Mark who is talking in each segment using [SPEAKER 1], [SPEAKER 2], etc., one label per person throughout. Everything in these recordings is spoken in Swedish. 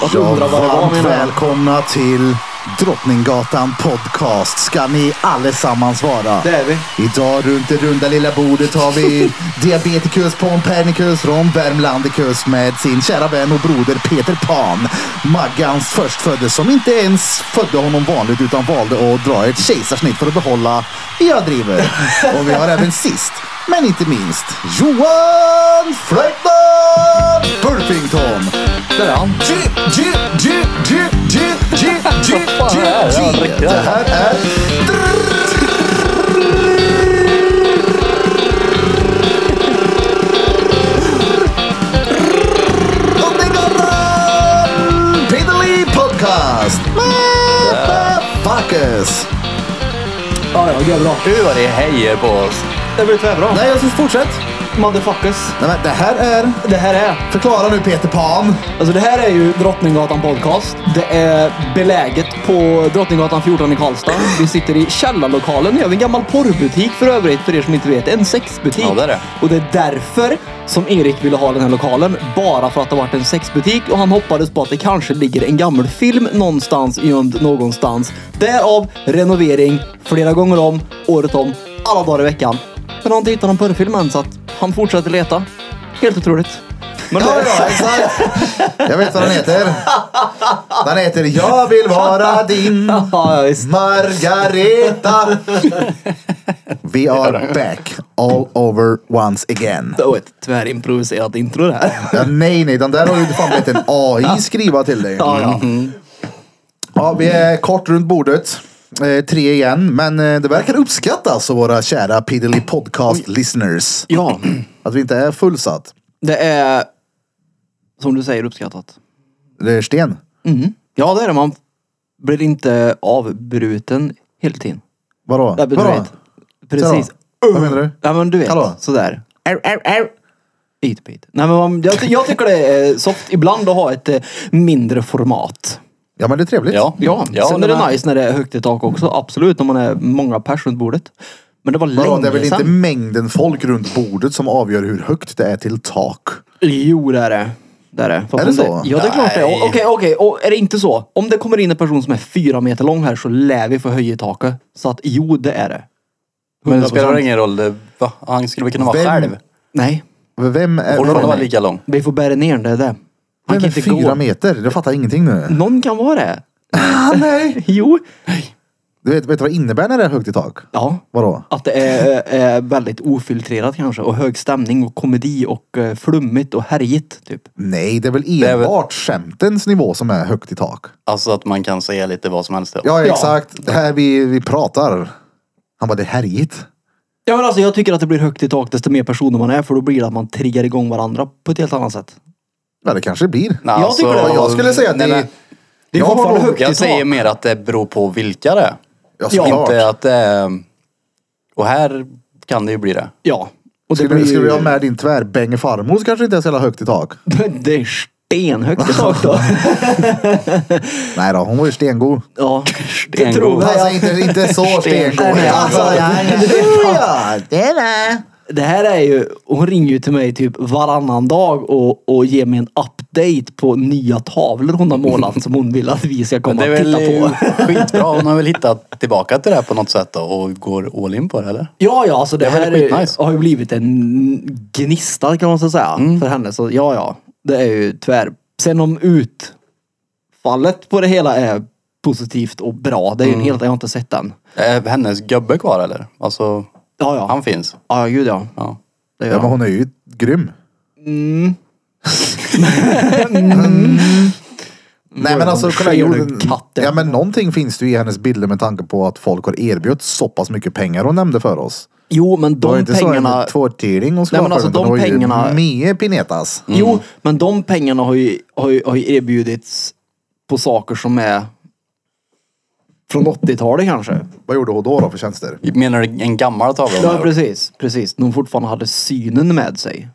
[SPEAKER 1] Jag undrar vad det var
[SPEAKER 2] Varmt
[SPEAKER 1] menar jag.
[SPEAKER 2] välkomna till Drottninggatan Podcast ska ni allesammans vara.
[SPEAKER 1] Det är vi.
[SPEAKER 2] Idag runt det runda lilla bordet har vi diabetikus Pompernicus Ron Värmlandicus med sin kära vän och broder Peter Pan. Maggans förstfödde som inte ens födde honom vanligt utan valde att dra ett kejsarsnitt för att behålla jag driver. Och vi har även sist men inte minst Johan Flöjtnant Pulpington. Där är han. Det här är Drottninggatan Piddly Podcast. Motherfuckers.
[SPEAKER 1] Ja, ja, gör bra.
[SPEAKER 3] Gud vad det hejar på oss.
[SPEAKER 1] Det blir tvärbra.
[SPEAKER 2] Nej, jag ska fortsätta.
[SPEAKER 1] Motherfuckers.
[SPEAKER 2] Nej, men det här är...
[SPEAKER 1] Det här är.
[SPEAKER 2] Förklara nu Peter Pan.
[SPEAKER 1] Alltså det här är ju Drottninggatan Podcast. Det är beläget på Drottninggatan 14 i Karlstad. Vi sitter i källarlokalen. Vi har en gammal porrbutik för övrigt, för er som inte vet. En sexbutik.
[SPEAKER 3] Ja, det är det.
[SPEAKER 1] Och det är därför som Erik ville ha den här lokalen. Bara för att det varit en sexbutik och han hoppades på att det kanske ligger en gammal film någonstans gömd någonstans. Därav renovering flera gånger om, året om, alla dagar i veckan. Men han inte hittade någon porrfilm än så att han fortsätter leta. Helt otroligt. Men
[SPEAKER 2] Ja, ja, exakt. Jag vet vad den heter. Den heter Jag vill vara din
[SPEAKER 1] Ja, visst.
[SPEAKER 2] Margareta. We are back all over once again.
[SPEAKER 1] Det var ett tvärimproviserat intro det här.
[SPEAKER 2] Ja, nej, nej, den där har ju fan blivit en AI skriva till dig.
[SPEAKER 1] Ja, ja.
[SPEAKER 2] Ja, vi är kort runt bordet. Eh, tre igen, men eh, det verkar uppskattas av våra kära Piddly E Podcast listeners.
[SPEAKER 1] ja,
[SPEAKER 2] Att vi inte är fullsatt.
[SPEAKER 1] det är som du säger uppskattat.
[SPEAKER 2] Det är Sten.
[SPEAKER 1] Ja, det är det. Man blir inte avbruten hela tiden.
[SPEAKER 2] Vadå?
[SPEAKER 1] Ja, men du
[SPEAKER 2] Vadå?
[SPEAKER 1] vet. Precis.
[SPEAKER 2] Vadå? Vad menar du?
[SPEAKER 1] Ja, men du vet.
[SPEAKER 2] Hallå?
[SPEAKER 1] Sådär.
[SPEAKER 2] Arr, arr, arr.
[SPEAKER 1] Bit, bit. Nej, men man, jag, ty- jag tycker det är soft ibland att ha ett eh, mindre format.
[SPEAKER 2] Ja, men det är trevligt.
[SPEAKER 3] Ja.
[SPEAKER 1] Ja,
[SPEAKER 3] Ja,
[SPEAKER 1] sen är
[SPEAKER 3] den
[SPEAKER 1] det
[SPEAKER 3] här-
[SPEAKER 1] nice när det är högt i tak också. Absolut, när man är många personer runt bordet. Men det var
[SPEAKER 2] Vadå,
[SPEAKER 1] länge
[SPEAKER 2] det är väl
[SPEAKER 1] sedan.
[SPEAKER 2] inte mängden folk runt bordet som avgör hur högt det är till tak?
[SPEAKER 1] Jo, det är det. Det är det. För
[SPEAKER 2] Är
[SPEAKER 1] om
[SPEAKER 2] det så?
[SPEAKER 1] Ja, det är klart det är.
[SPEAKER 3] Nej.
[SPEAKER 1] Okej, okej. Och Är det inte så? Om det kommer in en person som är fyra meter lång här så lär vi få höja i taket. Så att jo, det är det.
[SPEAKER 3] Men det
[SPEAKER 1] 100%.
[SPEAKER 3] spelar ingen roll. Det, va? Han skulle väl kunna vara
[SPEAKER 2] Vem-
[SPEAKER 3] själv.
[SPEAKER 1] Nej,
[SPEAKER 2] Vem är,
[SPEAKER 3] Fortfarande vara
[SPEAKER 2] vem,
[SPEAKER 3] lika lång.
[SPEAKER 1] vi får bära ner den. Det är det. Han
[SPEAKER 2] vem
[SPEAKER 1] kan
[SPEAKER 2] är
[SPEAKER 1] inte
[SPEAKER 2] fyra
[SPEAKER 1] gå.
[SPEAKER 2] meter? Jag fattar ingenting nu.
[SPEAKER 1] Någon kan vara det.
[SPEAKER 2] Ah, nej.
[SPEAKER 1] Jo.
[SPEAKER 2] Du vet, vet du vad det innebär när det är högt i tak?
[SPEAKER 1] Ja.
[SPEAKER 2] Vadå?
[SPEAKER 1] Att det är, eh, är väldigt ofiltrerat kanske. Och hög stämning och komedi och eh, flummigt och härjigt. Typ.
[SPEAKER 2] Nej, det är väl
[SPEAKER 3] är väl-
[SPEAKER 2] enbart skämtens nivå som är högt i tak.
[SPEAKER 3] Alltså att man kan säga lite vad som helst.
[SPEAKER 2] Ja,
[SPEAKER 1] Ja.
[SPEAKER 2] exakt. Det här vi, vi pratar. Han bara, det är härjigt.
[SPEAKER 1] Ja, men alltså, jag tycker att det blir högt i tak desto mer personer man är. För då blir det att man triggar igång varandra på ett helt annat sätt.
[SPEAKER 2] Ja, det kanske det blir.
[SPEAKER 3] Nej, alltså,
[SPEAKER 1] jag tycker det.
[SPEAKER 2] jag skulle säga att
[SPEAKER 3] nej,
[SPEAKER 2] det-
[SPEAKER 3] nej.
[SPEAKER 1] Det är
[SPEAKER 2] Jag har
[SPEAKER 1] fortfarande
[SPEAKER 2] nog-
[SPEAKER 1] högt i
[SPEAKER 3] Jag
[SPEAKER 1] tak.
[SPEAKER 3] säger mer att det beror på vilka det är. Alltså,
[SPEAKER 2] Ja, såklart.
[SPEAKER 3] Inte att det är... Och här kan det ju bli det.
[SPEAKER 1] Ja. Och det
[SPEAKER 2] Skulle,
[SPEAKER 1] blir...
[SPEAKER 2] skulle vi ha med din tvärbänge farmor så kanske det inte är så jävla högt i tak.
[SPEAKER 1] Det är stenhögt i tak då.
[SPEAKER 2] Nej då, hon var ju stengod.
[SPEAKER 1] ja.
[SPEAKER 3] Stengod.
[SPEAKER 1] tror jag.
[SPEAKER 2] Alltså inte, inte så stengod.
[SPEAKER 1] Nej, nej,
[SPEAKER 2] Alltså,
[SPEAKER 1] alltså,
[SPEAKER 2] ja, ja, ja, det är det.
[SPEAKER 1] Det här är ju, hon ringer ju till mig typ varannan dag och, och ger mig en update på nya tavlor hon har målat som hon vill att vi ska
[SPEAKER 3] Men
[SPEAKER 1] komma
[SPEAKER 3] det är
[SPEAKER 1] och
[SPEAKER 3] väl
[SPEAKER 1] titta på.
[SPEAKER 3] skitbra. Hon har väl hittat tillbaka till det här på något sätt då, och går all in på det eller?
[SPEAKER 1] Ja, ja, alltså det,
[SPEAKER 3] Det är väl
[SPEAKER 1] här är,
[SPEAKER 3] skitnice.
[SPEAKER 1] har ju blivit en gnista kan man så säga för henne. Så ja, ja, det är ju tvär. Sen om utfallet på det hela är positivt och bra, det är ju en helt, jag har inte sett den.
[SPEAKER 3] Är hennes gubbe kvar eller? Alltså,
[SPEAKER 1] Ja, ja.
[SPEAKER 3] han finns.
[SPEAKER 1] Ja, gud ja. Mm.
[SPEAKER 3] Ja.
[SPEAKER 1] Det gör
[SPEAKER 2] Ja,
[SPEAKER 1] han.
[SPEAKER 2] men hon är ju grym. Nej Mm. men alltså kolla.
[SPEAKER 1] Säger
[SPEAKER 2] jo,
[SPEAKER 1] du katten?
[SPEAKER 2] Ja men någonting finns det ju i hennes bilder med tanke på att folk har erbjudit så pass mycket pengar hon nämnde för oss.
[SPEAKER 1] Jo, men
[SPEAKER 2] Det var ju
[SPEAKER 1] de
[SPEAKER 2] inte pengarna... så
[SPEAKER 1] pengarna...
[SPEAKER 2] en tvåtiling hon
[SPEAKER 1] Nej,
[SPEAKER 2] skulle
[SPEAKER 1] men
[SPEAKER 2] ha för
[SPEAKER 1] alltså,
[SPEAKER 2] den, utan
[SPEAKER 1] de
[SPEAKER 2] det var ju
[SPEAKER 1] pengarna-
[SPEAKER 2] Mer pinetas.
[SPEAKER 1] Jo, men de pengarna har ju, har, ju, har ju erbjudits på saker som är från 80-talet kanske.
[SPEAKER 2] Vad gjorde hon då då för tjänster?
[SPEAKER 3] Menar du en gammal tavla? hon har
[SPEAKER 1] Ja,
[SPEAKER 3] gjort?
[SPEAKER 1] precis. Precis. De fortfarande hade synen med sig.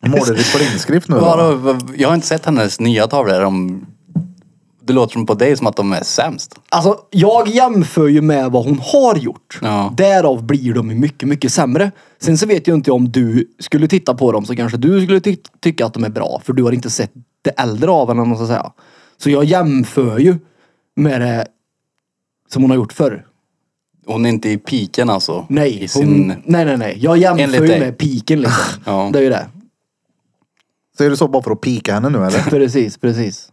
[SPEAKER 2] Målade du på inskrift nu då?
[SPEAKER 3] Vadå? Jag har inte sett hennes nya tavlor. De,
[SPEAKER 4] Det låter som på dig som att de är sämst.
[SPEAKER 1] Alltså, jag jämför ju med vad hon har gjort.
[SPEAKER 4] Ja.
[SPEAKER 1] Därav blir de ju mycket, mycket sämre. Sen så vet jag inte om du skulle titta på dem så kanske du skulle ty- tycka att de är bra. För du har inte sett det äldre av henne, om man ska säga. Så jag jämför ju med det som hon har gjort förr.
[SPEAKER 4] Hon är inte i piken alltså.
[SPEAKER 1] Nej,
[SPEAKER 4] I sin...
[SPEAKER 1] hon, nej, nej, nej. Jag jämför
[SPEAKER 4] Enligt
[SPEAKER 1] ju
[SPEAKER 4] dig.
[SPEAKER 1] med piken liksom.
[SPEAKER 4] Ja.
[SPEAKER 1] Det är ju det.
[SPEAKER 2] Så är det så bara för att pika henne nu eller?
[SPEAKER 1] Precis, precis.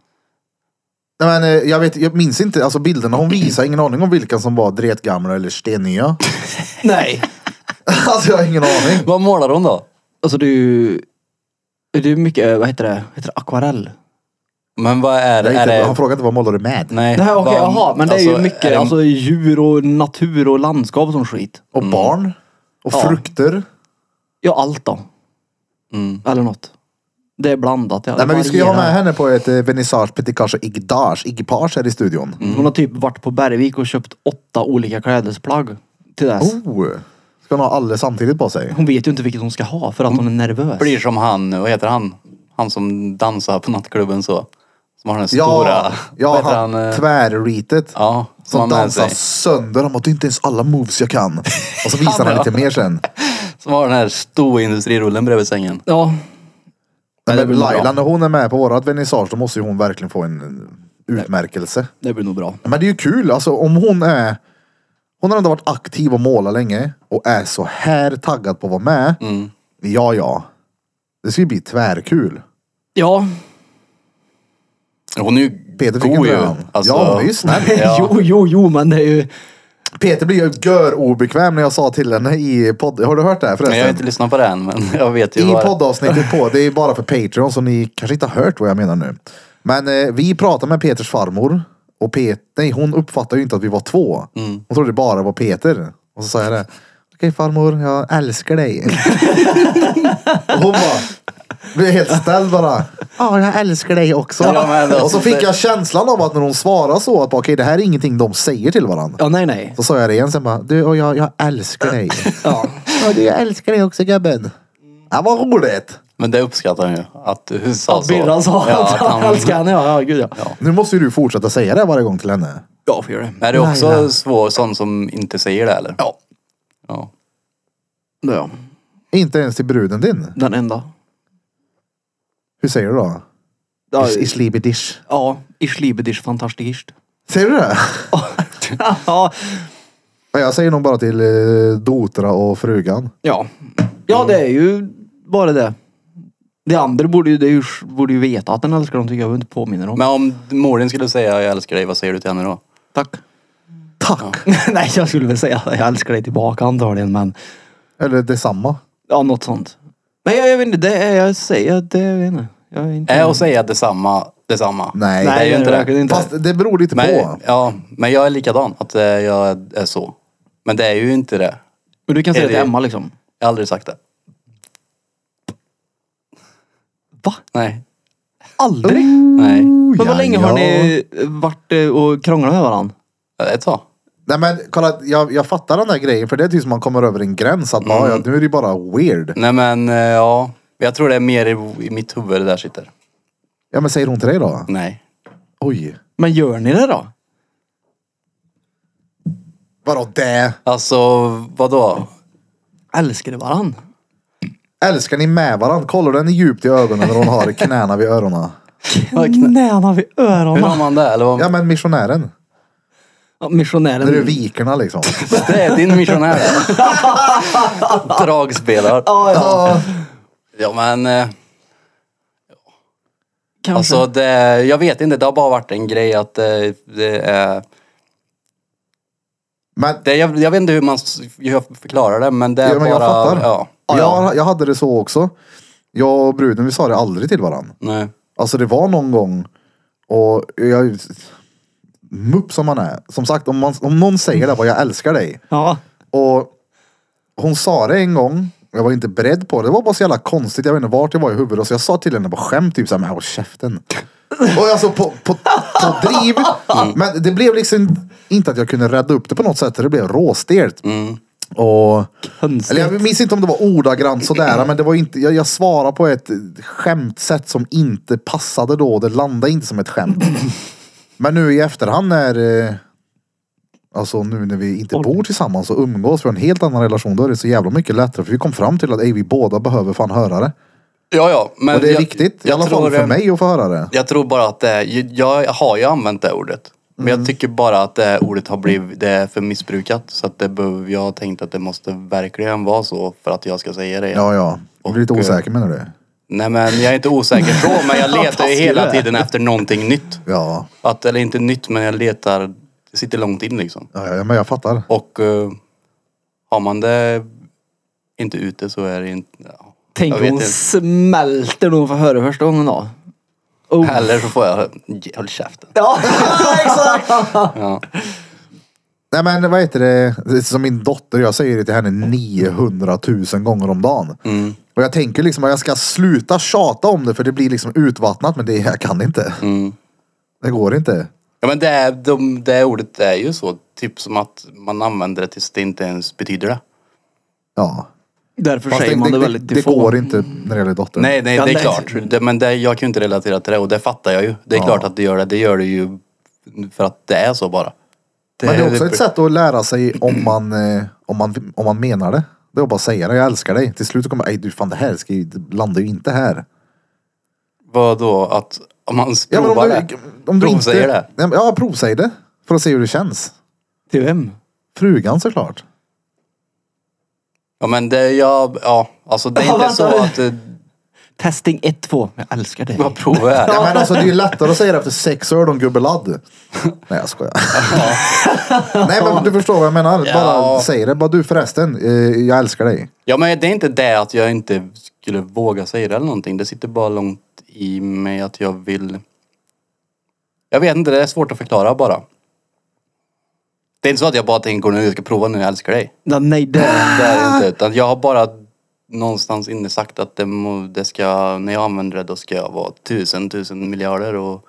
[SPEAKER 2] Nej, men, eh, jag, vet, jag minns inte, alltså bilderna hon visar, ingen aning om vilka som var dretgamla eller stennya.
[SPEAKER 1] Nej.
[SPEAKER 2] Alltså jag har ingen aning.
[SPEAKER 4] Vad målar hon då?
[SPEAKER 1] Alltså det är ju... Det är mycket, vad heter det? Heter det akvarell?
[SPEAKER 4] Men vad
[SPEAKER 2] Jag
[SPEAKER 4] är, det?
[SPEAKER 2] är
[SPEAKER 4] Är
[SPEAKER 2] inte, han
[SPEAKER 4] det...
[SPEAKER 2] frågade vad målar du med?
[SPEAKER 4] Nej,
[SPEAKER 1] Nej, okej,
[SPEAKER 4] vad-
[SPEAKER 1] jaha. Men det är ju
[SPEAKER 4] alltså,
[SPEAKER 1] mycket
[SPEAKER 4] är det-
[SPEAKER 1] alltså, djur och natur och landskap och sån skit.
[SPEAKER 2] Och
[SPEAKER 4] Mm.
[SPEAKER 2] barn? Och
[SPEAKER 1] Ja.
[SPEAKER 2] frukter?
[SPEAKER 1] Ja, allt då.
[SPEAKER 4] Mm.
[SPEAKER 1] Eller något. Det är blandat. Ja.
[SPEAKER 2] Nej men vi ska ju ha
[SPEAKER 1] varierar.
[SPEAKER 2] med henne på ett eh, vernissage, petit gage och igdage, igpage här i studion.
[SPEAKER 4] Mm.
[SPEAKER 1] Hon har typ varit på Bergvik och köpt åtta olika klädesplagg till dess.
[SPEAKER 2] Oh! Ska hon ha alla samtidigt på sig?
[SPEAKER 1] Hon vet ju inte vilket hon ska ha för att hon är nervös.
[SPEAKER 4] Mm. blir som han, vad heter han? Han som dansar på nattklubben så. Som har den stora...
[SPEAKER 2] Ja,
[SPEAKER 4] vad
[SPEAKER 2] ja
[SPEAKER 4] heter
[SPEAKER 2] han,
[SPEAKER 4] eh?
[SPEAKER 2] tvärritet.
[SPEAKER 4] Ja, som
[SPEAKER 2] Som
[SPEAKER 4] har med
[SPEAKER 2] dansar
[SPEAKER 4] sig.
[SPEAKER 2] sönder. Han bara, det är inte ens alla moves jag kan. Och så visar han lite mer sen.
[SPEAKER 4] Som har den här stora industrirullen bredvid sängen.
[SPEAKER 1] Ja.
[SPEAKER 2] Nej,
[SPEAKER 1] det
[SPEAKER 2] men
[SPEAKER 1] blir nog
[SPEAKER 2] Laila,
[SPEAKER 1] bra.
[SPEAKER 2] när hon är med på vårat vernissage, då måste ju hon verkligen få en eh, utmärkelse.
[SPEAKER 1] Det blir nog bra.
[SPEAKER 2] Men det är ju kul, alltså om hon är... Hon har ändå varit aktiv och målat länge och är så här taggad på att vara med.
[SPEAKER 4] Mm.
[SPEAKER 2] Ja, ja. Det ska ju bli tvärkul.
[SPEAKER 1] Ja.
[SPEAKER 4] Hon är ju
[SPEAKER 2] Peter fick en
[SPEAKER 4] god ju. alltså.
[SPEAKER 2] drön. Ja, hon är ju snäll.
[SPEAKER 4] Ja.
[SPEAKER 1] jo, jo, jo, men det är ju...
[SPEAKER 2] Peter blir ju gör obekväm när jag sa till henne i podd... Har du hört det här
[SPEAKER 4] Men jag har
[SPEAKER 2] förresten?
[SPEAKER 4] inte lyssnat på den, men jag vet ju
[SPEAKER 2] I
[SPEAKER 4] vad...
[SPEAKER 2] poddavsnittet på, det är bara för Patreon så ni kanske inte har hört vad jag menar nu. Men eh, vi pratade med Peters farmor och Pet, nej, hon uppfattade ju inte att vi var två. Hon trodde bara var Peter. Och så sa jag det. Okej farmor, jag älskar dig. och hon bara blev helt ställd bara. Ja, jag älskar dig också.
[SPEAKER 4] Ja, men det-
[SPEAKER 2] och så fick jag känslan av att när hon svarade så att bara, okej det här är ingenting de säger till varandra.
[SPEAKER 1] Ja, nej, nej.
[SPEAKER 2] Så sa jag det igen sen bara, du och jag, jag älskar dig.
[SPEAKER 1] Ja.
[SPEAKER 2] Ja, du, jag älskar dig också gubben. Ja, vad roligt.
[SPEAKER 4] Men det uppskattar han ju. Att du sa
[SPEAKER 1] Att
[SPEAKER 4] så.
[SPEAKER 1] Birran sa
[SPEAKER 4] Ja,
[SPEAKER 1] att han älskar henne. Ja, ja, gud ja. Ja,
[SPEAKER 2] Nu måste ju du fortsätta säga det varje gång till henne.
[SPEAKER 1] ja får göra det.
[SPEAKER 4] Är det också
[SPEAKER 2] Laila.
[SPEAKER 4] svår sån som inte säger det eller?
[SPEAKER 1] Ja.
[SPEAKER 4] ja.
[SPEAKER 1] Ja,
[SPEAKER 2] Inte ens till bruden din.
[SPEAKER 1] den enda.
[SPEAKER 2] Hur säger du då?
[SPEAKER 1] Ja,
[SPEAKER 2] Is- Is liebe dich.
[SPEAKER 1] ja ich liebe dich fantastiskt.
[SPEAKER 2] Säger du det?
[SPEAKER 1] ja,
[SPEAKER 2] Ja, Jag säger nog bara till eh, Dotra och frugan.
[SPEAKER 1] ja. Ja, det är ju bara det. Det andra borde ju, det är ju, borde ju veta att den älskar dem tycker jag, jag inte påminner om.
[SPEAKER 4] Men om Morin skulle säga jag älskar dig, vad säger du till henne då?
[SPEAKER 1] Tack.
[SPEAKER 2] Tack!
[SPEAKER 1] Nej, jag skulle väl säga att jag älskar dig tillbaka antagligen, men
[SPEAKER 2] Eller detsamma.
[SPEAKER 1] ja, något sånt. Men jag, jag vet inte, det är, jag säger, det jag vet inte. Jag är inte
[SPEAKER 4] Är att säga detsamma, detsamma.
[SPEAKER 2] Nej.
[SPEAKER 4] det är ju inte det.
[SPEAKER 1] verkligen inte.
[SPEAKER 2] Fast det beror lite på.
[SPEAKER 4] Men, ja, men jag är likadan, att eh, jag är så. Men det är ju inte det.
[SPEAKER 1] Men du kan säga
[SPEAKER 4] är
[SPEAKER 1] till
[SPEAKER 4] det-
[SPEAKER 1] Emma liksom.
[SPEAKER 4] Jag har aldrig sagt det.
[SPEAKER 1] Va?
[SPEAKER 4] Nej.
[SPEAKER 1] Aldrig?
[SPEAKER 4] Nej.
[SPEAKER 1] Men
[SPEAKER 2] Ja,
[SPEAKER 1] vad länge
[SPEAKER 2] ja.
[SPEAKER 1] har ni varit eh, och krånglat med varandra?
[SPEAKER 4] Ett tag.
[SPEAKER 2] Nej men kolla, jag, jag fattar den där grejen för det är typ som man kommer över en gräns att bara, ja, nu är det bara weird.
[SPEAKER 4] Nej men eh, ja. Jag tror det är mer i, i mitt huvud det där sitter.
[SPEAKER 2] Ja men säger hon till dig då?
[SPEAKER 4] Nej.
[SPEAKER 2] Oj.
[SPEAKER 1] Men gör ni det då?
[SPEAKER 2] Vadå det?
[SPEAKER 4] Alltså vadå?
[SPEAKER 1] Älskar ni varann?
[SPEAKER 2] Älskar ni med varandra? Kollar du henne djupt i ögonen när hon har knäna vid öronen?
[SPEAKER 1] Knäna vid
[SPEAKER 4] Hur har
[SPEAKER 1] öronen.
[SPEAKER 4] man det? Eller vad?
[SPEAKER 2] Ja men missionären.
[SPEAKER 4] Mm.
[SPEAKER 1] Ja, missionären.
[SPEAKER 2] När du vikerna liksom.
[SPEAKER 4] Det är din missionär. Dragspelar.
[SPEAKER 1] Ja, ja.
[SPEAKER 2] Ja.
[SPEAKER 4] Ja men eh,
[SPEAKER 1] Kanske.
[SPEAKER 4] alltså det, jag vet inte. Det har bara varit en grej att eh, det är...
[SPEAKER 2] Men
[SPEAKER 4] Det, jag, jag vet inte hur man s- hur jag förklarar det men det är
[SPEAKER 2] Ja, men
[SPEAKER 4] bara...
[SPEAKER 2] jag fattar.
[SPEAKER 4] Ja.
[SPEAKER 2] Jag, jag hade det så också. Jag och bruden, vi sa det aldrig till varandra.
[SPEAKER 4] Nej.
[SPEAKER 2] Alltså det var någon gång och jag... Mupp som man är. Som sagt, om, man, om någon säger det, bara jag älskar dig.
[SPEAKER 1] Ja.
[SPEAKER 2] Och hon sa det en gång. Jag var inte beredd på det. Det var bara så jävla konstigt. Jag vet inte vart jag var i huvudet. Så jag sa till henne på skämt typ såhär, men håll käften. Och alltså på, på, på driv. Men det blev liksom inte att jag kunde rädda upp det på något sätt. Det blev råstelt.
[SPEAKER 4] Mm.
[SPEAKER 2] Och
[SPEAKER 1] Hönsigt.
[SPEAKER 2] eller jag minns inte om det var ordagrant sådär, men det var inte, jag, jag svarade på ett skämtsätt som inte passade då. Det landade inte som ett skämt. Men nu i efterhand när... eh, Alltså nu när vi inte bor tillsammans och umgås, vi har en helt annan relation. Då är det så jävla mycket lättare. För vi kom fram till att ey, vi båda behöver fan höra det.
[SPEAKER 4] Ja, ja. Men
[SPEAKER 2] Och det är
[SPEAKER 4] jag-
[SPEAKER 2] viktigt. I
[SPEAKER 4] jag
[SPEAKER 2] alla fall
[SPEAKER 4] tror,
[SPEAKER 2] för
[SPEAKER 4] eh,
[SPEAKER 2] mig att få höra det.
[SPEAKER 4] Jag tror bara att det är, jag har ju använt det ordet. Men
[SPEAKER 2] Mm.
[SPEAKER 4] jag tycker bara att det här ordet har blivit, det är för missbrukat. Så att det behöver, jag har tänkt att det måste verkligen vara så för att jag ska säga det.
[SPEAKER 2] Ja, ja. Du blir lite
[SPEAKER 4] Och, eh,
[SPEAKER 2] osäker menar du?
[SPEAKER 4] Nej men jag är inte osäker så, men jag letar ju
[SPEAKER 1] Taskig du
[SPEAKER 4] hela
[SPEAKER 1] är.
[SPEAKER 4] tiden efter någonting nytt.
[SPEAKER 2] Ja.
[SPEAKER 4] Att, eller inte nytt, men jag letar, det sitter långt in liksom.
[SPEAKER 2] Ja, ja, men jag fattar.
[SPEAKER 4] Och eh, har man det inte ute så är det inte... Ja.
[SPEAKER 1] Tänk
[SPEAKER 4] Jag
[SPEAKER 1] om
[SPEAKER 4] vet
[SPEAKER 1] hon
[SPEAKER 4] inte.
[SPEAKER 1] smälter när hon får höra det första gången då. Oh.
[SPEAKER 4] Eller så får jag... Håll käften.
[SPEAKER 1] Ja, exakt!
[SPEAKER 4] Ja.
[SPEAKER 2] Nej men vad heter det? det är som min dotter, jag säger det till henne 900 000 gånger om dagen.
[SPEAKER 4] mm,
[SPEAKER 2] Och jag tänker liksom att jag ska sluta tjata om det för det blir liksom utvattnat men det jag kan inte. Det går inte.
[SPEAKER 4] mm. Ja men det, är, de, det ordet är ju så, typ som att man använder det tills det inte ens betyder det.
[SPEAKER 2] Ja.
[SPEAKER 1] Därför
[SPEAKER 2] Fast
[SPEAKER 1] säger
[SPEAKER 2] det,
[SPEAKER 1] man det,
[SPEAKER 2] det,
[SPEAKER 1] väldigt
[SPEAKER 2] det, det
[SPEAKER 1] till få.
[SPEAKER 2] går inte när det gäller dottern.
[SPEAKER 4] Nej, nej
[SPEAKER 1] Ja,
[SPEAKER 4] det är
[SPEAKER 1] nej.
[SPEAKER 4] klart. Det, men det, jag kan ju inte relatera till det och det fattar jag ju. Det är
[SPEAKER 2] Ja.
[SPEAKER 4] klart att det gör det. Det gör det ju för att det är så bara.
[SPEAKER 2] men det är också ett sätt att lära sig om man, eh, om man, om man menar det. Det är att bara säga det, jag älskar dig. Till slut kommer jag, "Ej, du fan det här ska ju, det landar ju inte här.
[SPEAKER 4] Vad då? Att om man
[SPEAKER 2] Ja, men
[SPEAKER 4] provar
[SPEAKER 2] om
[SPEAKER 4] det?
[SPEAKER 2] du, om du inte,
[SPEAKER 4] Provsäger det?
[SPEAKER 2] Nej, men- Ja, provsäg det. För att se hur det känns.
[SPEAKER 1] Till vem?
[SPEAKER 2] Frugan såklart.
[SPEAKER 4] Ja men det, ja, ja. Alltså det är
[SPEAKER 1] Ja,
[SPEAKER 4] inte
[SPEAKER 1] vänta,
[SPEAKER 4] så
[SPEAKER 1] du-
[SPEAKER 4] att... eh,
[SPEAKER 1] Testing 1, 2. Jag älskar dig.
[SPEAKER 4] Vad provar är det?
[SPEAKER 2] Ja, men alltså, det är ju lättare att säga det efter sex öl och en gubbeladd. Nej jag skojar. Nej men du förstår vad jag menar. Bara
[SPEAKER 4] Ja.
[SPEAKER 2] säg det. Bara du förresten, eh, jag älskar dig.
[SPEAKER 4] Ja men det är inte det att jag inte skulle våga säga det eller någonting. Det sitter bara långt i mig att jag vill... Jag vet inte, det är svårt att förklara bara. Det är inte så att jag bara tänker nu, jag ska prova nu, jag älskar dig.
[SPEAKER 1] Ja, nej, det...
[SPEAKER 4] Det är det inte. Utan jag har bara någonstans inne sagt att det, må- det ska, när jag använder det då ska jag vara tusen, tusen miljarder och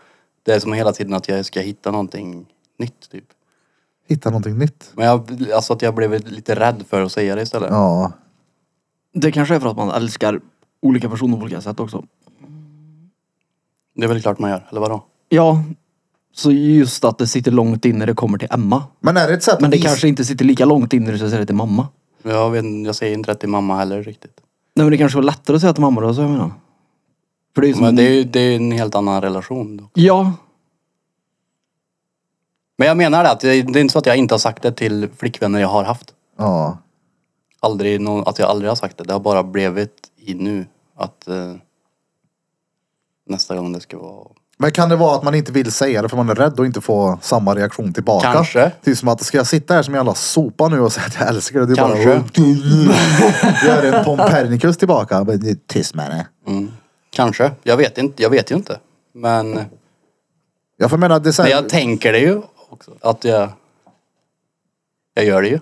[SPEAKER 4] det är som hela tiden att jag ska hitta någonting nytt typ.
[SPEAKER 2] Hitta någonting nytt.
[SPEAKER 4] Men jag, alltså att jag blev lite rädd för att säga det istället.
[SPEAKER 2] Ja.
[SPEAKER 1] det kanske är för att man älskar olika personer på olika sätt också.
[SPEAKER 4] Det är väl klart man gör, eller vadå?
[SPEAKER 1] Ja, så just att det sitter långt in när det kommer till Emma.
[SPEAKER 2] Men är det ett sätt
[SPEAKER 1] Men
[SPEAKER 2] att
[SPEAKER 1] det
[SPEAKER 2] visa-
[SPEAKER 1] kanske inte sitter lika långt in när du ska säga det till mamma.
[SPEAKER 4] Jag, vet, inte, jag säger inte det till mamma heller riktigt.
[SPEAKER 1] Nej men det kanske var lättare att säga till mamma då, så jag menar. För det är ju som...
[SPEAKER 4] Men det är ju det är ju en helt annan relation. Då.
[SPEAKER 1] Ja.
[SPEAKER 4] Men jag menar det att det det är inte så att jag inte har sagt det till flickvänner jag har haft.
[SPEAKER 2] Ja.
[SPEAKER 4] Aldrig någon, att jag aldrig har sagt det. Det har bara blivit i nu att eh, nästa gång det ska vara...
[SPEAKER 2] Men kan det vara att man inte vill säga det för man är rädd att inte få samma reaktion tillbaka?
[SPEAKER 4] Kanske.
[SPEAKER 2] Typ som att, ska jag sitta här som en jävla sopa nu och säga att jag älskar dig? Det är
[SPEAKER 4] Kanske.
[SPEAKER 2] bara... Gör en Pompernicus tillbaka. Bara, "Ni är Tyst med det.
[SPEAKER 4] Kanske. Jag vet, inte, jag vet ju inte. Men, men
[SPEAKER 2] Ja, för jag menar, det är så här...
[SPEAKER 4] jag tänker det ju också. Att jag... Jag gör det ju.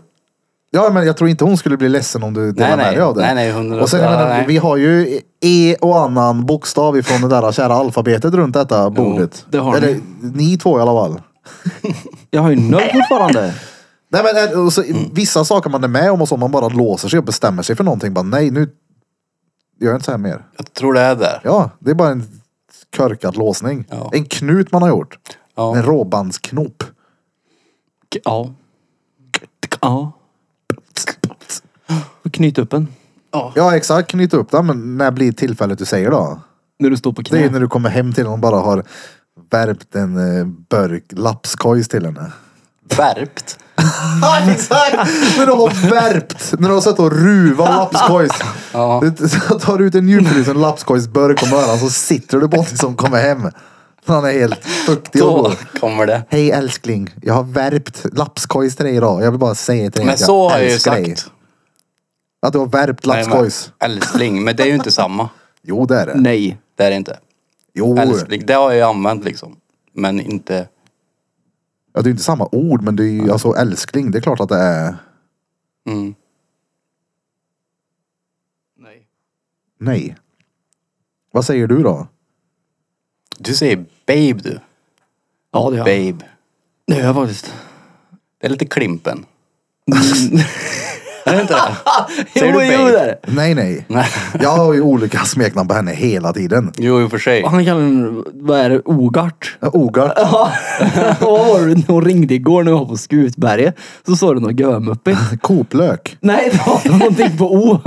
[SPEAKER 2] Ja men jag tror inte hon skulle bli ledsen om du delar
[SPEAKER 4] Nej,
[SPEAKER 2] med dig av det.
[SPEAKER 4] nej, nej, hundra-
[SPEAKER 2] och sen, jag
[SPEAKER 4] ja,
[SPEAKER 2] menar,
[SPEAKER 4] nej.
[SPEAKER 2] vi har ju E och annan bokstav ifrån det där kära alfabetet runt detta bordet.
[SPEAKER 1] det har ni.
[SPEAKER 2] Eller ni två i alla fall.
[SPEAKER 1] Jag har ju noll fortfarande.
[SPEAKER 2] Nej, men, eh, och så,
[SPEAKER 4] Mm.
[SPEAKER 2] Vissa saker man är med om och så man bara låser sig och bestämmer sig för någonting. Bara, nej nu gör jag inte så här mer.
[SPEAKER 4] Jag tror det är där.
[SPEAKER 2] Ja, det är bara en körkad låsning.
[SPEAKER 4] Ja.
[SPEAKER 2] En knut man har gjort.
[SPEAKER 4] Ja.
[SPEAKER 2] En råbandsknop.
[SPEAKER 1] Ja. Ja. Knyt upp en.
[SPEAKER 2] Ja exakt, knyta upp den. Men när blir tillfället du säger då?
[SPEAKER 1] När du står på
[SPEAKER 2] Det är
[SPEAKER 4] Mm.
[SPEAKER 1] knä.
[SPEAKER 2] när du kommer hem till henne och bara har värpt en eh, burk lapskojs till henne.
[SPEAKER 4] Värpt.
[SPEAKER 2] Ja exakt! när du har värpt, när du har suttit och ruvat lapskojs.
[SPEAKER 4] Ja.
[SPEAKER 2] Du så tar du ut en djupfrys och en lapskojsburk om öronen så sitter du på honom som kommer hem. Han är helt fuktig och
[SPEAKER 4] Då
[SPEAKER 2] god.
[SPEAKER 4] kommer det.
[SPEAKER 2] Hej älskling, jag har värpt lapskojs till dig idag. Jag vill bara säga till dig
[SPEAKER 4] Men
[SPEAKER 2] att jag
[SPEAKER 4] så har jag ju
[SPEAKER 2] älskar
[SPEAKER 4] sagt.
[SPEAKER 2] dig. Att du har värpt
[SPEAKER 4] Nej, men
[SPEAKER 2] lapskojs.
[SPEAKER 4] Älskling, men det är ju inte samma.
[SPEAKER 2] Jo det är det.
[SPEAKER 1] Nej.
[SPEAKER 4] Det är det inte.
[SPEAKER 2] Jo.
[SPEAKER 4] Älskling, det har jag ju använt liksom. Men inte...
[SPEAKER 2] Ja, det är ju inte samma ord men det är ju alltså älskling. Det är klart att det är.
[SPEAKER 4] Mm. Nej.
[SPEAKER 2] Nej. Vad säger du då?
[SPEAKER 4] Du säger babe du.
[SPEAKER 1] Ja det gör jag.
[SPEAKER 4] Babe.
[SPEAKER 1] Det gör jag faktiskt.
[SPEAKER 4] Det är lite Klimpen. Är det inte det? Säger
[SPEAKER 1] jo,
[SPEAKER 4] du
[SPEAKER 1] jo,
[SPEAKER 4] babe?
[SPEAKER 1] det är det.
[SPEAKER 2] Nej, nej.
[SPEAKER 4] Nej.
[SPEAKER 2] Jag har ju olika smeknamn på henne hela tiden.
[SPEAKER 4] Jo, i och för sig.
[SPEAKER 1] Han kallar den, vad är det, Ogart?
[SPEAKER 2] Ogart.
[SPEAKER 1] Ja, vad var det hon ringde igår när vi var på Skutberget? Så sa du något görmuppigt.
[SPEAKER 2] Koplök.
[SPEAKER 1] Nej, det var någonting på O.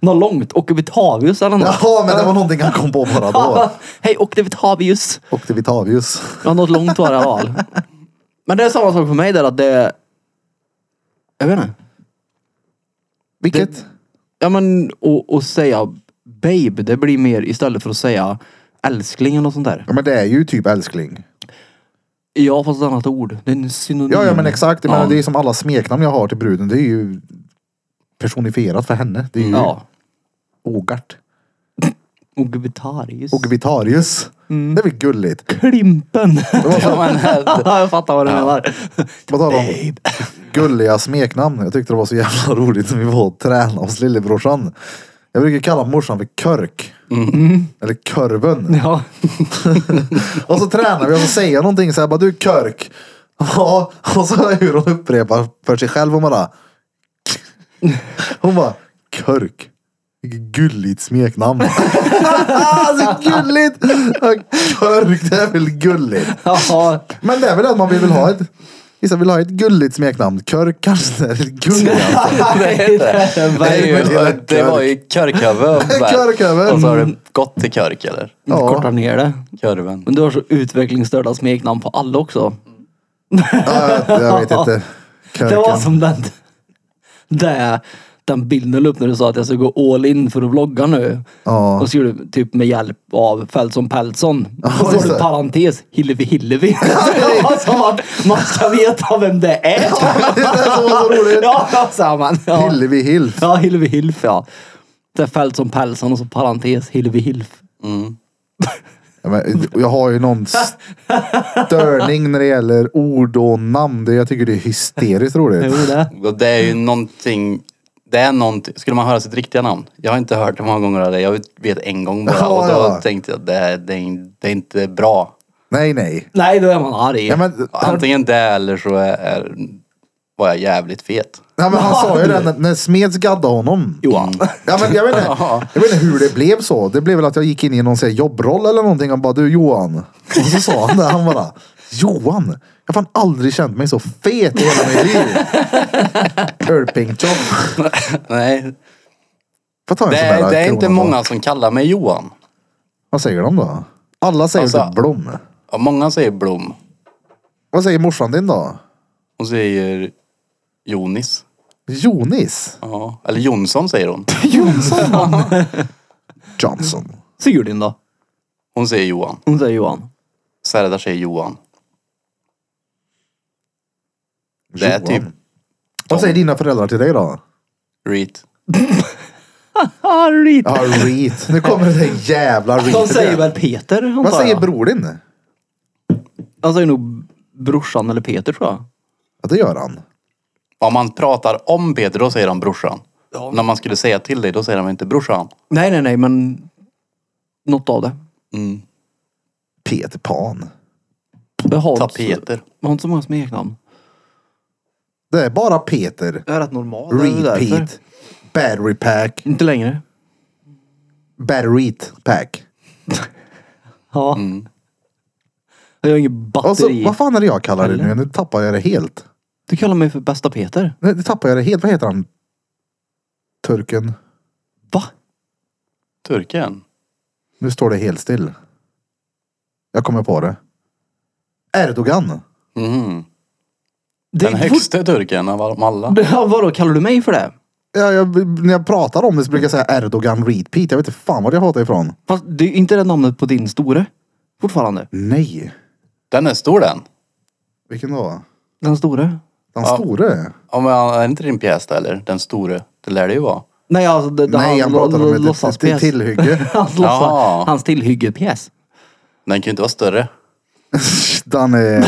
[SPEAKER 1] något långt. Octavitavius eller något.
[SPEAKER 2] Jaha, men det var någonting han kom på bara då.
[SPEAKER 1] Hej, Octavitavius.
[SPEAKER 2] Och det Vitavius.
[SPEAKER 1] Ja, något långt var det i alla fall. Men det är samma sak för mig där att det... Jag vet inte.
[SPEAKER 2] Vilket?
[SPEAKER 1] Ja men och, och säga babe, det blir mer istället för att säga älskling eller något sånt där.
[SPEAKER 2] Ja, men det är ju typ älskling.
[SPEAKER 1] Ja fast ett annat ord. Det är en synonym.
[SPEAKER 2] Ja, ja men exakt. Jag menar,
[SPEAKER 1] Mm. Ja.
[SPEAKER 2] Det är som alla smeknamn jag har till bruden. Det är ju personifierat för henne. Det är ju
[SPEAKER 1] Ja.
[SPEAKER 2] Ogart.
[SPEAKER 1] Och Vitarius.
[SPEAKER 2] Mm. Och Vitarius. Det är väl gulligt.
[SPEAKER 1] Klimpen.
[SPEAKER 4] Ja, men,
[SPEAKER 1] Ja, jag fattar vad du menar.
[SPEAKER 2] Vad talar om gulliga smeknamn. Jag tyckte det var så jävla roligt när vi var och tränade hos lillebrorsan. Jag brukar kalla morsan för Körk. Eller Körven.
[SPEAKER 1] Ja.
[SPEAKER 2] Och så tränar vi och så säger jag någonting så här bara du Körk. Ja, och så hör jag hur hon upprepar för sig själv och bara. Hon bara Körk. Vilket gulligt smeknamn. så gulligt! Ja, Körk, det är väl gulligt.
[SPEAKER 1] ja.
[SPEAKER 2] Men det är väl att man vill väl ha ett Vissa vill ha ett gulligt smeknamn. Körk kanske det är ett gulligt.
[SPEAKER 1] Nej, det är en
[SPEAKER 4] det, är
[SPEAKER 1] verkligen-
[SPEAKER 2] men det är
[SPEAKER 4] ju, det var ju körköven.
[SPEAKER 2] Körköven.
[SPEAKER 4] Och så har det gått till körk eller?
[SPEAKER 1] Inte korta ner det.
[SPEAKER 4] Körven.
[SPEAKER 1] Men du har så utvecklingsstörda smeknamn på alla också.
[SPEAKER 2] Ja, jag, jag vet inte.
[SPEAKER 1] Det var
[SPEAKER 2] Körken.
[SPEAKER 1] som den... Det, den bilden du la upp när du sa att jag ska gå all in för att vlogga nu.
[SPEAKER 2] Ja.
[SPEAKER 1] Och så gjorde du typ med hjälp av Fältson Pältson.
[SPEAKER 2] Ja,
[SPEAKER 1] Och så
[SPEAKER 2] just
[SPEAKER 1] var det
[SPEAKER 2] det.
[SPEAKER 1] parentes Hillevi Hillevi. Det var som att man ska veta vem det är.
[SPEAKER 2] Det är så, så roligt.
[SPEAKER 1] Ja, ja, sa man. Ja,
[SPEAKER 2] Hillevi Hilf.
[SPEAKER 1] ja Hillevi Hilf ja. Så Fältson Pältson och så parentes Hillevi Hilf.
[SPEAKER 2] Ja, men Jag har ju någon störning när det gäller ord och namn. Det- Jag tycker det är hysteriskt
[SPEAKER 1] Jo,
[SPEAKER 2] roligt.
[SPEAKER 1] det.
[SPEAKER 4] Och det är ju någonting, det är någonting, skulle man höra sitt riktiga namn? Jag har inte hört det många gånger eller jag vet en gång bara
[SPEAKER 2] Ja,
[SPEAKER 4] och då
[SPEAKER 2] ja.
[SPEAKER 4] tänkte jag det, här- det, är- det är inte bra.
[SPEAKER 2] Nej, nej.
[SPEAKER 1] Nej, då är man arg.
[SPEAKER 2] Ja, men, han,
[SPEAKER 4] Antingen det eller så är, är, var jag jävligt fet.
[SPEAKER 2] ja, men han sa ju det när, när Smeds gaddade honom.
[SPEAKER 1] Johan.
[SPEAKER 4] Mm.
[SPEAKER 2] Ja, men jag, vet inte, jag vet inte hur det blev så. Det blev väl att jag gick in i någon sån här jobbroll eller någonting. Han bara, du Johan. Och så sa han det. Han bara, Johan. Jag har fan aldrig känt mig så fet i hela mitt liv. Ölpingtjopp.
[SPEAKER 4] Nej,
[SPEAKER 2] Får ta en
[SPEAKER 4] det,
[SPEAKER 2] sån
[SPEAKER 4] är-
[SPEAKER 2] där
[SPEAKER 4] det är
[SPEAKER 2] krona
[SPEAKER 4] inte
[SPEAKER 2] då.
[SPEAKER 4] många som kallar mig Johan.
[SPEAKER 2] Vad säger de då? Alla säger
[SPEAKER 4] Alltså-
[SPEAKER 2] typ Blom.
[SPEAKER 4] Ja, många säger Blom.
[SPEAKER 2] Vad säger morsan din då?
[SPEAKER 4] Hon säger Jonis.
[SPEAKER 2] Jonis
[SPEAKER 4] Ja. Eller Jonsson säger hon.
[SPEAKER 2] Johnson.
[SPEAKER 1] Sigurdin då?
[SPEAKER 4] Hon säger Johan.
[SPEAKER 1] Hon säger Johan.
[SPEAKER 4] Serdar säger Johan. Det är
[SPEAKER 2] Johan.
[SPEAKER 4] typ
[SPEAKER 2] Vad säger dina föräldrar till dig då?
[SPEAKER 4] Reet.
[SPEAKER 1] Arg.
[SPEAKER 2] Ja, Reet. Nu kommer det där jävla Reet.
[SPEAKER 1] De säger väl Peter antar
[SPEAKER 2] Vad säger
[SPEAKER 1] jag.
[SPEAKER 2] bror din?
[SPEAKER 1] Han säger nog brorsan eller Peter tror jag.
[SPEAKER 2] Ja, det gör han.
[SPEAKER 4] Om man pratar om Peter, då säger de brorsan. När man skulle säga till dig, då säger de inte brorsan.
[SPEAKER 1] Nej, nej, nej, men något av det.
[SPEAKER 4] Mm.
[SPEAKER 2] Peter Pan.
[SPEAKER 1] Jag har
[SPEAKER 4] Ta
[SPEAKER 1] inte så-
[SPEAKER 4] Peter.
[SPEAKER 1] Jag har inte så många smeknamn.
[SPEAKER 2] Det är bara Peter.
[SPEAKER 1] Jag är rätt normal. det är väl därför.
[SPEAKER 2] Repeat. Battery pack.
[SPEAKER 1] Inte längre.
[SPEAKER 2] Battery pack.
[SPEAKER 1] Ja. Jag har inget
[SPEAKER 2] Och så,
[SPEAKER 1] batteri.
[SPEAKER 2] vad fan är det jag kallar det nu? Nu tappar jag det helt.
[SPEAKER 1] du kallar mig för bästa Peter.
[SPEAKER 2] Nu nu tappar jag det helt. Vad heter han? Turken.
[SPEAKER 1] Va?
[SPEAKER 4] Turken.
[SPEAKER 2] Nu står det helt still. Jag kommer på det. Erdogan.
[SPEAKER 4] Mhm.
[SPEAKER 1] Det
[SPEAKER 4] Den
[SPEAKER 1] är fort-
[SPEAKER 4] högsta turken av dem alla.
[SPEAKER 1] Ja, vadå, kallar du mig för det?
[SPEAKER 2] Ja, jag, när jag pratar om det så brukar jag säga Erdogan repeat. Jag vet inte fan var jag har det ifrån.
[SPEAKER 1] Fast det är ju inte det namnet på din store. Fortfarande.
[SPEAKER 2] Nej.
[SPEAKER 4] Den är stor den.
[SPEAKER 2] Vilken då?
[SPEAKER 1] Den store.
[SPEAKER 2] Den store?
[SPEAKER 4] Ja, men är inte din pjäs där, eller? Den store. Det lär det ju vara.
[SPEAKER 1] Nej, alltså, det, det,
[SPEAKER 2] Nej, han pratar om ett till-
[SPEAKER 1] låtsaspjäs.
[SPEAKER 2] tillhygge.
[SPEAKER 1] Hans,
[SPEAKER 4] Jaha.
[SPEAKER 1] låtsas, hans tillhyggepjäs.
[SPEAKER 4] Den kan ju inte vara större.
[SPEAKER 2] Den är...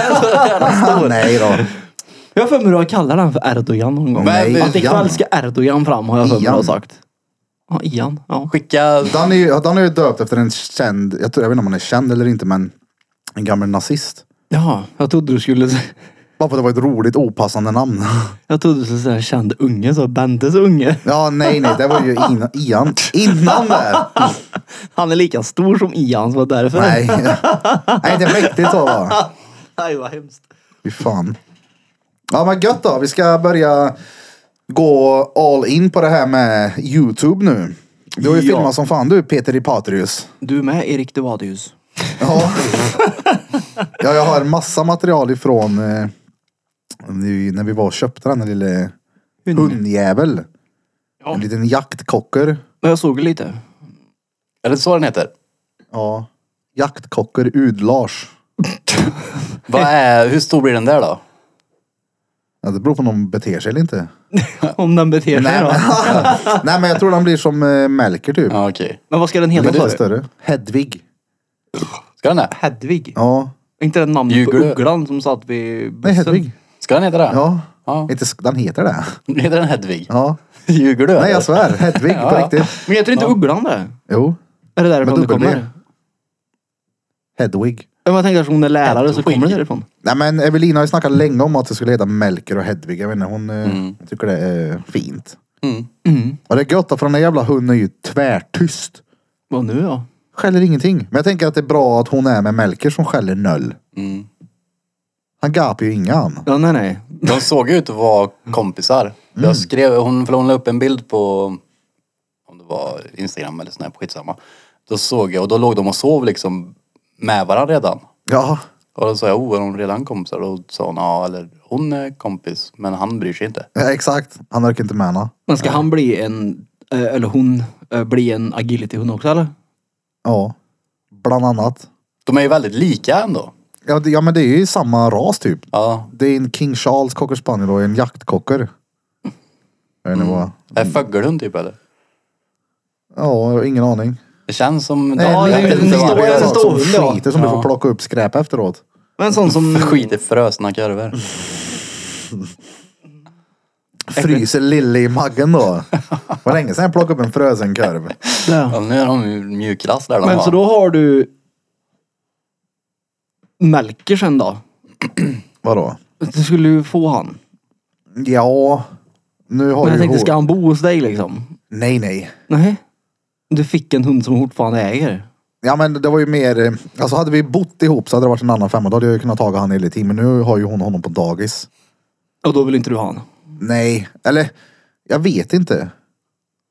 [SPEAKER 2] Nej då.
[SPEAKER 1] Jag har för mig att jag kallar den för Erdogan någon gång.
[SPEAKER 4] Nej,
[SPEAKER 1] att
[SPEAKER 2] Ian.
[SPEAKER 1] ikväll ska Erdogan fram har jag för mig att
[SPEAKER 2] Ian.
[SPEAKER 1] ha sagt. Ja, Ian. Ja.
[SPEAKER 4] Skicka...
[SPEAKER 2] Den är, ju- den är ju döpt efter en känd, jag, tror, jag vet inte om han är känd eller inte men en gammal nazist.
[SPEAKER 1] Jaha, jag trodde du skulle...
[SPEAKER 2] Bara för att det var ett roligt opassande namn.
[SPEAKER 1] Jag trodde du skulle säga känd unge, så Bentes unge.
[SPEAKER 2] Ja, nej, nej, det var ju innan. Ian. Innan där.
[SPEAKER 1] Han är lika stor som Ian, så var det därför.
[SPEAKER 2] Nej. Nej, det var riktigt så va?
[SPEAKER 1] Nej, vad hemskt.
[SPEAKER 2] Fy fan. Ja, men gött då. Vi ska börja gå all in på det här med YouTube nu. Du har ju
[SPEAKER 1] Ja.
[SPEAKER 2] filmat som fan du, Peter Ipatrius.
[SPEAKER 1] Du är med Erik Devadius.
[SPEAKER 2] Ja. ja, jag har massa material ifrån eh, nu- när vi var och köpte den här lille hundjävel. En liten jaktkocker.
[SPEAKER 1] Jag såg lite.
[SPEAKER 4] Är det så den heter?
[SPEAKER 2] Ja. Jaktkocker Ud-Lars.
[SPEAKER 4] Vad är, hur stor blir den där då?
[SPEAKER 2] Ja, det beror på om de beter sig eller inte.
[SPEAKER 1] Om den beter sig
[SPEAKER 2] Nej
[SPEAKER 1] då.
[SPEAKER 2] men, nej men jag tror den blir som eh, Melker typ.
[SPEAKER 4] Ja okej.
[SPEAKER 1] Men vad ska den heta?
[SPEAKER 2] Lite
[SPEAKER 1] sa du?
[SPEAKER 2] större. Hedvig.
[SPEAKER 4] Ska den det?
[SPEAKER 1] Hedvig?
[SPEAKER 2] Ja.
[SPEAKER 1] Inte den namnet på
[SPEAKER 4] Ljuger du?
[SPEAKER 1] ugglan som satt vid bussen?
[SPEAKER 2] Nej Hedvig.
[SPEAKER 4] Ska den heta det?
[SPEAKER 2] Ja.
[SPEAKER 4] ja.
[SPEAKER 2] Inte, sk- den heter det.
[SPEAKER 4] Heter den Hedvig?
[SPEAKER 2] Ja.
[SPEAKER 4] Ljuger du?
[SPEAKER 2] Nej alltså-
[SPEAKER 4] eller?
[SPEAKER 2] jag svär. Hedvig på
[SPEAKER 4] Ja.
[SPEAKER 2] riktigt.
[SPEAKER 1] Men heter inte ugglan det?
[SPEAKER 2] Jo.
[SPEAKER 1] Är det därifrån
[SPEAKER 2] Men
[SPEAKER 1] det
[SPEAKER 2] dubbel
[SPEAKER 1] kommer?
[SPEAKER 2] D. Hedvig.
[SPEAKER 1] Ja, men Jag tänker att hon är lärare så
[SPEAKER 4] Hedvig.
[SPEAKER 1] kommer det därifrån.
[SPEAKER 2] Nej men Evelina har ju snackat länge om att det skulle heta Melker och Hedvig. Jag vet inte, hon eh, tycker det är fint.
[SPEAKER 4] Mm.
[SPEAKER 2] Och det är gött för den där jävla hunden är ju tvärtyst.
[SPEAKER 1] Vad nu ja?
[SPEAKER 2] Skäller ingenting. Men jag tänker att det är bra att hon är med Melker som skäller noll.
[SPEAKER 4] Mm.
[SPEAKER 2] Han gapar ju inga han.
[SPEAKER 1] Ja, nej, nej.
[SPEAKER 4] De såg ut att vara kompisar.
[SPEAKER 1] Mm.
[SPEAKER 4] Jag skrev, hon, för hon la upp en bild på, om det var Instagram eller Snap, skitsamma. Då såg jag, och då låg de och sov liksom med varandra redan.
[SPEAKER 2] Ja.
[SPEAKER 4] Och då sa jag, oh är de redan kompisar? Och då sa hon, ja eller hon är kompis, men han bryr sig inte.
[SPEAKER 2] ja, exakt. Han orkar inte med henne.
[SPEAKER 1] Men ska han bli en, eh, eller hon, eh, bli en agility-hund också eller?
[SPEAKER 2] Ja. Bland annat.
[SPEAKER 4] De är ju väldigt lika ändå.
[SPEAKER 2] Ja, det, ja men det är ju samma ras typ.
[SPEAKER 4] Ja.
[SPEAKER 2] Det är en King Charles cocker spaniel och en jaktkocker. Jag vet inte vad.
[SPEAKER 4] Är fågelhund typ eller?
[SPEAKER 2] Ja, jag har ingen aning.
[SPEAKER 4] Det känns som...
[SPEAKER 2] Nej,
[SPEAKER 1] Ja,
[SPEAKER 4] jag
[SPEAKER 1] det är
[SPEAKER 4] vet
[SPEAKER 1] en
[SPEAKER 4] inte
[SPEAKER 1] stor-
[SPEAKER 4] vad det
[SPEAKER 1] en
[SPEAKER 4] är.
[SPEAKER 2] en
[SPEAKER 1] stor-
[SPEAKER 2] som
[SPEAKER 1] hund, ja.
[SPEAKER 2] skiter som du
[SPEAKER 4] Ja.
[SPEAKER 2] får plocka upp skräp efteråt.
[SPEAKER 1] Men en sån som...
[SPEAKER 4] Skit i frösna korvar.
[SPEAKER 2] Fryser Lille i magen då. Vad länge sedan jag plockade upp en frusen korv.
[SPEAKER 1] Där.
[SPEAKER 4] Ja, nu är de ju mjukglass där de
[SPEAKER 1] Men
[SPEAKER 4] har.
[SPEAKER 1] så då har du... Melker sen då?
[SPEAKER 2] Vadå?
[SPEAKER 1] Du skulle ju få han.
[SPEAKER 2] Ja, nu
[SPEAKER 1] Men
[SPEAKER 2] har du
[SPEAKER 1] jag
[SPEAKER 2] ju
[SPEAKER 1] tänkte, ska
[SPEAKER 2] hår.
[SPEAKER 1] han bo hos dig liksom?
[SPEAKER 2] Nej, nej.
[SPEAKER 1] Nej. Du fick en hund som fortfarande äger.
[SPEAKER 2] Ja men det var ju mer, eh, alltså hade vi bott ihop så hade det varit en annan femma. Då hade jag ju kunnat ta han hela tiden. Men nu har ju hon honom på dagis.
[SPEAKER 1] Och då vill inte du ha han.
[SPEAKER 2] Nej, eller jag vet inte.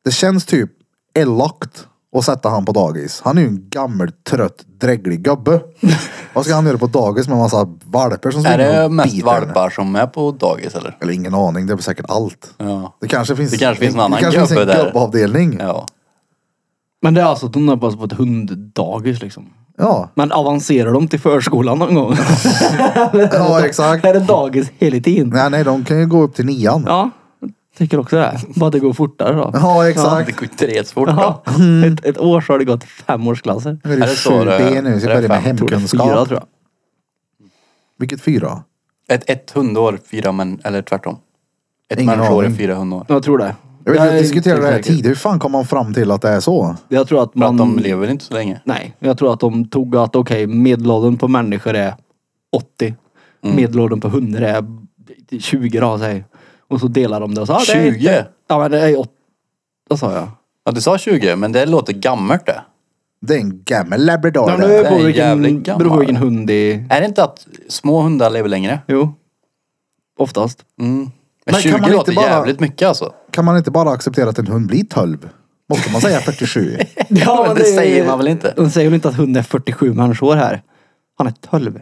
[SPEAKER 2] Det känns typ elakt att sätta han på dagis. Han är ju en gammal trött dräglig gubbe. Vad ska han göra på dagis med en massa valpar som
[SPEAKER 4] Är
[SPEAKER 2] springer
[SPEAKER 1] Mm.
[SPEAKER 4] det
[SPEAKER 2] och
[SPEAKER 4] mest
[SPEAKER 2] biter henne?
[SPEAKER 4] valpar som är på dagis eller?
[SPEAKER 2] Eller ingen aning, det är väl säkert allt.
[SPEAKER 4] Ja.
[SPEAKER 2] Det kanske finns,
[SPEAKER 4] Det kanske finns en annan
[SPEAKER 2] det kanske finns en
[SPEAKER 4] gubbe där.
[SPEAKER 2] gubbavdelning. Ja.
[SPEAKER 4] Ja.
[SPEAKER 1] Men det är alltså att hon är på på ett hunddagis liksom.
[SPEAKER 2] Ja.
[SPEAKER 1] Men avancerar de till förskolan någon gång?
[SPEAKER 2] exakt.
[SPEAKER 1] är det dagis hela tiden?
[SPEAKER 2] Nej, nej, de kan ju gå upp till nian. Ja,
[SPEAKER 1] Ja, jag tycker också det. Bara det går fortare då.
[SPEAKER 2] exakt.
[SPEAKER 4] Det går ju inte rätt fort
[SPEAKER 1] Ja,
[SPEAKER 4] då.
[SPEAKER 1] ett, ett år så har det gått femårsklasser.
[SPEAKER 2] Nu är
[SPEAKER 4] Är
[SPEAKER 2] det
[SPEAKER 4] det
[SPEAKER 2] sju
[SPEAKER 4] så det är?
[SPEAKER 2] B nu, så
[SPEAKER 4] Är
[SPEAKER 2] jag
[SPEAKER 4] det
[SPEAKER 2] börjar
[SPEAKER 1] Jag
[SPEAKER 2] med
[SPEAKER 4] fem?
[SPEAKER 1] tror det är
[SPEAKER 2] hemkunskap.
[SPEAKER 1] fyra tror jag.
[SPEAKER 2] Vilket fyra?
[SPEAKER 4] Ett, ett hundår, fyra män, eller tvärtom. Ett
[SPEAKER 2] Ingen
[SPEAKER 4] människoår är
[SPEAKER 2] aning.
[SPEAKER 4] fyra hundår.
[SPEAKER 1] Jag tror det.
[SPEAKER 2] Jag vet, vi
[SPEAKER 1] är
[SPEAKER 2] diskuterade
[SPEAKER 1] inte
[SPEAKER 2] det här
[SPEAKER 1] säker.
[SPEAKER 2] tidigare. Hur fan kom man fram till att det är så?
[SPEAKER 1] Jag tror att
[SPEAKER 4] För att
[SPEAKER 1] man...
[SPEAKER 4] de lever väl inte så länge.
[SPEAKER 1] Nej, jag tror att de tog att okej, medelåldern på människor är 80. Medelåldern på hundar är 20 då, säg. Och så delar de det och så, ah, det är,
[SPEAKER 4] 20?
[SPEAKER 1] ja men det är 80. Vad sa jag?
[SPEAKER 4] Ja du sa 20, men det låter gammalt det.
[SPEAKER 2] Det är en gammal labrador.
[SPEAKER 1] Ja,
[SPEAKER 2] det.
[SPEAKER 1] men det
[SPEAKER 4] är
[SPEAKER 1] beror på vilken,
[SPEAKER 4] jävligt gammal.
[SPEAKER 1] beror på vilken hund det är.
[SPEAKER 4] Är det inte att små hundar lever längre?
[SPEAKER 1] Jo. Oftast.
[SPEAKER 4] Mm. Men,
[SPEAKER 2] Men kan
[SPEAKER 4] 20
[SPEAKER 2] man inte
[SPEAKER 4] låter
[SPEAKER 2] bara-
[SPEAKER 4] jävligt mycket alltså.
[SPEAKER 2] Kan man inte bara acceptera att en hund blir 12? Måste man säga 47?
[SPEAKER 1] Ja,
[SPEAKER 4] men det säger man väl inte?
[SPEAKER 1] De säger väl inte att hunden är 47 människor här. Han är 12.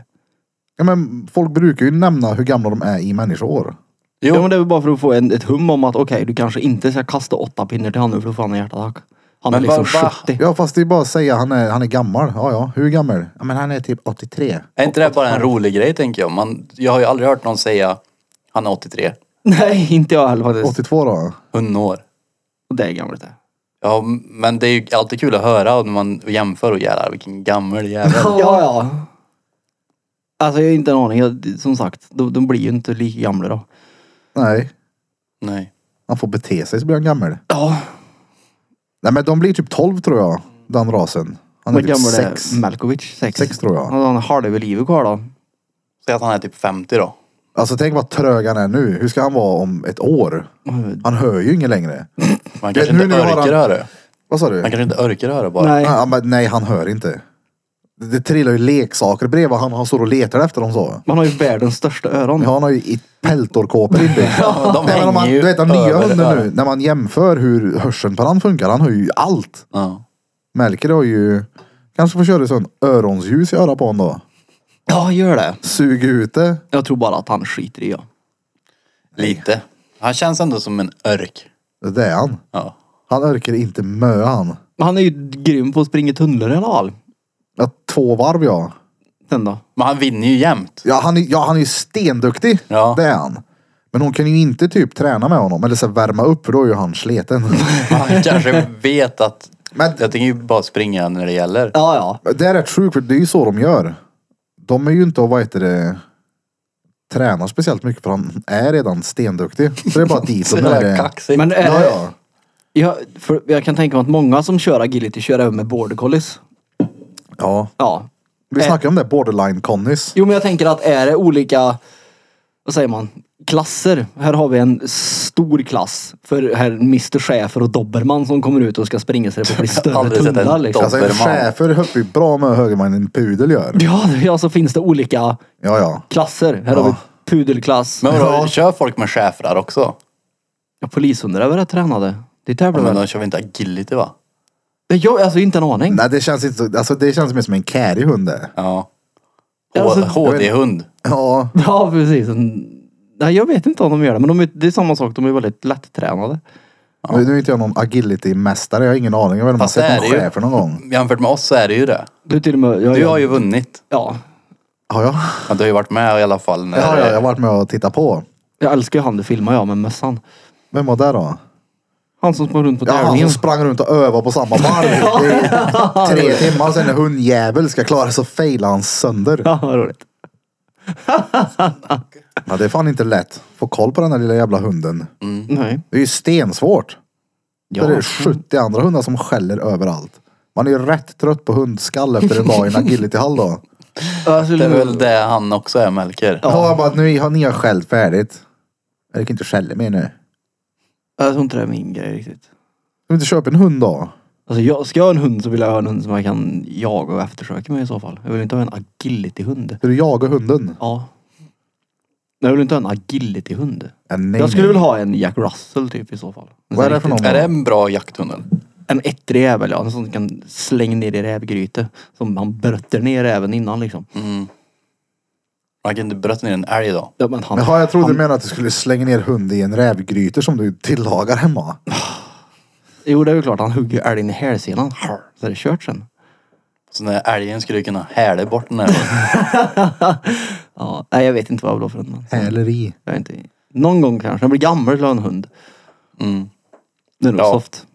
[SPEAKER 2] ja, men folk brukar ju nämna hur gamla de är i människoår.
[SPEAKER 4] Jo.
[SPEAKER 1] Ja, men det är väl bara för att få en, ett hum om att okej, du kanske inte ska kasta åtta pinnar till honom för då får han en hjärtattack. Han är
[SPEAKER 4] Men
[SPEAKER 1] liksom
[SPEAKER 4] vad- vad-
[SPEAKER 1] 70.
[SPEAKER 2] Ja fast det är bara att säga han är, han är gammal. Ja ja, hur gammal? Ja men han är typ 83.
[SPEAKER 4] Är inte det bara en rolig grej tänker jag? Man, jag har ju aldrig hört någon säga han är 83,
[SPEAKER 1] Nej, inte jag heller faktiskt.
[SPEAKER 2] 82 då?
[SPEAKER 4] hundår.
[SPEAKER 1] Och det är gammalt det.
[SPEAKER 4] Ja, men det är ju alltid kul att höra när man jämför och jävlar vilken gammal jävel.
[SPEAKER 1] Ja, ja. Alltså jag har inte en aning. Jag, som sagt, de, de blir ju inte lika gamla då.
[SPEAKER 2] Nej.
[SPEAKER 4] Nej.
[SPEAKER 2] Han får bete sig så blir han gammal.
[SPEAKER 1] Ja.
[SPEAKER 2] Nej men de blir typ 12 tror jag. Den rasen. Han är
[SPEAKER 1] Vad
[SPEAKER 2] typ
[SPEAKER 1] gammal är
[SPEAKER 2] 6.
[SPEAKER 1] Malkovich? Sex.
[SPEAKER 2] Sex tror jag.
[SPEAKER 1] Ja, Han har halva livet kvar då.
[SPEAKER 4] Säg att han är typ 50 då.
[SPEAKER 2] Alltså tänk vad trög han är nu. Hur ska han vara om ett år? Han hör ju inget längre.
[SPEAKER 4] Man
[SPEAKER 2] Vet
[SPEAKER 4] kanske
[SPEAKER 2] nu
[SPEAKER 4] inte
[SPEAKER 2] när jag har
[SPEAKER 4] orkar
[SPEAKER 2] han-
[SPEAKER 4] höra det.
[SPEAKER 2] Vad sa du?
[SPEAKER 4] Man kanske inte orkar höra bara.
[SPEAKER 1] Nej.
[SPEAKER 2] Nej. men nej, han hör inte. Det, det trillar ju leksaker bredvid han. Han står och letar efter dem så.
[SPEAKER 1] Man har ju världens största öron.
[SPEAKER 2] Ja, han har ju i peltorkåpor inbyggda.
[SPEAKER 4] De
[SPEAKER 2] Nej, men om
[SPEAKER 4] hänger
[SPEAKER 2] man,
[SPEAKER 4] ju
[SPEAKER 2] du vet den nya
[SPEAKER 4] över
[SPEAKER 2] hunden nu.
[SPEAKER 4] öronen.
[SPEAKER 2] När man jämför hur hörseln på han funkar. Han hör ju allt.
[SPEAKER 4] Ja.
[SPEAKER 2] Melker har ju... Kanske får köra en sån öronsljus i örat på honom då.
[SPEAKER 1] Ja, gör det.
[SPEAKER 2] Sug ut det.
[SPEAKER 1] Jag tror bara att han skiter i det.
[SPEAKER 4] Lite. Han känns ändå som en örk.
[SPEAKER 2] Det är han.
[SPEAKER 4] Ja.
[SPEAKER 2] Han örker inte mö han.
[SPEAKER 1] Men han är ju grym på att springa tunnlar i alla fall.
[SPEAKER 2] Ja, två varv ja.
[SPEAKER 1] Sen då?
[SPEAKER 4] Men han vinner ju jämt.
[SPEAKER 2] Ja han, är, ja, han är ju stenduktig.
[SPEAKER 4] Ja.
[SPEAKER 2] Det är han. Men hon kan ju inte typ träna med honom. Eller så här, värma upp för då är ju han sleten.
[SPEAKER 4] Han kanske vet att
[SPEAKER 2] Men
[SPEAKER 4] jag tänker ju bara springa när det gäller.
[SPEAKER 1] Ja, ja.
[SPEAKER 2] det är rätt sjukt för det är ju så de gör. De är ju inte och vad heter det tränar speciellt mycket för han är redan stenduktig. Så det är bara dit och
[SPEAKER 4] Så
[SPEAKER 2] där
[SPEAKER 4] jävla
[SPEAKER 2] är det. eh,
[SPEAKER 4] kaxigt.
[SPEAKER 1] Men är
[SPEAKER 2] Ja,
[SPEAKER 1] det,
[SPEAKER 2] ja.
[SPEAKER 1] jag, för jag kan tänka mig att många som kör agility kör även med border collies.
[SPEAKER 2] ja.
[SPEAKER 1] Ja.
[SPEAKER 2] Vi snackade om det, borderline connis.
[SPEAKER 1] Jo, men jag tänker att är det olika, vad säger man, klasser. Här har vi en stor klass för herr Mr. Schäfer och Dobermann som kommer ut och ska springa så det blir större
[SPEAKER 4] Aldrig sett en
[SPEAKER 1] tunnlar. Liksom.
[SPEAKER 4] Dobermann.
[SPEAKER 2] Alltså en
[SPEAKER 4] Dobermann.
[SPEAKER 2] schäfer höll ju bra med högre än en pudel gör.
[SPEAKER 1] Ja, ja, så finns det olika
[SPEAKER 2] Ja, ja.
[SPEAKER 1] klasser. Här
[SPEAKER 2] Ja.
[SPEAKER 1] har vi pudelklass.
[SPEAKER 4] Men vadå,
[SPEAKER 2] Ja.
[SPEAKER 4] kör folk med schäfrar också?
[SPEAKER 1] Ja, polishundar är väl rätt tränade? Det
[SPEAKER 4] Ja,
[SPEAKER 1] tävlar
[SPEAKER 4] men
[SPEAKER 1] väl?
[SPEAKER 4] de kör väl inte agility va?
[SPEAKER 1] Jag alltså inte en aning.
[SPEAKER 2] Nej, det känns inte så- alltså det känns mer som en kärig hund det.
[SPEAKER 4] Ja.
[SPEAKER 1] Alltså,
[SPEAKER 4] HD-hund.
[SPEAKER 2] Ja.
[SPEAKER 1] Ja, precis. En- Nej, jag vet inte om de gör det, men de är, det är samma sak. De är väldigt lättränade.
[SPEAKER 2] Nu, nu är inte jag någon agility-mästare, jag har ingen aning. Jag vet inte om man
[SPEAKER 4] Fast det
[SPEAKER 2] sett
[SPEAKER 4] är
[SPEAKER 2] någon
[SPEAKER 4] det ju.
[SPEAKER 2] chef för någon gång.
[SPEAKER 4] Jämfört med oss så är det ju det.
[SPEAKER 1] Du till och med... Jag,
[SPEAKER 4] Du har ju vunnit.
[SPEAKER 1] Ja.
[SPEAKER 2] Ja, ja.
[SPEAKER 4] Ja, du har ju varit med i alla fall. När
[SPEAKER 2] ja, ja jag har varit med och tittat på.
[SPEAKER 1] Jag älskar ju han du filmar jag med mössan.
[SPEAKER 2] Vem var det då?
[SPEAKER 1] Han som sprang runt på
[SPEAKER 2] Ja, han
[SPEAKER 1] tävlingen.
[SPEAKER 2] som sprang runt och övade på samma varv i tre timmar. Sen när hundjävel ska klara så failar han sönder.
[SPEAKER 1] Ja, vad roligt.
[SPEAKER 2] Ja, det är fan inte lätt. Få koll på den här lilla jävla hunden.
[SPEAKER 1] Nej.
[SPEAKER 2] Det är ju stensvårt.
[SPEAKER 1] Ja.
[SPEAKER 2] Det är 70 andra hundar som skäller överallt. Man är ju rätt trött på hundskall efter en dag i en agility-hall då.
[SPEAKER 1] Alltså,
[SPEAKER 4] Det är väl det han också är, Melker.
[SPEAKER 2] Ja. jag bara, nu har ni har skällt färdigt. Jag kan inte skälla mer nu.
[SPEAKER 1] Jag tror inte det är min grej riktigt.
[SPEAKER 2] Ska vi inte köpa en hund då?
[SPEAKER 1] Alltså, jag, ska jag ha en hund så vill jag ha en hund som jag kan jaga och eftersöka med i så fall. Jag vill inte ha en agility-hund.
[SPEAKER 2] Ska du jaga hunden?
[SPEAKER 1] Ja. Nej, Jag vill inte ha en agility-hund.
[SPEAKER 2] Ja, Eh, nej,
[SPEAKER 1] Jag skulle
[SPEAKER 2] nej.
[SPEAKER 1] vilja ha en Jack Russell typ i så fall. En
[SPEAKER 2] Vad är
[SPEAKER 1] sån
[SPEAKER 2] det för
[SPEAKER 1] riktig-
[SPEAKER 2] någon?
[SPEAKER 4] Är det en bra jakthundel?
[SPEAKER 1] En ettrig jävel ja, en sån som kan slänga ner i rävgryte. Som han brötter ner även innan liksom.
[SPEAKER 4] Man kan Mm. inte bröt ner en älg då.
[SPEAKER 1] Ja, men han,
[SPEAKER 2] Jaha, jag trodde
[SPEAKER 1] han,
[SPEAKER 2] du menade att du skulle slänga ner hund i en rävgryter som du tillagar hemma.
[SPEAKER 1] Jo det är ju klart, han hugger älgen i hälsenan. Så är det kört sen.
[SPEAKER 4] Så den där älgen skulle ju kunna häla bort den här.
[SPEAKER 1] Ja, nej jag vet inte vad jag vill ha för hund. men-
[SPEAKER 2] Eller i.
[SPEAKER 1] Jag är inte... Någon gång kanske, när jag blir gammal vill jag ha en hund.
[SPEAKER 4] Mm.
[SPEAKER 1] Det är nog
[SPEAKER 4] Ja.
[SPEAKER 1] soft.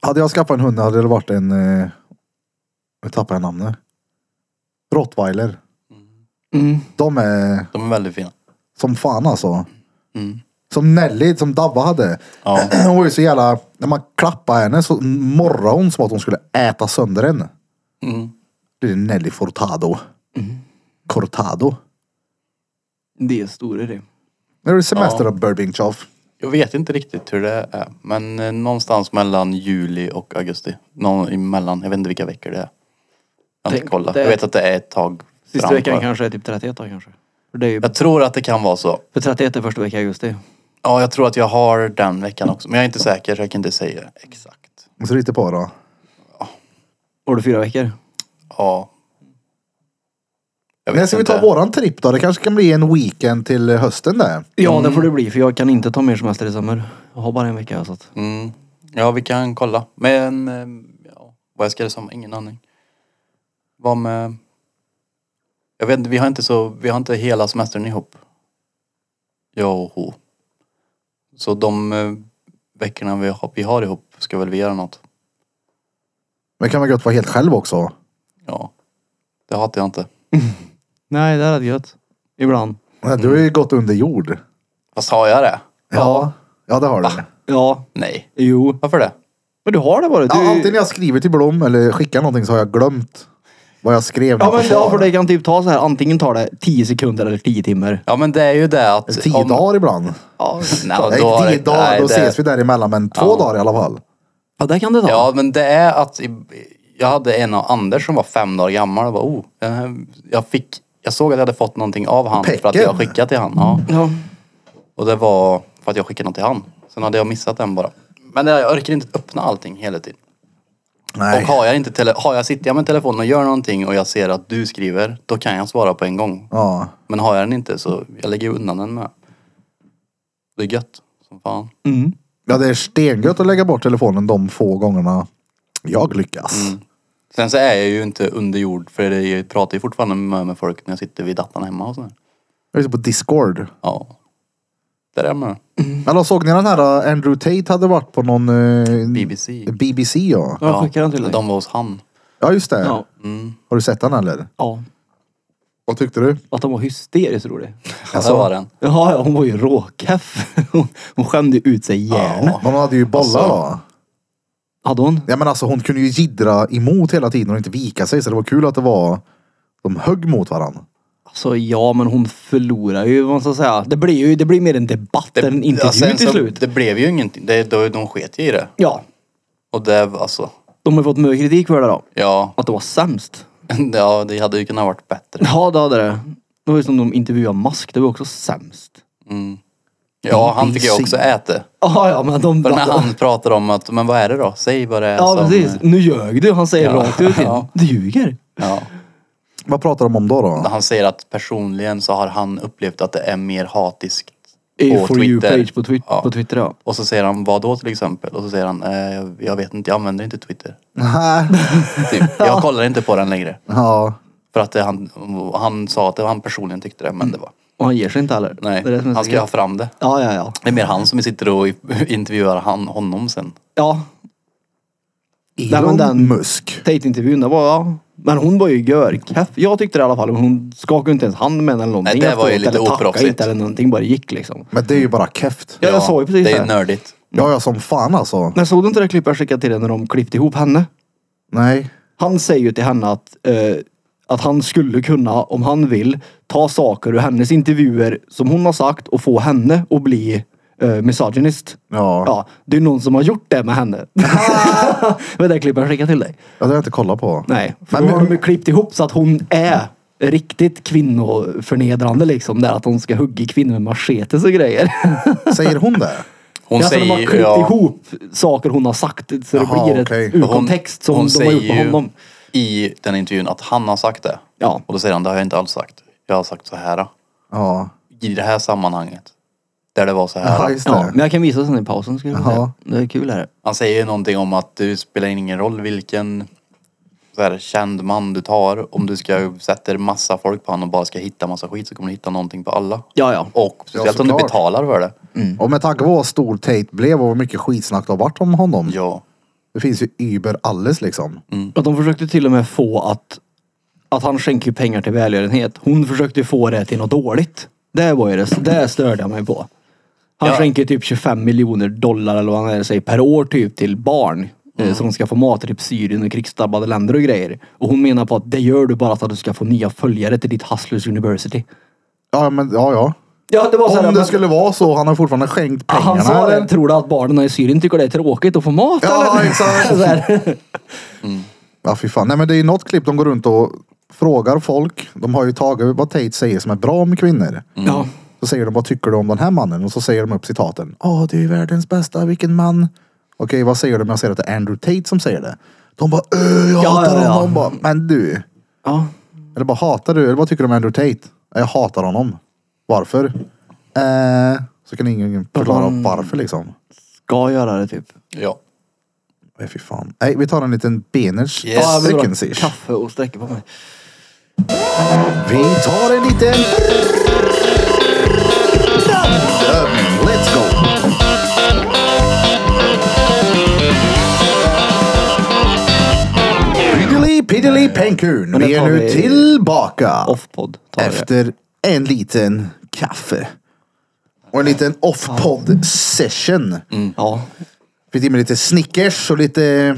[SPEAKER 2] Hade jag skaffat en hund hade det varit en... Eh... Nu tappar jag namnet. Rottweiler.
[SPEAKER 1] Mm.
[SPEAKER 2] De är
[SPEAKER 4] De är väldigt fina.
[SPEAKER 2] som fan alltså.
[SPEAKER 4] Mm.
[SPEAKER 2] Som Nelly, som Dabba hade.
[SPEAKER 4] Ja.
[SPEAKER 2] Hon var ju så jävla... När man klappade henne så morrade hon som att hon skulle äta sönder henne.
[SPEAKER 4] Mm.
[SPEAKER 2] Det är Nelly Furtado.
[SPEAKER 1] Mm.
[SPEAKER 2] Cortado.
[SPEAKER 1] Det är stora det.
[SPEAKER 2] Nu är det semester av Burbinkchoff.
[SPEAKER 4] Jag vet inte riktigt hur det är. Men eh, någonstans mellan juli och augusti. Någon emellan. Jag vet inte vilka veckor det är. Jag har inte
[SPEAKER 1] Tänk,
[SPEAKER 4] kollat.
[SPEAKER 1] det-
[SPEAKER 4] Jag vet att det är ett tag
[SPEAKER 1] Sista
[SPEAKER 4] fram,
[SPEAKER 1] veckan
[SPEAKER 4] bara.
[SPEAKER 1] kanske är typ 31 då kanske. För, det är ju,
[SPEAKER 4] Jag tror att det kan vara så.
[SPEAKER 1] för 31 är första veckan i augusti.
[SPEAKER 4] Ja, jag tror att jag har den veckan också. Men jag är inte säker så jag kan inte säga exakt.
[SPEAKER 2] Så lite på då.
[SPEAKER 1] Var det fyra veckor?
[SPEAKER 4] Ja. Jag
[SPEAKER 2] Men ska vi ta våran tripp då? Det kanske kan bli en weekend till hösten där.
[SPEAKER 1] Ja det får det bli för jag kan inte ta mer semester i sommar. Jag har bara en vecka så att.
[SPEAKER 4] Mm. Ja, vi kan kolla. Men eh, ja, vad jag ska det som, ingen aning. Vad med... Jag vet inte, vi har inte så, vi har inte hela semestern ihop. Joho. Så de eh, veckorna vi har, vi har ihop ska väl vi göra något.
[SPEAKER 2] Men kan man gott vara helt själv också?
[SPEAKER 4] Ja. Det hatar jag inte.
[SPEAKER 1] Nej det här är gött. Ibland.
[SPEAKER 2] Nej, Du har ju gått under jord.
[SPEAKER 4] Fast har jag det?
[SPEAKER 2] Ja. Ja, det har du.
[SPEAKER 1] Ja.
[SPEAKER 4] Nej.
[SPEAKER 1] Jo.
[SPEAKER 4] Varför det?
[SPEAKER 1] Men du har det bara. Du...
[SPEAKER 2] Ja, antingen jag skriver till Blom eller skickar någonting så har jag glömt. Vad jag skrev
[SPEAKER 1] Ja,
[SPEAKER 2] på
[SPEAKER 1] men, ja,
[SPEAKER 2] svar.
[SPEAKER 1] för det kan typ ta så här. Antingen tar det 10 sekunder eller 10 timmar.
[SPEAKER 4] Ja men det är ju det att...
[SPEAKER 2] Tio dagar ibland.
[SPEAKER 4] Ja, nej,
[SPEAKER 2] Nej,
[SPEAKER 4] då har
[SPEAKER 2] tio
[SPEAKER 4] det-
[SPEAKER 2] dagar,
[SPEAKER 4] nej,
[SPEAKER 2] då
[SPEAKER 4] det-
[SPEAKER 2] ses vi däremellan. Men två dagar i alla fall.
[SPEAKER 1] Ja, det kan det ta.
[SPEAKER 4] Ja, men det är att i- jag hade en av Anders som var fem dagar gammal och bara oh, den här- jag fick, jag såg att jag hade fått någonting av han för att
[SPEAKER 2] Pecken.
[SPEAKER 4] jag skickat till han. Ja.
[SPEAKER 1] Ja.
[SPEAKER 4] Och det var för att jag skickade något till han. Sen hade jag missat den bara. Men jag orkar inte öppna allting hela tiden.
[SPEAKER 2] Nej.
[SPEAKER 4] Och har jag inte tele- har jag, sitter jag med telefonen och gör någonting och jag ser att du skriver, då kan jag svara på en gång.
[SPEAKER 2] Ja.
[SPEAKER 4] Men har jag den inte så, jag lägger ju undan den med. Det är gött som fan.
[SPEAKER 1] Mm.
[SPEAKER 2] ja, det är stengött att lägga bort telefonen de få gångerna jag lyckas.
[SPEAKER 4] Sen så är jag ju inte under jord för det- jag pratar ju fortfarande med, med folk när jag sitter vid datorn hemma och sådär.
[SPEAKER 2] Jag är ute på Discord.
[SPEAKER 4] Ja. Där är man.
[SPEAKER 2] Eller såg ni den här eh, Andrew Tate hade varit på någon... eh,
[SPEAKER 4] BBC.
[SPEAKER 2] BBC ja.
[SPEAKER 1] Jag skickar den till dig.
[SPEAKER 4] De var hos han.
[SPEAKER 2] Ja just det.
[SPEAKER 1] Ja.
[SPEAKER 2] Har du sett den eller?
[SPEAKER 1] ja.
[SPEAKER 2] Vad tyckte du?
[SPEAKER 1] Att de var hysteriskt rolig.
[SPEAKER 4] Alltså, var den.
[SPEAKER 1] Ja, ja, hon var ju råkeff. Hon- Hon skämde ut sig järn.
[SPEAKER 4] Ja.
[SPEAKER 2] Hon hade ju bollar
[SPEAKER 4] Alltså.
[SPEAKER 2] då.
[SPEAKER 1] Hade hon?
[SPEAKER 2] Ja men alltså hon kunde ju jiddra emot hela tiden och inte vika sig så det var kul att det var de högg mot varandra.
[SPEAKER 1] Alltså ja, men hon förlorar ju vad man ska säga. Det blir ju det blir mer en debatt än en
[SPEAKER 4] Ja,
[SPEAKER 1] intervju
[SPEAKER 4] sen
[SPEAKER 1] till
[SPEAKER 4] så-
[SPEAKER 1] slut.
[SPEAKER 4] Det blev ju ingenting. Det, de, de sket ju i det.
[SPEAKER 1] Ja,
[SPEAKER 4] Och det var alltså,
[SPEAKER 1] de har fått mycket kritik för det då.
[SPEAKER 4] ja.
[SPEAKER 1] Att det var sämst.
[SPEAKER 4] ja, det hade ju kunnat varit bättre.
[SPEAKER 1] Ja, det hade det. Det var ju som de intervjuade Musk, det var också sämst.
[SPEAKER 4] Ja, han fick ju
[SPEAKER 2] BBC.
[SPEAKER 4] också äta.
[SPEAKER 1] Ja, ja, men de...
[SPEAKER 4] För när han pratar om att, men vad är det då? Säg vad det är
[SPEAKER 1] ja,
[SPEAKER 4] som...
[SPEAKER 1] precis. Nu ljög du. Han säger
[SPEAKER 4] Ja.
[SPEAKER 1] rakt ut till
[SPEAKER 4] Ja.
[SPEAKER 1] Du ljuger.
[SPEAKER 4] Ja.
[SPEAKER 2] Vad pratar de om då? då?
[SPEAKER 4] När han säger att personligen så har han upplevt att det är mer hatiskt
[SPEAKER 1] I
[SPEAKER 4] på
[SPEAKER 1] For
[SPEAKER 4] Twitter.
[SPEAKER 1] You-page på, twi-
[SPEAKER 4] Ja.
[SPEAKER 1] på Twitter, ja.
[SPEAKER 4] Och så säger han, vad då till exempel? Och så säger han, eh, jag- jag vet inte, jag använder inte Twitter.
[SPEAKER 2] Nej.
[SPEAKER 4] Typ. Jag kollar inte på den längre.
[SPEAKER 2] ja.
[SPEAKER 4] För att det, han, han sa att det var han personligen tyckte det, men det var...
[SPEAKER 1] Och han ger sig inte heller.
[SPEAKER 4] Nej,
[SPEAKER 1] Mm. Det är det som är så
[SPEAKER 4] han ska
[SPEAKER 1] kul.
[SPEAKER 4] ha fram det.
[SPEAKER 1] Ja, ja, ja.
[SPEAKER 4] Det är mer han som sitter och intervjuar han, honom sen.
[SPEAKER 1] Ja, men
[SPEAKER 2] Elon
[SPEAKER 1] den-
[SPEAKER 2] Musk.
[SPEAKER 1] Tate-intervjun, det var ja. Men hon var ju görkeff. Jag tyckte det i alla fall. Men hon skakade inte ens hand med henne eller någonting.
[SPEAKER 4] Nej, det var ju
[SPEAKER 1] efteråt,
[SPEAKER 4] lite
[SPEAKER 1] eller tackade
[SPEAKER 4] oproffsigt.
[SPEAKER 1] inte eller någonting. Bara gick liksom.
[SPEAKER 2] Men det är ju bara keft.
[SPEAKER 1] Ja, jag sa ju precis
[SPEAKER 4] det.
[SPEAKER 1] det.
[SPEAKER 4] är ju nördigt.
[SPEAKER 2] Ja, ja som fan alltså.
[SPEAKER 1] Men såg du inte det klippet jag skickade till dig när de klippte ihop henne?
[SPEAKER 2] Nej.
[SPEAKER 1] Han säger ju till henne att, eh, att han skulle kunna, om han vill, ta saker ur hennes intervjuer som hon har sagt och få henne att bli eh, misogynist.
[SPEAKER 2] Ja. ja.
[SPEAKER 1] Ja, det är någon som har gjort det med henne.
[SPEAKER 4] Ah.
[SPEAKER 1] det var det klippet jag skickade till dig.
[SPEAKER 2] Det har jag inte kollat på.
[SPEAKER 1] Nej, för
[SPEAKER 2] Men-
[SPEAKER 1] då har de ju klippt ihop så att hon är riktigt kvinnoförnedrande liksom. Där att hon ska hugga kvinnor med machetes och grejer.
[SPEAKER 2] Säger hon det?
[SPEAKER 4] Hon
[SPEAKER 1] alltså, de har
[SPEAKER 4] säger
[SPEAKER 1] klippt
[SPEAKER 4] ju... Ja,
[SPEAKER 1] ihop saker hon har sagt så
[SPEAKER 2] Jaha,
[SPEAKER 1] det blir
[SPEAKER 2] okej.
[SPEAKER 1] ett ur
[SPEAKER 4] hon,
[SPEAKER 1] kontext som
[SPEAKER 4] hon
[SPEAKER 1] de har gjort
[SPEAKER 4] säger
[SPEAKER 1] med
[SPEAKER 4] ju
[SPEAKER 1] honom.
[SPEAKER 4] i den intervjun att han har sagt det.
[SPEAKER 1] Ja.
[SPEAKER 4] Och då säger han, det har jag inte alls sagt. Jag har sagt så här.
[SPEAKER 2] Ja.
[SPEAKER 4] I det här sammanhanget. Där det var så
[SPEAKER 2] Ja,
[SPEAKER 4] här.
[SPEAKER 2] just
[SPEAKER 1] Ja,
[SPEAKER 2] det.
[SPEAKER 1] men jag kan visa sen i pausen skulle jag vilja
[SPEAKER 2] Jaha.
[SPEAKER 1] säga. Det är kul här.
[SPEAKER 4] Han säger ju någonting om att det spelar ingen roll vilken så här, känd man du tar. Om du ska sätter massa folk på honom och bara ska hitta massa skit så kommer du hitta någonting på alla.
[SPEAKER 1] Ja, ja. Mm.
[SPEAKER 4] Och speciellt om du
[SPEAKER 2] såklart.
[SPEAKER 4] betalar för det.
[SPEAKER 2] Och med tanke på vad stor Tate blev och hur mycket skitsnack det har varit om honom.
[SPEAKER 4] Ja.
[SPEAKER 2] Det finns ju über alles liksom.
[SPEAKER 1] Och de försökte till och med få att, att han skänker ju pengar till välgörenhet. Hon försökte få det till något dåligt. Det var ju det, det störde jag mig på. Han
[SPEAKER 4] Ja.
[SPEAKER 1] skänker typ 25 miljoner dollar eller vad han är, säger, per år typ till barn. Mm. Så de ska få mat till typ Syrien och krigsdrabbade länder och grejer. Och hon menar på att det gör du bara för att du ska få nya följare till ditt Hustlers University.
[SPEAKER 2] Ja, men ja, ja.
[SPEAKER 1] Ja, det var
[SPEAKER 2] Om det skulle vara så, han har fortfarande skänkt pengarna.
[SPEAKER 1] Han sa
[SPEAKER 2] eller?
[SPEAKER 1] det. Tror du att barnen i Syrien tycker det är tråkigt att få mat
[SPEAKER 2] Ja,
[SPEAKER 1] eller?
[SPEAKER 2] exakt.
[SPEAKER 1] Så här.
[SPEAKER 2] Ja, fy fan. Nej, men det är ju något klipp de går runt och frågar folk. De har ju tagit vad Tate säger som är bra om kvinnor.
[SPEAKER 1] Ja.
[SPEAKER 2] Så säger de, vad tycker du om den här mannen? Och så säger de upp citaten. Ja, det är ju världens bästa, vilken man. Okej, vad säger du om jag säger att det är Andrew Tate som säger det? De bara, öh, jag
[SPEAKER 1] Ja,
[SPEAKER 2] hatar
[SPEAKER 1] ja, ja.
[SPEAKER 2] honom. Bara, men du.
[SPEAKER 1] ja.
[SPEAKER 2] Eller bara, hatar du? Eller vad tycker du om Andrew Tate? "Ja, Jag hatar honom. Varför? Eh, så kan ingen förklara
[SPEAKER 1] Mm.
[SPEAKER 2] varför liksom.
[SPEAKER 1] Ska göra det typ.
[SPEAKER 4] Ja.
[SPEAKER 2] Nej, fy fan. Nej, vi tar en liten beners.
[SPEAKER 4] Yes.
[SPEAKER 1] Ja, jag vill dra
[SPEAKER 2] Sträckensish.
[SPEAKER 1] Kaffe och sträcker på mig.
[SPEAKER 2] Vi tar en liten... Random. Let's go! Piddly piddly penkun.
[SPEAKER 1] Men den
[SPEAKER 2] Vi är
[SPEAKER 1] tar
[SPEAKER 2] nu
[SPEAKER 1] vi-
[SPEAKER 2] tillbaka
[SPEAKER 1] Offpod tar vi det.
[SPEAKER 2] efter en liten
[SPEAKER 1] Mm.
[SPEAKER 2] kaffe. Och en liten off-pod session.
[SPEAKER 1] Ja.
[SPEAKER 2] Fick i mig lite Snickers och lite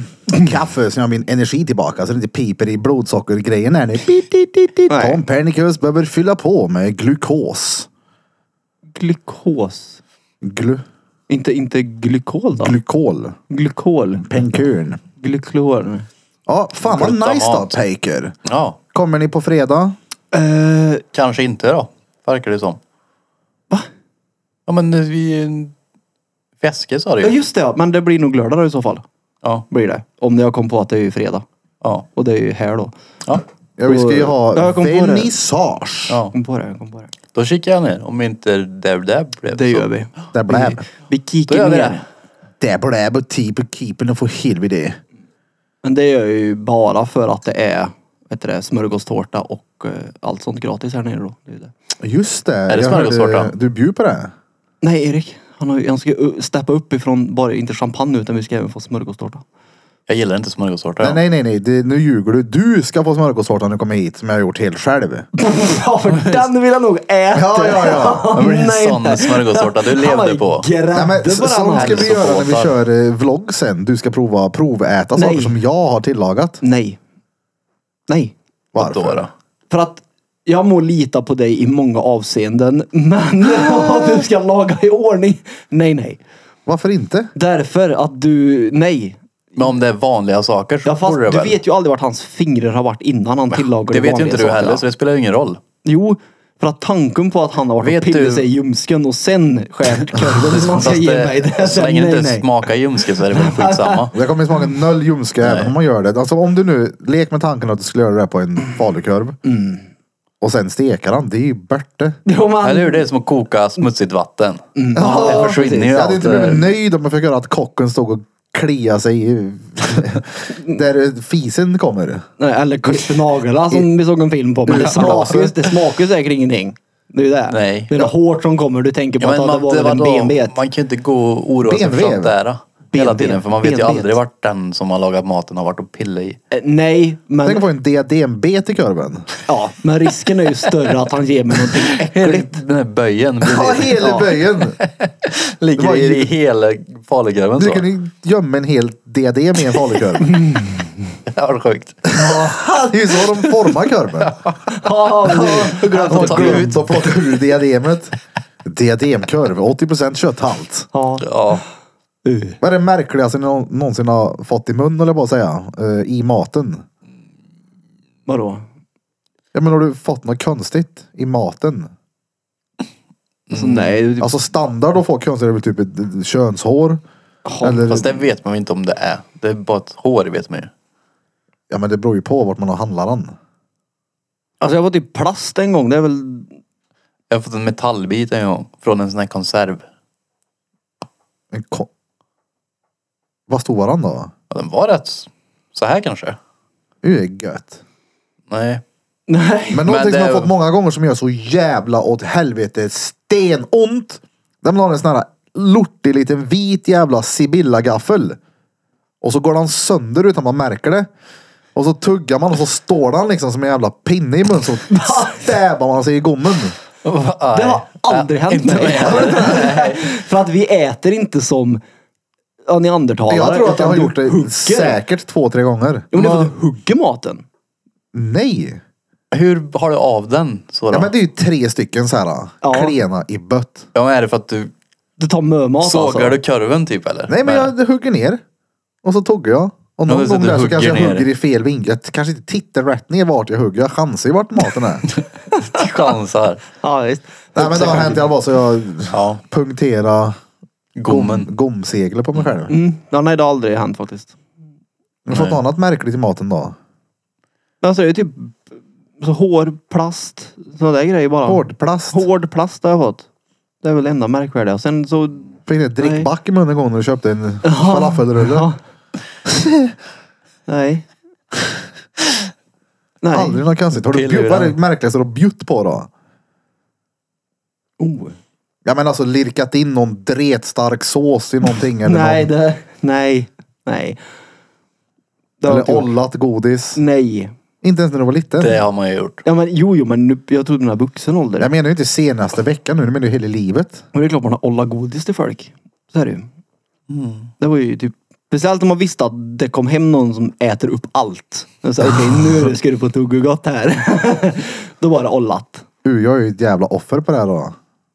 [SPEAKER 2] kaffe så jag har min energi tillbaka så det inte piper i blodsockergrejen här nu. Pip, pip, pip, pip.
[SPEAKER 1] Nej.
[SPEAKER 2] Tom Pernicus behöver fylla på med glukos.
[SPEAKER 1] Glukos.
[SPEAKER 2] Glu-
[SPEAKER 1] Inte, inte glykol då?
[SPEAKER 2] glykol.
[SPEAKER 1] glykol.
[SPEAKER 2] Penkun.
[SPEAKER 1] Glyklor.
[SPEAKER 2] Ja, fan vad
[SPEAKER 4] Glutamat.
[SPEAKER 2] nice då Taker.
[SPEAKER 4] Ja,
[SPEAKER 2] Kommer ni på fredag?
[SPEAKER 1] Eh,
[SPEAKER 4] kanske inte då. Verkar det som. Va? Ja men eh, vi... Väske sa du
[SPEAKER 1] ja
[SPEAKER 4] ju.
[SPEAKER 1] just det ja. Men det blir nog lördag då i så fall.
[SPEAKER 4] Ja.
[SPEAKER 1] Blir det. Om jag kom på att det är ju fredag.
[SPEAKER 4] Ja.
[SPEAKER 1] Och det är ju här då.
[SPEAKER 4] ja.
[SPEAKER 2] Ja, vi ska ju
[SPEAKER 1] Ja,
[SPEAKER 2] ha
[SPEAKER 1] jag kom på det.
[SPEAKER 2] vernissage.
[SPEAKER 1] Jag
[SPEAKER 4] ja.
[SPEAKER 1] kom på det. Jag kom på det.
[SPEAKER 4] Då kikar jag ner. Om inte Dab Dab blev
[SPEAKER 1] Det
[SPEAKER 4] så.
[SPEAKER 1] gör vi.
[SPEAKER 2] Där
[SPEAKER 1] Vi,
[SPEAKER 2] bläb.
[SPEAKER 1] vi
[SPEAKER 4] Då gör
[SPEAKER 1] kikar
[SPEAKER 4] vi
[SPEAKER 1] ner.
[SPEAKER 4] det.
[SPEAKER 2] Där bläb och tip och typ keepen och få helvete.
[SPEAKER 1] Men det gör jag ju bara för att det är vet du det, smörgåstårta och eh, allt sånt gratis här nere då. Det är ju det.
[SPEAKER 2] Just det.
[SPEAKER 4] det
[SPEAKER 2] jag hörde-
[SPEAKER 4] smörgåstårta?
[SPEAKER 2] Du bjuder på det?
[SPEAKER 1] Nej Erik, han, har, ju- han ska uh, steppa upp ifrån bara, inte champagne utan vi ska även få smörgåstårta.
[SPEAKER 4] Jag gillar inte smörgåstårta.
[SPEAKER 2] Nej,
[SPEAKER 4] ja.
[SPEAKER 2] nej, nej. nej. Det, nu ljuger du. Du ska få smörgåstårta när du kommer hit som jag har gjort helt själv.
[SPEAKER 1] ja för den vill jag nog äta!
[SPEAKER 2] Ja, ja, ja.
[SPEAKER 4] Det var en sån smörgåstårta du
[SPEAKER 1] Han var ju
[SPEAKER 4] levde på.
[SPEAKER 2] Nej, men,
[SPEAKER 1] grädde
[SPEAKER 2] så,
[SPEAKER 1] bara han
[SPEAKER 2] sånt ska
[SPEAKER 1] hade.
[SPEAKER 2] vi göra när vi
[SPEAKER 4] hälsobåtar.
[SPEAKER 2] kör eh, vlogg sen. Du ska prova proväta
[SPEAKER 1] Nej.
[SPEAKER 2] saker som jag har tillagat.
[SPEAKER 1] Nej. Nej.
[SPEAKER 2] Varför?
[SPEAKER 4] Då, då.
[SPEAKER 1] För att jag må lita på dig i många avseenden. Men vad du ska laga i ordning. Nej, nej.
[SPEAKER 2] Varför inte?
[SPEAKER 1] Därför att du, nej.
[SPEAKER 4] Men om det är vanliga saker så
[SPEAKER 1] Ja, fast
[SPEAKER 4] borde det
[SPEAKER 1] du
[SPEAKER 4] väl.
[SPEAKER 1] vet ju aldrig vart hans fingrar har varit innan han tillagar
[SPEAKER 4] det
[SPEAKER 1] de
[SPEAKER 4] vet ju inte du
[SPEAKER 1] vanliga
[SPEAKER 4] heller
[SPEAKER 1] sakerna.
[SPEAKER 4] så det spelar ju ingen roll.
[SPEAKER 1] Jo, för att tanken på att han har varit
[SPEAKER 4] Vet
[SPEAKER 1] och pillat
[SPEAKER 4] du-
[SPEAKER 1] sig i ljumsken och sen skärt korven som han ska
[SPEAKER 4] Fast
[SPEAKER 1] ge mig.
[SPEAKER 4] det,
[SPEAKER 1] Det,
[SPEAKER 4] så länge det
[SPEAKER 1] nej,
[SPEAKER 4] inte
[SPEAKER 1] nej.
[SPEAKER 4] smakar ljumske så är det väl skitsamma.
[SPEAKER 2] Det kommer smaka noll ljumske även om man gör det. Alltså om du nu, lek med tanken att du skulle göra det här på en falukorv. Och sen stekar han. Det är ju borta.
[SPEAKER 1] Jo, men-
[SPEAKER 4] Eller hur? Det är som att koka smutsigt vatten.
[SPEAKER 1] Mm. Ja,
[SPEAKER 4] det försvinner
[SPEAKER 1] precis.
[SPEAKER 4] ju
[SPEAKER 2] Jag hade
[SPEAKER 4] allt. eh,
[SPEAKER 2] inte blivit nöjd om jag fick höra att kocken stod och kliade sig i... där eh, fisen kommer.
[SPEAKER 1] Nej, eller klippte naglarna som vi såg en film på. Men det smakar ju det smakar ju säkert ingenting. Det är ju det.
[SPEAKER 4] Nej.
[SPEAKER 1] Det är det hårt som kommer. Du tänker på
[SPEAKER 4] Ja, men
[SPEAKER 1] att man, det var väl en
[SPEAKER 4] vadå?
[SPEAKER 1] benbet.
[SPEAKER 4] man kan ju inte gå och oroa sig för
[SPEAKER 2] Benvev.
[SPEAKER 4] sånt där. eh, Hela
[SPEAKER 1] Benvev.
[SPEAKER 4] tiden, för man vet ju
[SPEAKER 1] Benvet.
[SPEAKER 4] aldrig vart den som har lagat maten har varit och pillat i.
[SPEAKER 1] Eh, Nej,
[SPEAKER 2] Tänk att
[SPEAKER 1] men,
[SPEAKER 2] få en diadembet i korven.
[SPEAKER 1] ja, men risken är ju större att han ger mig någonting äckligt.
[SPEAKER 4] Den här böjen
[SPEAKER 2] Ja,
[SPEAKER 4] blir-
[SPEAKER 2] hela böjen. det
[SPEAKER 4] ligger
[SPEAKER 2] var ju-
[SPEAKER 4] i, i hela falukorven
[SPEAKER 2] Du
[SPEAKER 4] så.
[SPEAKER 2] kan ju gömma en hel diadem i en falukorv.
[SPEAKER 4] Ja, vad sjukt.
[SPEAKER 2] Det är ju så de formar korven.
[SPEAKER 1] Ja, nu.
[SPEAKER 4] Och ta ut.
[SPEAKER 2] Glömt att plocka ur diademet. Diademkorv, 80% kötthalt.
[SPEAKER 1] Ja.
[SPEAKER 4] Ja.
[SPEAKER 1] Uh.
[SPEAKER 2] Vad är det märkligaste ni nå- någonsin har fått i mun, eller bara säga, eh, i maten?
[SPEAKER 1] Vadå?
[SPEAKER 2] Ja, men har du fått något konstigt i maten?
[SPEAKER 1] Alltså, nej,
[SPEAKER 4] Mm.
[SPEAKER 1] du-
[SPEAKER 2] Alltså standard att få konstigt är väl typ ett, ett könshår. eller,
[SPEAKER 4] Fast det vet man ju inte om det är. Det är bara ett hår vet man ju.
[SPEAKER 2] Ja men det beror ju på vart man har handlaren.
[SPEAKER 1] alltså jag var typ plast en gång. Det är väl...
[SPEAKER 4] Jag har fått en metallbit en gång från en sån här konserv.
[SPEAKER 2] En ko- Vad stod han då?
[SPEAKER 4] Ja, den var rätt så här kanske.
[SPEAKER 2] Det är ju gött.
[SPEAKER 4] Nej.
[SPEAKER 1] Nej.
[SPEAKER 2] Men någonting
[SPEAKER 4] det-
[SPEAKER 2] som jag har fått många gånger som gör så jävla åt helvete stenont. Där man har en sån här lortig liten vit jävla Sibylla-gaffel. Och så går den sönder utan man märker det. Och så tuggar man och så står den liksom som en jävla pinne i munnen. Så stäbar man sig i gommen.
[SPEAKER 1] Det har aldrig hänt
[SPEAKER 4] inte
[SPEAKER 1] mig.
[SPEAKER 4] mig.
[SPEAKER 1] För att vi äter inte som ja, neandertalare.
[SPEAKER 2] Jag tror att jag
[SPEAKER 1] utan
[SPEAKER 2] har
[SPEAKER 1] du
[SPEAKER 2] gjort
[SPEAKER 1] hugger.
[SPEAKER 2] det säkert två, tre gånger.
[SPEAKER 1] Jo, men det är för att du hugger maten.
[SPEAKER 2] Nej.
[SPEAKER 4] Hur har du av den? Så då?
[SPEAKER 2] Ja, men det är ju tre stycken så här
[SPEAKER 1] Ja.
[SPEAKER 2] klena i bött.
[SPEAKER 4] är det för att du
[SPEAKER 1] Du tar mömat
[SPEAKER 4] sågar
[SPEAKER 1] alltså.
[SPEAKER 4] du korven typ eller?
[SPEAKER 2] Nej men jag hugger ner. Och så tuggar jag. Och
[SPEAKER 4] Ja,
[SPEAKER 2] någon
[SPEAKER 4] det är så
[SPEAKER 2] gång
[SPEAKER 4] du
[SPEAKER 2] där så
[SPEAKER 4] hugger
[SPEAKER 2] kanske jag
[SPEAKER 4] ner.
[SPEAKER 2] hugger i fel vinkel. Jag kanske inte tittar rätt ner vart jag hugger. Jag chansar ju vart maten är.
[SPEAKER 4] chansar.
[SPEAKER 1] Ja, visst.
[SPEAKER 2] Nej men det har hänt i alla fall så jag
[SPEAKER 4] Ja.
[SPEAKER 2] punktera
[SPEAKER 4] Gommen.
[SPEAKER 2] gomseglet på mig själv.
[SPEAKER 1] Mm. Ja, nej, det har aldrig hänt faktiskt.
[SPEAKER 2] Har du fått
[SPEAKER 4] Nej.
[SPEAKER 2] något annat märkligt i maten då?
[SPEAKER 1] Alltså det är typ så hår, plast, sådana där grejer bara.
[SPEAKER 2] Hårdplast.
[SPEAKER 1] Hård plast har jag fått. Det är väl det enda märkvärdiga. Sen så...
[SPEAKER 2] Fick ni ett drickback i munnen en gång när du köpte en falafelrulle?
[SPEAKER 1] Ja. nej. Nej.
[SPEAKER 2] Aldrig något konstigt. Har du
[SPEAKER 4] Piller i
[SPEAKER 2] bjud, vad är det
[SPEAKER 4] den.
[SPEAKER 2] märkligaste du har bjudit på då?
[SPEAKER 1] Oh.
[SPEAKER 2] Ja men alltså lirkat in någon dretstark sås i någonting eller
[SPEAKER 1] Nej,
[SPEAKER 2] någon,
[SPEAKER 1] det... Nej. Nej. Det har jag inte
[SPEAKER 2] Eller
[SPEAKER 1] gjort.
[SPEAKER 2] ollat godis.
[SPEAKER 1] Nej.
[SPEAKER 2] Inte ens när du var liten.
[SPEAKER 4] Det har man ju gjort.
[SPEAKER 1] Ja men jo, jo men nu, jag trodde den här vuxen ålder.
[SPEAKER 2] Jag menar ju inte senaste veckan nu, jag menar ju hela livet.
[SPEAKER 1] Men det är klart man har ollat godis till folk. Så är det ju.
[SPEAKER 4] Mm.
[SPEAKER 1] Det var ju typ Speciellt om man visste att det kom hem någon som äter upp allt. Jag sa, Okej,
[SPEAKER 4] Ah."
[SPEAKER 1] nu ska du få tuggugott här. Då var det ollat.
[SPEAKER 2] U, jag är ju ett jävla offer på det här då.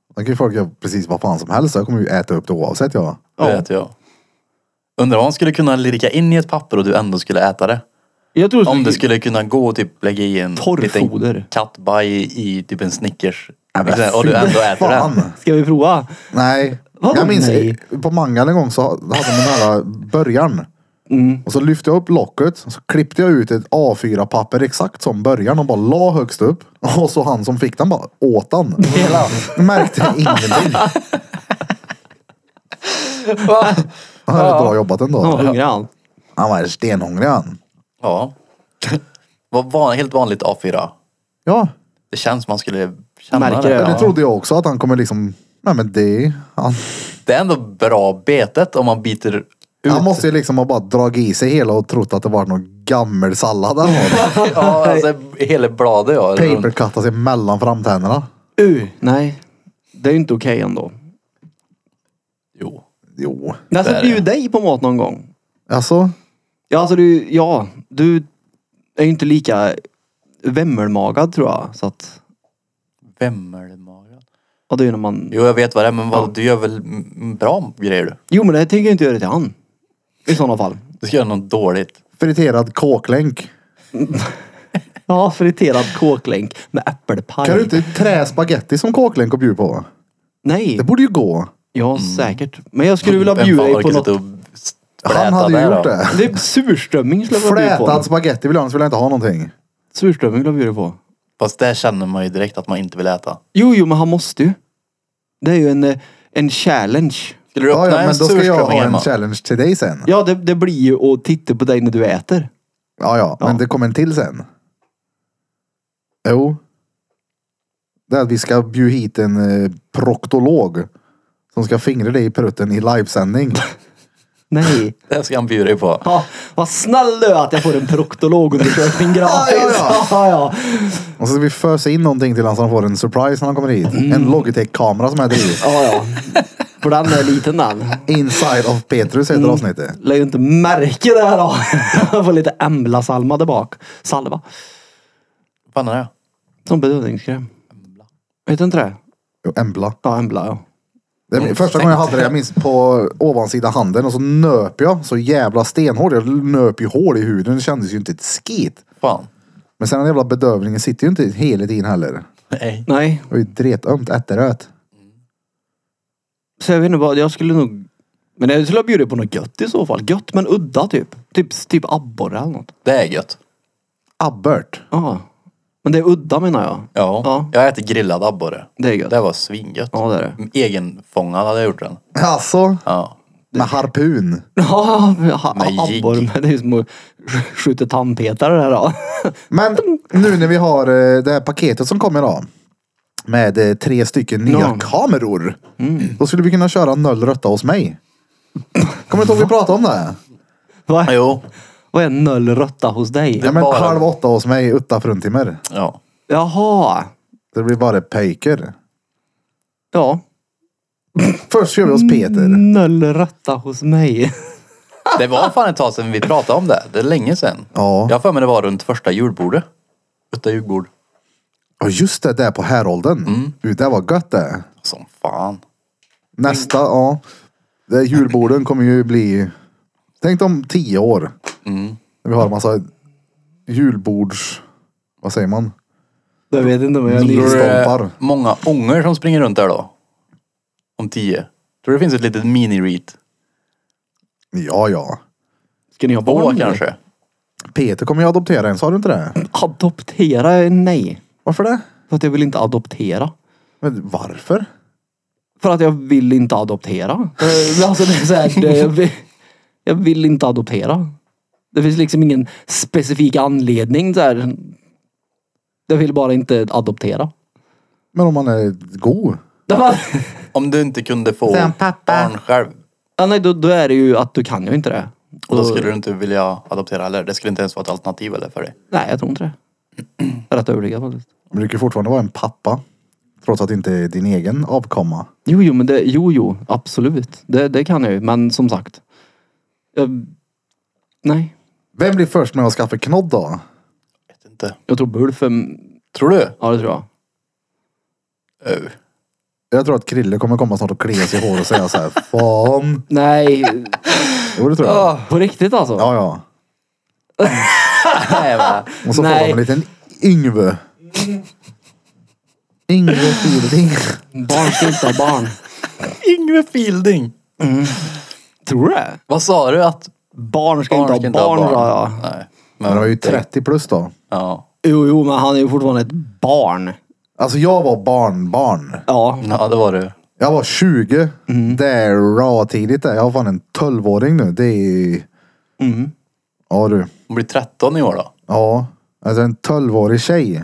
[SPEAKER 2] Då kan ju folk göra precis vad fan som helst. Jag kommer ju äta upp det oavsett jag.
[SPEAKER 1] Ja.
[SPEAKER 4] Det vet jag. Undrar om man skulle kunna lirka in i ett papper och du ändå skulle äta det?
[SPEAKER 1] Jag tror
[SPEAKER 4] Om det skulle kunna gå och typ lägga i en
[SPEAKER 1] Torrfoder.
[SPEAKER 4] liten kattbaj i typ en Snickers.
[SPEAKER 2] men
[SPEAKER 4] Liksom, och du
[SPEAKER 2] fy
[SPEAKER 4] ändå äter den.
[SPEAKER 2] fan.
[SPEAKER 1] Ska vi prova?
[SPEAKER 2] Nej.
[SPEAKER 1] Vadå
[SPEAKER 2] jag minns
[SPEAKER 1] nej?
[SPEAKER 2] på Mangal en gång så hade man den här början.
[SPEAKER 4] Mm.
[SPEAKER 2] Och så lyfte jag upp locket och så klippte jag ut ett A4-papper exakt som början och bara la högst upp. Och så han som fick den bara åt den. Hela. Märkte ingenting.
[SPEAKER 4] Va?
[SPEAKER 2] Han hade bra jobbat ändå.
[SPEAKER 1] Han var hungrig han.
[SPEAKER 2] Han var stenhungrig han.
[SPEAKER 4] Ja. Vad var helt vanligt A4?
[SPEAKER 2] Ja,
[SPEAKER 4] Det känns som man skulle känna
[SPEAKER 1] Märker
[SPEAKER 4] det.
[SPEAKER 1] det.
[SPEAKER 2] det trodde jag också att han kommer liksom. Nej men det. Han,
[SPEAKER 4] Det är ändå bra betet om man biter ut.
[SPEAKER 2] han måste ju liksom ha bara dragit i sig hela och trott att det var någon gammel sallad eller något.
[SPEAKER 4] Ja, alltså hela bladet ja. runt.
[SPEAKER 2] Papercuttat sig mellan framtänderna.
[SPEAKER 1] Uh, nej. Det är ju inte okej ändå.
[SPEAKER 4] Jo.
[SPEAKER 2] Jo.
[SPEAKER 1] Men Alltså
[SPEAKER 4] Där är
[SPEAKER 1] bjud dig på mat någon gång.
[SPEAKER 2] Alltså.
[SPEAKER 1] Ja, alltså du, ja. Du är ju inte lika vemmelmagad tror jag. Så att,
[SPEAKER 4] Vemmelmagen.
[SPEAKER 1] ja, det är ju när man...
[SPEAKER 4] Jo jag vet vad det är men vad, du gör väl mm, bra grejer du?
[SPEAKER 1] Jo, men det tänker jag inte göra till han. I sådana fall.
[SPEAKER 4] Du ska göra något dåligt.
[SPEAKER 2] Friterad kåklänk.
[SPEAKER 1] Ja, friterad kåklänk med äppelpaj.
[SPEAKER 2] Kan du inte trä spaghetti som kåklänk och bjuda på?
[SPEAKER 1] Nej.
[SPEAKER 2] Det borde ju gå.
[SPEAKER 1] Ja, säkert. Men jag skulle vilja
[SPEAKER 4] Vem
[SPEAKER 1] bjuda
[SPEAKER 4] fan
[SPEAKER 1] dig
[SPEAKER 4] orkar
[SPEAKER 1] på
[SPEAKER 4] sitta
[SPEAKER 1] något.
[SPEAKER 4] och s-
[SPEAKER 2] Han
[SPEAKER 4] fläta
[SPEAKER 2] hade ju
[SPEAKER 4] där
[SPEAKER 2] gjort
[SPEAKER 4] då?
[SPEAKER 2] det.
[SPEAKER 1] Det är surströmming skulle jag vilja bjuda på.
[SPEAKER 2] Flätad spaghetti vill jag, annars vill jag inte ha någonting.
[SPEAKER 1] Surströmming skulle jag bjuda på.
[SPEAKER 4] Fast där känner man ju direkt att man inte vill äta.
[SPEAKER 1] Jo, jo, men han måste ju. Det är ju en, eh, en challenge.
[SPEAKER 4] Skulle du öppna
[SPEAKER 2] Ja, ja,
[SPEAKER 4] en
[SPEAKER 2] men då ska jag
[SPEAKER 4] surströmming
[SPEAKER 2] ha en
[SPEAKER 4] hemma?
[SPEAKER 2] challenge till dig sen.
[SPEAKER 1] Ja, det, det blir ju att titta på dig när du äter.
[SPEAKER 2] Ja, ja, men det kommer en till sen. Jo. Det är att vi ska bjuda hit en eh, proktolog. Som ska fingra dig i prutten i livesändning.
[SPEAKER 1] Nej.
[SPEAKER 4] Det ska han bjuda dig på.
[SPEAKER 1] Ja, vad snäll du är att jag får en proktologundersökning gratis.
[SPEAKER 2] Ja,
[SPEAKER 1] ja, ja.
[SPEAKER 2] Och så ska vi fösa in någonting till honom så han får en surprise när han kommer hit. En Logitech-kamera som heter i.
[SPEAKER 1] ja, ja. För den är liten den.
[SPEAKER 2] Inside of Petrus heter avsnittet.
[SPEAKER 1] Lär ju inte märke det här då. Jag får lite Embla-salma där bak. Salva.
[SPEAKER 4] Vad fan är det?
[SPEAKER 1] Som bedövningskräm. Vet du inte det?
[SPEAKER 2] Jo, Embla.
[SPEAKER 1] Ja, Embla ja.
[SPEAKER 2] Det är min- första gången jag hade det, jag minns på ovansidan handen och så nöp jag så jävla stenhårt. Jag nöp ju hål i huden, det kändes ju inte ett skit.
[SPEAKER 4] Fan.
[SPEAKER 2] Men sen den jävla bedövningen sitter ju inte hela tiden heller.
[SPEAKER 4] Nej.
[SPEAKER 1] Nej,
[SPEAKER 2] Det var ju dretömt ätteröt.
[SPEAKER 1] så jag vet inte vad. Jag skulle nog... Men jag skulle ha bjudit på något gött i så fall. Gött men udda typ. Typ, typ abborre eller något.
[SPEAKER 4] Det är gött.
[SPEAKER 2] Abbert.
[SPEAKER 1] Ja. Men det är udda menar jag.
[SPEAKER 4] Ja.
[SPEAKER 1] Ja.
[SPEAKER 4] Jag äter grillad abborre.
[SPEAKER 1] Det är gött.
[SPEAKER 4] Det var svingött.
[SPEAKER 1] Ja det är det.
[SPEAKER 4] Egenfångad hade jag gjort den.
[SPEAKER 2] Alltså,
[SPEAKER 4] Ja.
[SPEAKER 2] med harpun.
[SPEAKER 1] Ja, ha-
[SPEAKER 4] Med jigg.
[SPEAKER 1] abborre. Men det är ju som att sk- skjuta tandpetare där då.
[SPEAKER 2] Men nu när vi har eh, det här paketet som kom idag. Med eh, tre stycken nya
[SPEAKER 1] Ja.
[SPEAKER 2] kameror. Då skulle vi kunna köra noll rötta hos mig. Kommer du inte ihåg vi pratade om det?
[SPEAKER 1] Va?
[SPEAKER 4] Jo.
[SPEAKER 1] Vad är noll rötta hos dig?
[SPEAKER 2] Ja, men
[SPEAKER 4] bara-
[SPEAKER 2] halv åtta hos mig, utta fruntimmer.
[SPEAKER 4] Ja.
[SPEAKER 1] Jaha.
[SPEAKER 2] Det blir bara pöjker.
[SPEAKER 1] Ja.
[SPEAKER 2] Först kör vi hos Peter.
[SPEAKER 1] Noll rötta hos mig.
[SPEAKER 4] Det var fan ett tag sedan vi pratade om det. Det är länge sedan.
[SPEAKER 2] Ja.
[SPEAKER 4] Jag har för mig det var runt första julbordet. Utta julbord.
[SPEAKER 2] Ja just det, där på häråldern. Du, Det var gött det.
[SPEAKER 4] Som fan.
[SPEAKER 2] Nästa, ja. Det här julborden kommer ju bli... Tänk om tio år.
[SPEAKER 4] Mm.
[SPEAKER 2] När vi har en massa julbords... Vad säger man?
[SPEAKER 1] Jag vet inte om jag
[SPEAKER 2] Tror du-
[SPEAKER 1] lyssnar.
[SPEAKER 2] Stompar.
[SPEAKER 4] många ånger som springer runt där då? Om tio? Tror du det finns ett litet mini-reet?
[SPEAKER 2] Ja, ja.
[SPEAKER 1] Ska ni ha
[SPEAKER 4] Två
[SPEAKER 1] barn?
[SPEAKER 4] kanske?
[SPEAKER 2] Peter kommer ju adoptera en, sa du inte det?
[SPEAKER 1] Adoptera? Nej.
[SPEAKER 2] Varför det?
[SPEAKER 1] För att jag vill inte adoptera.
[SPEAKER 2] Men varför?
[SPEAKER 1] För att jag vill inte adoptera. Eh, Alltså det är så här, det, jag, vill, jag vill inte adoptera. Det finns liksom ingen specifik anledning där. Jag vill bara inte adoptera.
[SPEAKER 2] Men om man är god.
[SPEAKER 1] Det var-
[SPEAKER 4] Om du inte kunde få
[SPEAKER 2] Sen pappa.
[SPEAKER 4] barn själv,
[SPEAKER 1] Ja, nej, då, då är det ju att du kan ju inte det.
[SPEAKER 4] och då skulle du inte vilja adoptera heller. Det skulle inte ens vara ett alternativ eller för dig.
[SPEAKER 1] Nej, jag tror inte det. Jag är rätt övertygad faktiskt.
[SPEAKER 2] Men du kan ju fortfarande vara en pappa. Trots att det inte är din egen avkomma.
[SPEAKER 1] Jo, jo, men det, jo, jo, absolut. Det, det kan jag ju, men som sagt. Jag, nej,
[SPEAKER 2] Vem blir först med att skaffa knodd då?
[SPEAKER 4] Vet inte.
[SPEAKER 1] jag tror Bulf är...
[SPEAKER 4] Tror du?
[SPEAKER 1] Ja, det tror jag.
[SPEAKER 4] Ö.
[SPEAKER 2] Jag tror att Krille kommer komma snart och klia sig i håret och säga så här. Fan.
[SPEAKER 1] Nej,
[SPEAKER 2] Jo, det tror jag.
[SPEAKER 4] Ah.
[SPEAKER 1] på riktigt alltså.
[SPEAKER 2] Ja, ja.
[SPEAKER 4] Nej, va?
[SPEAKER 2] Och så får
[SPEAKER 1] Nej.
[SPEAKER 2] de en liten Yngve. Yngve Fielding.
[SPEAKER 1] Barn ska inte ha barn.
[SPEAKER 4] Yngve Fielding.
[SPEAKER 1] Tror du det?
[SPEAKER 4] Vad sa du att...
[SPEAKER 1] Barn ska
[SPEAKER 4] Barn ska
[SPEAKER 1] inte ha barn, sa jag.
[SPEAKER 4] Nej.
[SPEAKER 2] Men han var ju 30 plus då.
[SPEAKER 4] Ja.
[SPEAKER 1] Jo, jo, men han är ju fortfarande ett barn.
[SPEAKER 2] Alltså jag var barnbarn.
[SPEAKER 1] Ja,
[SPEAKER 4] ja, det var du.
[SPEAKER 2] Jag var 20.
[SPEAKER 1] Mm.
[SPEAKER 2] Det är raw tidigt det. Jag har fan en 12-åring nu. Det är...
[SPEAKER 1] Mm.
[SPEAKER 2] Ja du.
[SPEAKER 4] Hon blir 13 i år då.
[SPEAKER 2] Ja. Alltså en 12-årig tjej.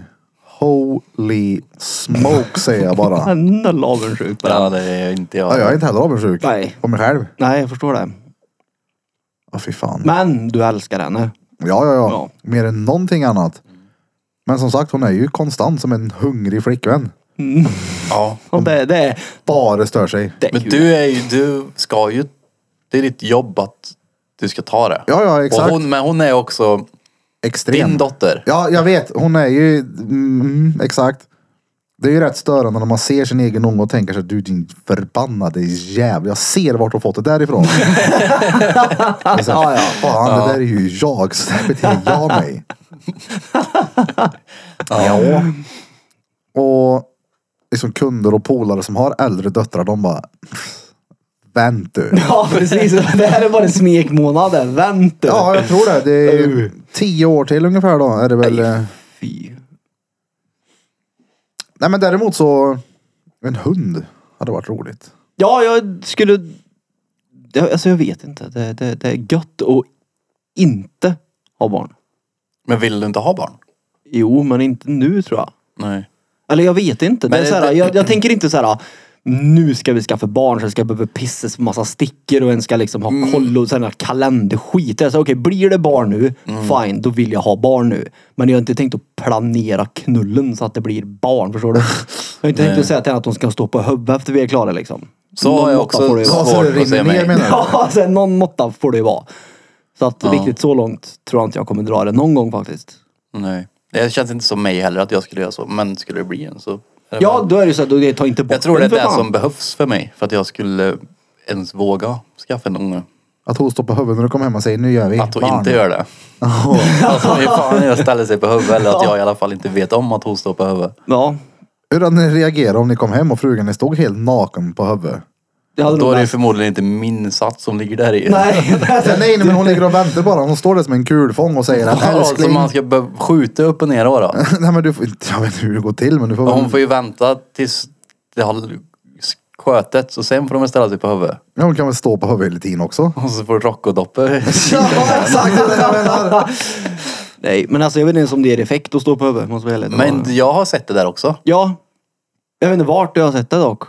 [SPEAKER 2] Holy smoke säger jag bara.
[SPEAKER 1] han är avundsjuk på den.
[SPEAKER 4] Ja, det är inte
[SPEAKER 2] Ja,
[SPEAKER 4] jag.
[SPEAKER 2] jag är inte heller avundsjuk.
[SPEAKER 1] Nej.
[SPEAKER 2] På mig själv.
[SPEAKER 1] Nej, jag förstår det.
[SPEAKER 2] Ja fy fan.
[SPEAKER 1] Men du älskar henne.
[SPEAKER 2] Ja, ja, ja.
[SPEAKER 1] Ja.
[SPEAKER 2] Mer än någonting annat. Men som sagt, hon är ju konstant som en hungrig flickvän.
[SPEAKER 4] Ja.
[SPEAKER 1] Och det, det, är-
[SPEAKER 2] Bara stör sig.
[SPEAKER 1] det är
[SPEAKER 4] Men
[SPEAKER 1] kul.
[SPEAKER 4] du är ju, du ska ju, det är ditt jobb att du ska ta det.
[SPEAKER 2] Ja, ja, exakt.
[SPEAKER 4] Och hon, men hon är också
[SPEAKER 2] Extrem.
[SPEAKER 4] din dotter.
[SPEAKER 2] Ja, jag vet. Hon är ju... Mm, exakt. Det är ju rätt störande när man ser sin egen unge och tänker sig du din förbannade jävel. Jag ser vart du har fått det därifrån. Och
[SPEAKER 1] Alltså,
[SPEAKER 2] så, ja, ja. Fan, det där är ju jag. Så där beter jag mig. ja. Och liksom kunder och polare som har äldre döttrar, de bara... Vänt du.
[SPEAKER 1] Ja, precis. Det här är bara smekmånaden. Vänta.
[SPEAKER 2] Ja, jag tror det. Det är ju tio år till ungefär då är det väl. eh.
[SPEAKER 1] Fy.
[SPEAKER 2] Nej men däremot så, en hund hade varit roligt.
[SPEAKER 1] Ja, jag skulle... Det, alltså jag vet inte. Det, det, det är gött att inte ha barn.
[SPEAKER 4] Men vill du inte ha barn?
[SPEAKER 1] Jo, men inte nu tror jag.
[SPEAKER 4] Nej.
[SPEAKER 1] Eller jag vet inte. Det
[SPEAKER 4] Men
[SPEAKER 1] är så här,
[SPEAKER 4] det-
[SPEAKER 1] jag, jag tänker inte så här. Nu ska vi skaffa barn så det ska behöva pissas på massa stickor och en ska liksom
[SPEAKER 4] Mm.
[SPEAKER 1] ha koll och sen kalenderskit. Det är så, Okej, blir det barn nu,
[SPEAKER 4] Mm.
[SPEAKER 1] fine, då vill jag ha barn nu. Men jag har inte tänkt att planera knullen så att det blir barn, förstår du? Jag har inte tänkt att säga till henne att de ska stå på huvudet efter vi är klara liksom.
[SPEAKER 4] Så
[SPEAKER 1] Någon
[SPEAKER 4] har jag
[SPEAKER 1] måtta får det ju
[SPEAKER 4] också
[SPEAKER 1] vara.
[SPEAKER 2] Ja, så det
[SPEAKER 4] svårt
[SPEAKER 2] rinner
[SPEAKER 4] att säga
[SPEAKER 2] ner,
[SPEAKER 4] mig.
[SPEAKER 2] menar du?
[SPEAKER 1] Ja, alltså, någon måtta får det ju vara. Så att riktigt så långt tror jag inte jag kommer dra det någon gång faktiskt.
[SPEAKER 4] Nej. Det känns inte som mig heller att jag skulle göra så. Men skulle det bli en så. är det
[SPEAKER 1] Ja,
[SPEAKER 4] väl-
[SPEAKER 1] då är det ju så att du tar inte bort
[SPEAKER 4] jag tror det
[SPEAKER 1] den,
[SPEAKER 4] är
[SPEAKER 1] för
[SPEAKER 4] det
[SPEAKER 1] fan.
[SPEAKER 4] som behövs för mig. För att jag skulle ens våga skaffa en unge.
[SPEAKER 2] Att hon står på huvudet när du kommer hem och säger nu gör vi
[SPEAKER 4] Att hon
[SPEAKER 2] barn.
[SPEAKER 4] inte gör det. Alltså hur fan jag ställer sig på huvudet. Eller att jag i alla fall inte vet om att hon står på huvudet.
[SPEAKER 1] Ja,
[SPEAKER 2] Hur hade ni reagerat om ni kom hem och frugan ni stod helt naken på huvudet?
[SPEAKER 1] det hade nog
[SPEAKER 4] Då är det ju
[SPEAKER 1] varit-
[SPEAKER 4] förmodligen inte min sats som ligger där i.
[SPEAKER 1] Nej,
[SPEAKER 2] Nej, nej men hon ligger och väntar bara. Hon står där som en kulfång och säger att
[SPEAKER 4] Ja, så
[SPEAKER 2] älskling.
[SPEAKER 4] Alltså, man ska behöva skjuta upp och ner då. då.
[SPEAKER 2] Nej men du får, jag vet inte hur det går till men du får,
[SPEAKER 4] Och hon får ju vänta tills det har skötets och sen får de väl ställa sig på huvudet.
[SPEAKER 2] ja, hon kan väl stå på huvudet lite in också.
[SPEAKER 4] Och så får Rocco-Doppe.
[SPEAKER 2] Ja exakt det är det jag menar.
[SPEAKER 1] Nej, men alltså jag vet inte ens om det ger effekt att stå på huvudet. Måste vara ärlig.
[SPEAKER 4] Men jag har sett det där också.
[SPEAKER 1] Ja. Jag vet inte vart jag har sett det dock.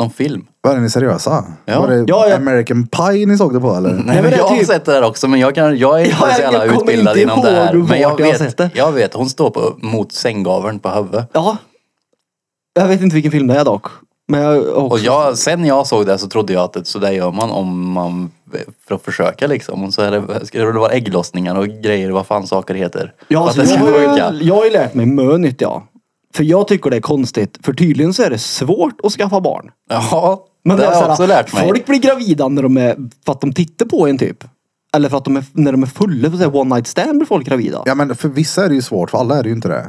[SPEAKER 4] Någon film.
[SPEAKER 2] Vad är ni seriösa?
[SPEAKER 4] Ja.
[SPEAKER 2] Var det
[SPEAKER 1] Ja, ja.
[SPEAKER 2] American Pie ni såg det på eller?
[SPEAKER 4] Nej,
[SPEAKER 1] men
[SPEAKER 4] men
[SPEAKER 1] det är
[SPEAKER 4] jag har
[SPEAKER 1] typ-
[SPEAKER 4] sett det där också men jag, kan, jag är inte
[SPEAKER 1] Ja,
[SPEAKER 4] så jävla
[SPEAKER 1] jag kommer
[SPEAKER 4] utbildad
[SPEAKER 1] inte
[SPEAKER 4] inom det här.
[SPEAKER 1] ihåg
[SPEAKER 4] Men jag
[SPEAKER 1] vart jag har sett
[SPEAKER 4] vet,
[SPEAKER 1] det.
[SPEAKER 4] jag, vet, hon står på, mot sänggaveln på huvudet.
[SPEAKER 1] Ja. Jag vet inte vilken film det är dock. Men jag också...
[SPEAKER 4] Och jag, sen jag såg det så trodde jag att det, så där gör man om man för att försöka liksom. Och så är det, ska det väl vara ägglossningar och grejer, vad fan saker heter.
[SPEAKER 1] Ja,
[SPEAKER 4] För
[SPEAKER 1] alltså,
[SPEAKER 4] att det
[SPEAKER 1] jag,
[SPEAKER 4] ska
[SPEAKER 1] har
[SPEAKER 4] funka.
[SPEAKER 1] ju, jag har ju lärt mig mönigt ja. För jag tycker det är konstigt. För tydligen så är det svårt att skaffa barn.
[SPEAKER 4] Ja,
[SPEAKER 1] Men
[SPEAKER 4] det har
[SPEAKER 1] är så
[SPEAKER 4] jag
[SPEAKER 1] här,
[SPEAKER 4] också lärt mig.
[SPEAKER 1] Folk blir gravida när de är, för att de tittar på en typ. Eller för att de är, när de är fulla, för att säga one night stand blir folk gravida.
[SPEAKER 2] Ja men för vissa är det ju svårt, för alla är det ju inte det.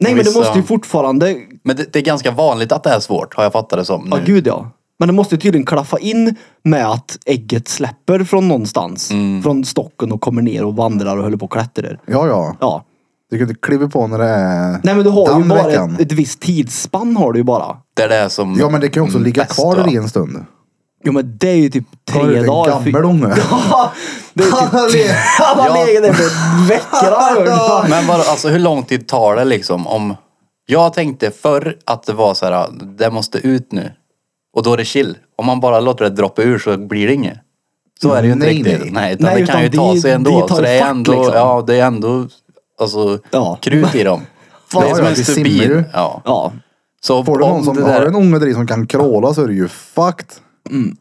[SPEAKER 1] Nej men det
[SPEAKER 4] vissa-
[SPEAKER 1] måste ju fortfarande
[SPEAKER 4] Men det, det är ganska vanligt att det är svårt, har jag fattat det som nu.
[SPEAKER 1] Ja, gud ja. Men det måste ju tydligen klaffa in med att ägget släpper från någonstans. Från stocken och kommer ner och vandrar och håller på och klättrar.
[SPEAKER 2] Ja ja.
[SPEAKER 1] Ja.
[SPEAKER 2] Du kan inte kliva på när det är
[SPEAKER 1] Nej men du har ju
[SPEAKER 2] den
[SPEAKER 1] bara
[SPEAKER 2] veckan.
[SPEAKER 1] ett, ett visst tidsspann har du ju bara.
[SPEAKER 4] Det är det som...
[SPEAKER 2] Ja men det kan ju också
[SPEAKER 4] mm,
[SPEAKER 2] ligga
[SPEAKER 4] bäst,
[SPEAKER 2] kvar
[SPEAKER 4] va?
[SPEAKER 2] där i en stund.
[SPEAKER 1] Jo men det är ju typ
[SPEAKER 2] Har du
[SPEAKER 1] tre
[SPEAKER 2] en
[SPEAKER 1] dagar. fy-
[SPEAKER 2] Gammal unge.
[SPEAKER 1] Ja, det är typ... Han har
[SPEAKER 4] Ja.
[SPEAKER 1] legat där för veckor har jag hört.
[SPEAKER 4] Men vadå, alltså hur lång tid tar det liksom om... Jag tänkte förr att det var så här, "Ah, det måste ut nu. Och då är det chill. Om man bara låter det droppa ur så blir det inget. Så är det ju inte
[SPEAKER 2] Nej,
[SPEAKER 4] riktigt.
[SPEAKER 2] nej.
[SPEAKER 4] Nej, utan
[SPEAKER 1] Nej,
[SPEAKER 4] det kan
[SPEAKER 1] utan
[SPEAKER 4] ju ta
[SPEAKER 1] det-
[SPEAKER 4] sig ändå.
[SPEAKER 1] det tar
[SPEAKER 4] så det är
[SPEAKER 1] fart,
[SPEAKER 4] ändå,
[SPEAKER 1] liksom.
[SPEAKER 4] ja det är ändå, alltså
[SPEAKER 1] Ja.
[SPEAKER 4] krut i dem. Det
[SPEAKER 2] Ja,
[SPEAKER 4] är som
[SPEAKER 2] ja,
[SPEAKER 4] en
[SPEAKER 2] det simmar
[SPEAKER 4] stubin.
[SPEAKER 2] ju.
[SPEAKER 4] Ja.
[SPEAKER 1] Ja.
[SPEAKER 4] Så
[SPEAKER 2] Får du
[SPEAKER 4] om
[SPEAKER 2] någon som
[SPEAKER 4] det,
[SPEAKER 2] har
[SPEAKER 4] där,
[SPEAKER 2] en unge där i som kan kråla så är det ju fucked.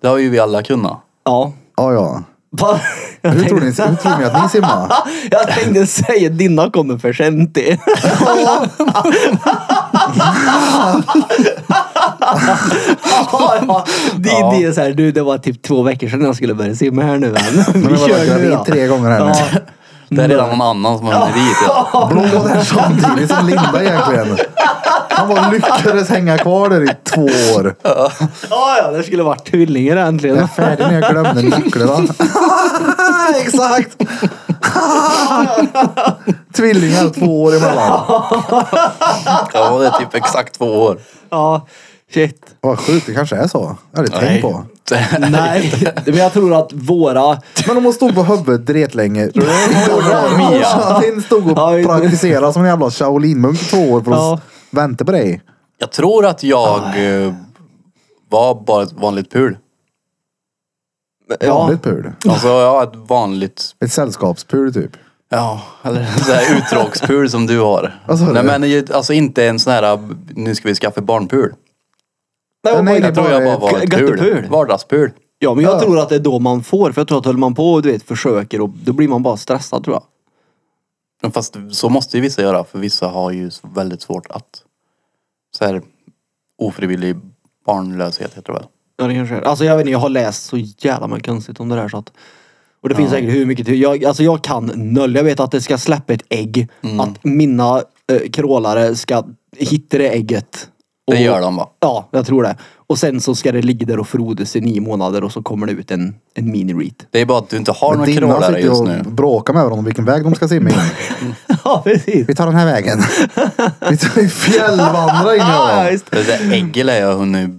[SPEAKER 4] det har ju vi alla kunnat.
[SPEAKER 1] Ja.
[SPEAKER 2] Ja, ja.
[SPEAKER 1] Va? Jag
[SPEAKER 2] Hur tror, ni,
[SPEAKER 1] tänkte-
[SPEAKER 2] hur tror ni att ni simmar?
[SPEAKER 1] Jag tänkte säga dina kommer för sent. det. ja, det, det är så här, du, det var typ två veckor sedan jag skulle börja simma här nu. Men
[SPEAKER 2] Men
[SPEAKER 1] vi
[SPEAKER 2] vadå,
[SPEAKER 1] kör
[SPEAKER 2] jag
[SPEAKER 1] nu
[SPEAKER 2] vet
[SPEAKER 1] då.
[SPEAKER 2] tre gånger här nu.
[SPEAKER 1] Ja.
[SPEAKER 4] Det är redan någon annan som har hunnit dit. Ja.
[SPEAKER 2] Blå där samtidigt som Linda egentligen. Han bara lyckades hänga kvar där i två år.
[SPEAKER 1] Ja, ja, det skulle varit tvillingar
[SPEAKER 2] Jag är
[SPEAKER 1] äntligen.
[SPEAKER 2] färdig när jag glömde nycklarna. Exakt! Tvillingar två år emellan.
[SPEAKER 4] ja, det är typ exakt två år.
[SPEAKER 1] Ja, shit.
[SPEAKER 2] Vad sjukt, det kanske är så. Jag hade tänkt på.
[SPEAKER 1] Nej, men jag tror att våra...
[SPEAKER 2] Men om hon stod på huvudet dretlänge.
[SPEAKER 4] Mia.
[SPEAKER 2] Hon stod och
[SPEAKER 1] Ja, vi-
[SPEAKER 2] praktiserade som en jävla Shaolin-munk i två år för att
[SPEAKER 1] Ja.
[SPEAKER 2] vänta på dig.
[SPEAKER 4] Jag tror att jag eh, var bara ett vanligt pul.
[SPEAKER 1] Ja,
[SPEAKER 2] Vanligt pul.
[SPEAKER 4] Alltså jag har ett vanligt,
[SPEAKER 2] Ett sällskapspul typ.
[SPEAKER 4] ja, eller en sån här uttråkspul som du har.
[SPEAKER 2] Alltså,
[SPEAKER 4] Nej
[SPEAKER 2] det-
[SPEAKER 4] men ju- alltså inte en sån här, nu ska vi skaffa barnpul.
[SPEAKER 1] Nej,
[SPEAKER 2] Nej,
[SPEAKER 1] nej,
[SPEAKER 2] det
[SPEAKER 4] Jag tror
[SPEAKER 2] bara
[SPEAKER 4] jag bara
[SPEAKER 2] ett
[SPEAKER 4] var ett
[SPEAKER 1] göttepul.
[SPEAKER 4] pul. Vardagspul.
[SPEAKER 1] ja, men jag tror att det är då man får. För jag tror att håller man på och du vet försöker och då blir man bara stressad tror jag.
[SPEAKER 4] Men Fast så måste ju vissa göra för vissa har ju s- väldigt svårt att så här ofrivillig barnlöshet heter det väl?
[SPEAKER 1] Ja det kanske är. Alltså jag vet inte, jag har läst så jävla mycket konstigt om det där så att. Och det finns säkert hur mycket till. Jag, alltså jag kan noll. Jag vet att det ska släppa ett ägg.
[SPEAKER 4] Mm.
[SPEAKER 1] Att mina eh, krålare ska hitta det ägget.
[SPEAKER 4] Det gör de va?
[SPEAKER 1] Ja, jag tror det. Och sen så ska det ligga där och frodas i nio månader och så kommer det ut en, en mini-reet.
[SPEAKER 4] Det är bara att du inte har
[SPEAKER 2] Men
[SPEAKER 4] någon
[SPEAKER 2] Dina
[SPEAKER 4] krålare
[SPEAKER 2] sitter ju
[SPEAKER 4] just nu.
[SPEAKER 2] och bråkar med varandra om vilken väg de ska simma in.
[SPEAKER 1] ja, precis.
[SPEAKER 2] Vi tar den här vägen. Vi tar vi fjällvandrar in i
[SPEAKER 1] Ja,
[SPEAKER 2] varandra.
[SPEAKER 1] just.
[SPEAKER 4] Det där ägget lär jag hunnit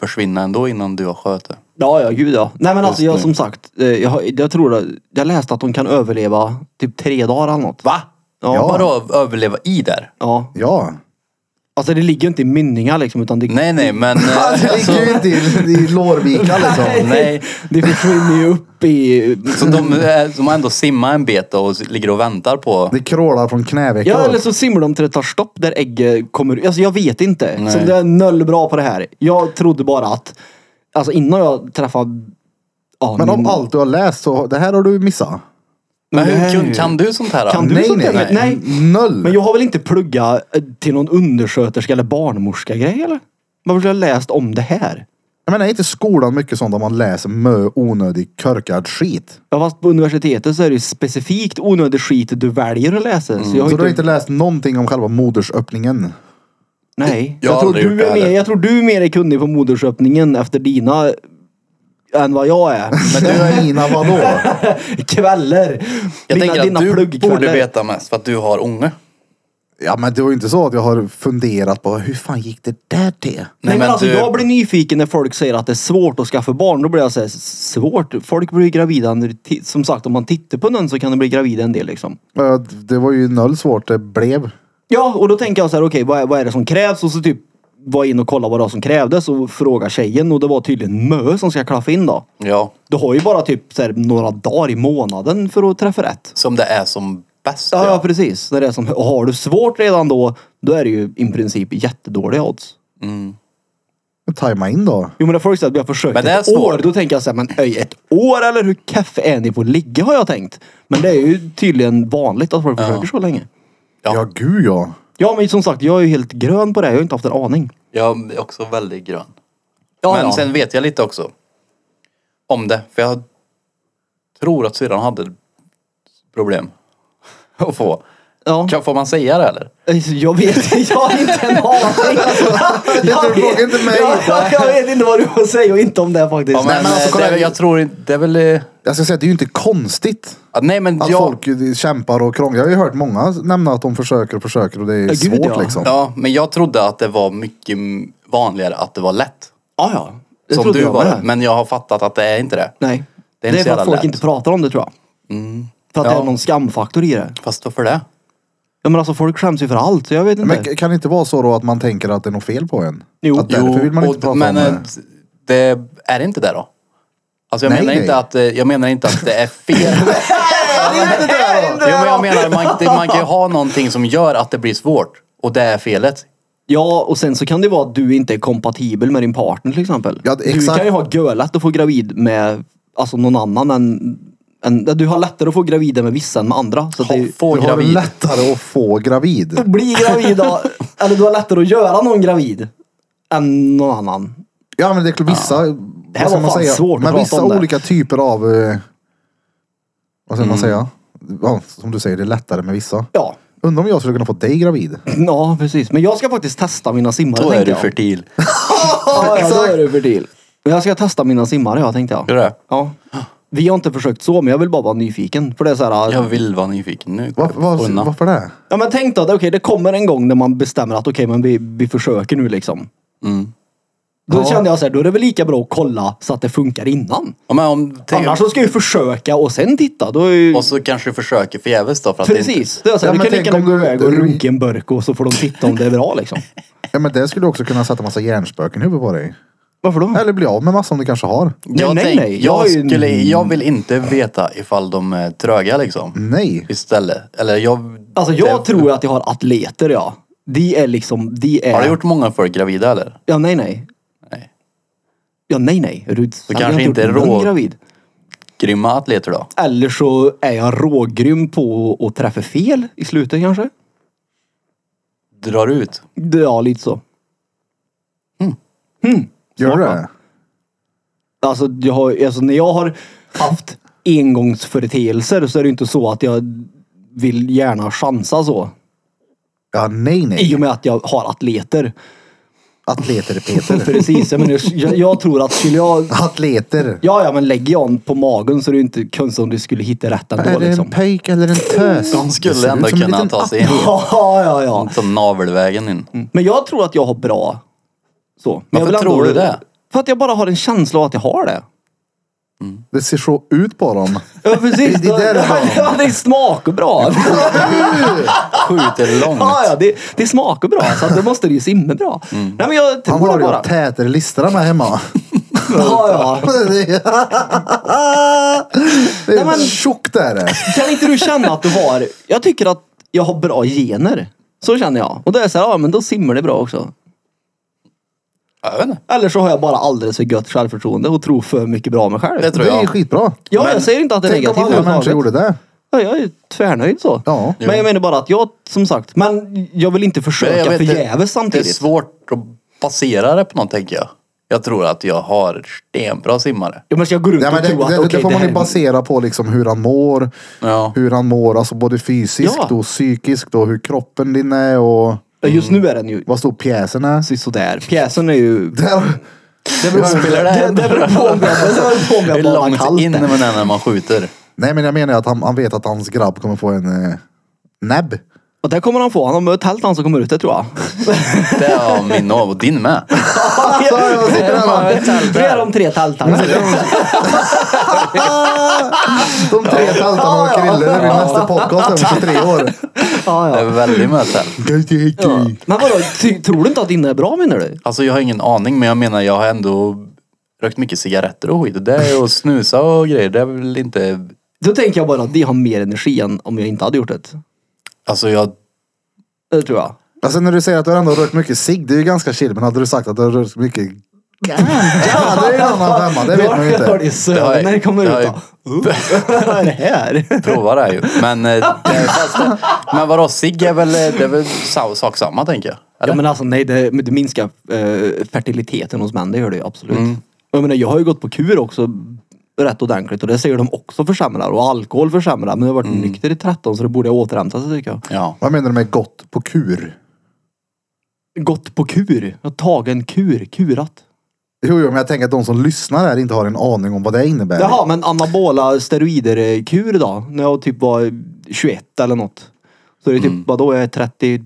[SPEAKER 4] försvinna ändå innan du har skött det.
[SPEAKER 1] ja, ja, gud ja. Nej men alltså jag
[SPEAKER 4] nu.
[SPEAKER 1] som sagt, eh, jag, har- jag tror det, jag läste att de kan överleva typ tre dagar eller något.
[SPEAKER 4] Va?
[SPEAKER 1] Ja.
[SPEAKER 4] Ja. Bara överleva i där?
[SPEAKER 1] Ja.
[SPEAKER 2] Ja.
[SPEAKER 1] Alltså det ligger ju inte i mynningar liksom utan det
[SPEAKER 4] Nej nej men... eh,
[SPEAKER 2] Det
[SPEAKER 4] alltså,
[SPEAKER 2] ligger ju inte i, i Lårvika liksom.
[SPEAKER 4] nej.
[SPEAKER 1] Det försvinner ju upp i...
[SPEAKER 4] Så de, eh, de har ändå simmat en bit och s- ligger och väntar på...
[SPEAKER 2] Det krålar från knävecken.
[SPEAKER 1] Ja eller så simmar de till det tar stopp där ägget kommer ut. Alltså jag vet inte.
[SPEAKER 4] Nej.
[SPEAKER 1] Så det är noll bra på det här. Jag trodde bara att... Alltså innan jag träffade... Ja,
[SPEAKER 2] Men om
[SPEAKER 1] min-
[SPEAKER 2] allt du har läst så, det här har du missat.
[SPEAKER 4] Men hur
[SPEAKER 1] Nej.
[SPEAKER 4] kan, kan du sånt här? då?
[SPEAKER 1] Kan du
[SPEAKER 2] nej,
[SPEAKER 1] sånt
[SPEAKER 2] nej,
[SPEAKER 1] där?
[SPEAKER 2] nej.
[SPEAKER 1] Nej.
[SPEAKER 2] Noll.
[SPEAKER 1] Men jag har väl inte pluggat eh, till någon undersköterska eller barnmorska grej eller? Man borde ha läst om det här.
[SPEAKER 2] Jag menar, är inte skolan mycket sånt där man läser mö onödig körkad skit?
[SPEAKER 1] Ja, fast på universitetet så är det ju specifikt onödig skit du väljer att läsa.
[SPEAKER 4] Mm.
[SPEAKER 1] Så jag har
[SPEAKER 2] Så
[SPEAKER 1] inte...
[SPEAKER 2] du har inte läst någonting om själva modersöppningen?
[SPEAKER 1] Nej.
[SPEAKER 4] Jag
[SPEAKER 1] Jag,
[SPEAKER 4] har
[SPEAKER 1] tror
[SPEAKER 4] aldrig
[SPEAKER 1] du
[SPEAKER 4] gjort det
[SPEAKER 1] är mer,
[SPEAKER 4] heller.
[SPEAKER 1] jag tror du är mer kunnig på modersöppningen efter dina... Än vad jag är.
[SPEAKER 2] Men du... Mina vadå?
[SPEAKER 1] Kvällar.
[SPEAKER 4] Jag
[SPEAKER 1] dina
[SPEAKER 4] tänker
[SPEAKER 1] dina
[SPEAKER 4] att du
[SPEAKER 1] pluggkvällar.
[SPEAKER 4] borde veta mest för att du har unge.
[SPEAKER 2] Ja men det var ju inte så att jag har funderat på hur fan gick det där till?
[SPEAKER 1] Nej, men,
[SPEAKER 4] men
[SPEAKER 1] alltså
[SPEAKER 4] du-
[SPEAKER 1] jag blir nyfiken när folk säger att det är svårt att skaffa barn. Då blir jag såhär, svårt? Folk blir ju gravida. när det ti- Som sagt, om man tittar på någon så kan de bli gravida en del liksom.
[SPEAKER 2] Ja, Det var ju noll svårt det blev.
[SPEAKER 1] Ja, och då tänker jag så här, okej, vad, är- vad är det som krävs? Och så typ var in och kolla vad det var som krävdes och fråga tjejen. Och det var tydligen mö som ska klaffa in då.
[SPEAKER 4] Ja.
[SPEAKER 1] Du har ju bara typ så här, några dagar i månaden för att träffa rätt.
[SPEAKER 4] Som det är som bäst.
[SPEAKER 1] Ja, ja
[SPEAKER 4] Ja.
[SPEAKER 1] precis. När det är som, och har du svårt redan då, då är det ju i princip jättedåliga odds.
[SPEAKER 2] Men Tajma in då.
[SPEAKER 1] Jo men när folk säger att vi har försökt
[SPEAKER 4] Men det är
[SPEAKER 1] ett år,
[SPEAKER 4] svårt.
[SPEAKER 1] då tänker jag såhär, men öj, ett år eller hur kaffe är ni på att ligga har jag tänkt. Men det är ju tydligen vanligt att folk försöker så länge.
[SPEAKER 4] Ja.
[SPEAKER 2] Ja gud ja.
[SPEAKER 1] Ja men som sagt, jag är ju helt grön på det, jag har ju inte haft en aning.
[SPEAKER 4] Jag är också väldigt grön.
[SPEAKER 1] Ja,
[SPEAKER 4] men
[SPEAKER 1] ja.
[SPEAKER 4] sen vet jag lite också. Om det. För jag tror att syrran hade problem. Att få.
[SPEAKER 1] Ja.
[SPEAKER 4] Kan, får man säga det eller?
[SPEAKER 1] Alltså, Jag vet jag har inte en aning. alltså.
[SPEAKER 2] du frågar inte mig.
[SPEAKER 1] Jag, jag vet inte vad du får säga och inte om det här faktiskt.
[SPEAKER 4] Ja, men,
[SPEAKER 2] men alltså,
[SPEAKER 4] eh,
[SPEAKER 2] kolla
[SPEAKER 4] det,
[SPEAKER 2] här.
[SPEAKER 4] jag tror inte, det är väl... eh,
[SPEAKER 2] Jag ska säga att det är ju inte konstigt
[SPEAKER 4] att- Nej men
[SPEAKER 2] att
[SPEAKER 4] jag...
[SPEAKER 2] folk kämpar och krånglar. Jag har ju hört många nämna att de försöker och försöker och det är
[SPEAKER 1] Ja, gud,
[SPEAKER 2] svårt
[SPEAKER 1] ja.
[SPEAKER 2] liksom.
[SPEAKER 4] Ja, men jag trodde att det var mycket m- vanligare att det var lätt.
[SPEAKER 1] ja, ja. Det
[SPEAKER 4] som
[SPEAKER 1] trodde
[SPEAKER 4] du
[SPEAKER 1] jag
[SPEAKER 4] var.
[SPEAKER 1] med.
[SPEAKER 4] det. Men jag har fattat att det är inte det.
[SPEAKER 1] Nej. Det
[SPEAKER 4] Det är
[SPEAKER 1] är,
[SPEAKER 4] inte så
[SPEAKER 1] för att
[SPEAKER 4] jävla
[SPEAKER 1] folk
[SPEAKER 4] lätt. Mm.
[SPEAKER 1] inte pratar om det tror jag. För att det
[SPEAKER 4] Ja.
[SPEAKER 1] är någon skamfaktor i det.
[SPEAKER 4] Fast varför det?
[SPEAKER 1] Ja men alltså folk skäms ju för allt, så jag vet inte.
[SPEAKER 2] Men k- kan det inte vara så då att man tänker att det är något fel på en?
[SPEAKER 1] Jo.
[SPEAKER 2] Att därför vill man inte
[SPEAKER 4] och-
[SPEAKER 2] prata
[SPEAKER 4] men
[SPEAKER 2] om det.
[SPEAKER 4] eh, det är det inte det då? Alltså jag,
[SPEAKER 2] Nej,
[SPEAKER 4] menar
[SPEAKER 2] nej.
[SPEAKER 4] Inte att, eh, jag menar inte att det är fel. jo, men jag menar man, det, man kan ju ha någonting som gör att det blir svårt. Och det är felet.
[SPEAKER 1] Ja, och sen så kan det vara att du inte är kompatibel med din partner till exempel.
[SPEAKER 2] Ja,
[SPEAKER 1] du
[SPEAKER 2] exakt.
[SPEAKER 1] kan ju ha gölat att få gravid med alltså, någon annan än, än... Du har lättare att få gravida med vissa än med andra. Så att det är ju-
[SPEAKER 4] Få
[SPEAKER 2] Du har det
[SPEAKER 4] gravid.
[SPEAKER 2] lättare att få gravid.
[SPEAKER 1] bli gravid då, eller du har lättare att göra någon gravid än någon annan.
[SPEAKER 2] Ja men det är klart, vissa,
[SPEAKER 1] här
[SPEAKER 2] vad ska
[SPEAKER 1] var
[SPEAKER 2] man
[SPEAKER 1] fan
[SPEAKER 2] säga?
[SPEAKER 1] svårt att
[SPEAKER 2] men
[SPEAKER 1] prata
[SPEAKER 2] vissa
[SPEAKER 1] om det.
[SPEAKER 2] olika typer av, eh, vad ska
[SPEAKER 1] Mm.
[SPEAKER 2] man säga? Ja, som du säger, det är lättare med vissa.
[SPEAKER 1] Ja.
[SPEAKER 2] Undrar om jag skulle kunna få dig gravid?
[SPEAKER 1] ja, precis. Men jag ska faktiskt testa mina simmare.
[SPEAKER 4] Då är
[SPEAKER 1] tänkte
[SPEAKER 4] du
[SPEAKER 1] jag.
[SPEAKER 4] fertil.
[SPEAKER 1] Ja, ja, då är du fertil. Men Jag ska testa mina simmare, ja, tänkte jag.
[SPEAKER 4] Gör det?
[SPEAKER 1] Ja. Vi har inte försökt så, men jag vill bara vara nyfiken. För det är så här,
[SPEAKER 4] Jag vill vara nyfiken nu.
[SPEAKER 2] Va, va,
[SPEAKER 4] Unna.
[SPEAKER 2] varför det?
[SPEAKER 1] Ja men tänk då, att, okej det kommer en gång när man bestämmer att okej men vi, vi försöker nu liksom.
[SPEAKER 4] Mm.
[SPEAKER 1] Då
[SPEAKER 2] Ja.
[SPEAKER 1] kände jag så här, då är det väl lika bra att kolla så att det funkar innan.
[SPEAKER 4] Ja, men om, tänk,
[SPEAKER 1] Annars så ska jag ju försöka och sen titta. Då är ju...
[SPEAKER 4] Och så kanske du försöker förgäves då. För att Det inte,
[SPEAKER 1] Precis. Det är så här,
[SPEAKER 2] Ja,
[SPEAKER 1] du
[SPEAKER 2] men
[SPEAKER 1] kan lika
[SPEAKER 2] tänk
[SPEAKER 1] gärna
[SPEAKER 2] om
[SPEAKER 1] gå
[SPEAKER 2] du-
[SPEAKER 1] iväg och
[SPEAKER 2] du-
[SPEAKER 1] runka en burk och så får de titta om det är bra liksom.
[SPEAKER 2] Ja men det skulle också kunna sätta massa hjärnspöken i huvudet på dig.
[SPEAKER 1] Varför då?
[SPEAKER 2] Eller bli av med massa om du kanske har.
[SPEAKER 4] jag,
[SPEAKER 1] nej,
[SPEAKER 4] tänk,
[SPEAKER 1] nej. Jag har
[SPEAKER 4] Jag,
[SPEAKER 1] ju en-
[SPEAKER 4] skulle, jag vill inte veta ifall de är tröga liksom.
[SPEAKER 2] Nej.
[SPEAKER 4] Istället. Eller jag...
[SPEAKER 1] Alltså jag
[SPEAKER 4] det,
[SPEAKER 1] tror att jag har atleter ja. De är liksom, de är...
[SPEAKER 4] Har du gjort många folk gravida eller?
[SPEAKER 1] Ja nej nej.
[SPEAKER 4] Nej.
[SPEAKER 1] Ja nej nej. Du
[SPEAKER 4] kanske inte är rå-
[SPEAKER 1] gravid.
[SPEAKER 4] Grymma atleter då?
[SPEAKER 1] Eller så är jag rågrym på att träffa fel i slutet kanske.
[SPEAKER 4] Drar ut?
[SPEAKER 1] Ja, lite så.
[SPEAKER 2] Gör det?
[SPEAKER 1] Alltså, jag har, alltså när jag har haft engångsföreteelser så är det inte så att jag vill gärna chansa så.
[SPEAKER 2] Ja nej
[SPEAKER 1] I
[SPEAKER 2] nej.
[SPEAKER 1] och med att jag har atleter.
[SPEAKER 2] Atleter Peter.
[SPEAKER 1] Precis, jag, menar, jag, jag tror att skulle jag...
[SPEAKER 2] Atleter.
[SPEAKER 1] Ja, ja, men lägger jag en på magen så är det ju inte konstigt om du skulle hitta rätt ändå
[SPEAKER 2] Är det
[SPEAKER 1] liksom.
[SPEAKER 2] en pöjk eller en tös?
[SPEAKER 4] De
[SPEAKER 2] Det ser
[SPEAKER 4] skulle
[SPEAKER 2] ut
[SPEAKER 4] ändå
[SPEAKER 2] som en
[SPEAKER 4] kunna
[SPEAKER 2] liten
[SPEAKER 4] ta sig in.
[SPEAKER 1] Ja, ja, ja.
[SPEAKER 4] Som navelvägen in.
[SPEAKER 1] Men jag tror att jag har bra... Så. Men jag
[SPEAKER 4] Varför
[SPEAKER 1] vill ändå-
[SPEAKER 4] tror du det?
[SPEAKER 1] För att jag bara har en känsla av att jag har det.
[SPEAKER 2] Det ser så ut på dem.
[SPEAKER 1] Ja, precis.
[SPEAKER 2] Det är det där det var.
[SPEAKER 1] Ja, det smakar bra.
[SPEAKER 4] Skjuter långt.
[SPEAKER 1] Ja, ja, det, det smakar bra så att då måste det ju simma bra.
[SPEAKER 4] Mm.
[SPEAKER 1] Nej men jag
[SPEAKER 2] Han
[SPEAKER 1] tror
[SPEAKER 2] har
[SPEAKER 1] det bara.
[SPEAKER 2] ju tätare listorna med hemma.
[SPEAKER 1] Ja, ja.
[SPEAKER 2] Det
[SPEAKER 1] Nej, men-
[SPEAKER 2] är tjockt är det.
[SPEAKER 1] Kan inte du känna att du har, jag tycker att jag har bra gener. Så känner jag. Och då är det så här, ja men då simmar det bra också.
[SPEAKER 4] Jag vet inte.
[SPEAKER 1] Eller så har jag bara alldeles för gött självförtroende och tror för mycket bra om mig själv.
[SPEAKER 4] Det tror
[SPEAKER 2] Det är ju
[SPEAKER 4] jag.
[SPEAKER 2] skitbra.
[SPEAKER 1] Ja, jag säger inte att det är
[SPEAKER 2] Tänk om
[SPEAKER 1] negativt
[SPEAKER 2] alla människor
[SPEAKER 1] överhuvudtaget.
[SPEAKER 2] gjorde det.
[SPEAKER 1] Ja, jag är tvärnöjd så.
[SPEAKER 2] Ja.
[SPEAKER 1] Men jag menar bara att jag, som sagt, men jag vill inte
[SPEAKER 4] Men jag
[SPEAKER 1] försöka
[SPEAKER 4] vet, det-
[SPEAKER 1] förgäves
[SPEAKER 4] Det är
[SPEAKER 1] samtidigt.
[SPEAKER 4] svårt att basera det på något tänker jag. Jag tror att jag har stenbra simmare.
[SPEAKER 1] Ja, men ska jag går runt
[SPEAKER 2] Nej, men
[SPEAKER 1] och
[SPEAKER 2] det,
[SPEAKER 1] tro att
[SPEAKER 2] det,
[SPEAKER 1] okej,
[SPEAKER 2] det får man
[SPEAKER 1] här
[SPEAKER 2] ju
[SPEAKER 1] är-
[SPEAKER 2] basera på liksom hur han mår.
[SPEAKER 4] Ja.
[SPEAKER 2] Hur han mår, alltså både fysiskt
[SPEAKER 1] Ja.
[SPEAKER 2] och psykiskt och hur kroppen din är och
[SPEAKER 1] Ja, Just nu är den ju
[SPEAKER 2] vad stor pjäsen är.
[SPEAKER 1] sådär. Pjäsen är ju
[SPEAKER 2] Där,
[SPEAKER 1] Det beror,
[SPEAKER 4] spelar det
[SPEAKER 1] det, det beror på om jag, det beror på om
[SPEAKER 4] Hur
[SPEAKER 1] jag bara
[SPEAKER 4] långt
[SPEAKER 1] kallt
[SPEAKER 4] in
[SPEAKER 1] det.
[SPEAKER 4] man är när man skjuter.
[SPEAKER 2] nej men jag menar att han, han vet att hans grabb kommer få en eh, näbb.
[SPEAKER 1] Och det kommer han få. Han har ett tält han som kommer ut det tror jag.
[SPEAKER 4] Det är min och och din med.
[SPEAKER 2] Så jag sitter där bara.
[SPEAKER 1] Det är de tre tälthandskarna.
[SPEAKER 2] De tre tältarna och Krille, det blir nästa podcast om 23 år.
[SPEAKER 1] Ja,
[SPEAKER 4] Det
[SPEAKER 1] ja.
[SPEAKER 4] är väldigt med tält.
[SPEAKER 1] Ja. Men vadå, ty- tror du inte att dina är bra menar du?
[SPEAKER 4] Alltså jag har ingen aning men jag menar jag har ändå rökt mycket cigaretter och skit. Det är och snusa och grejer. Det är väl inte...
[SPEAKER 1] Då tänker jag bara att de har mer energi än om jag inte hade gjort det.
[SPEAKER 4] Alltså jag...
[SPEAKER 1] Det tror jag.
[SPEAKER 2] Alltså när du säger att du har ändå rört mycket cigg, det är ju ganska chill. Men hade du sagt att du har rört mycket Ja, det är en annan femma, det vet man ju
[SPEAKER 1] Då har
[SPEAKER 2] inte.
[SPEAKER 1] det
[SPEAKER 4] Det har
[SPEAKER 1] söner
[SPEAKER 4] jag-
[SPEAKER 1] när det kommer
[SPEAKER 4] det har
[SPEAKER 1] ut.
[SPEAKER 4] jag-
[SPEAKER 1] då. Uh, Vad är det här?
[SPEAKER 4] provar det ju. Men, eh, det är fast, men vadå cigg är väl, det är väl sa- sak samma tänker jag.
[SPEAKER 1] Ja men alltså nej, det, men det minskar eh, fertiliteten hos män. Det gör det ju absolut. Jag menar, jag har ju gått på kur också rätt ordentligt och det säger de också försämrar och alkohol försämrar. Men jag har varit nykter i 13 så det borde jag återhämta sig tycker jag.
[SPEAKER 4] Ja.
[SPEAKER 2] Vad menar du med gott på kur?
[SPEAKER 1] Gått på kur. Jag har tagit en kur. Kurat.
[SPEAKER 2] Jo, jo, men jag tänker att de som lyssnar här inte har en aning om vad det innebär.
[SPEAKER 1] Jaha, men anabola steroider-kur då? När jag typ var 21 eller något. Så det är typ, vadå, jag är 30,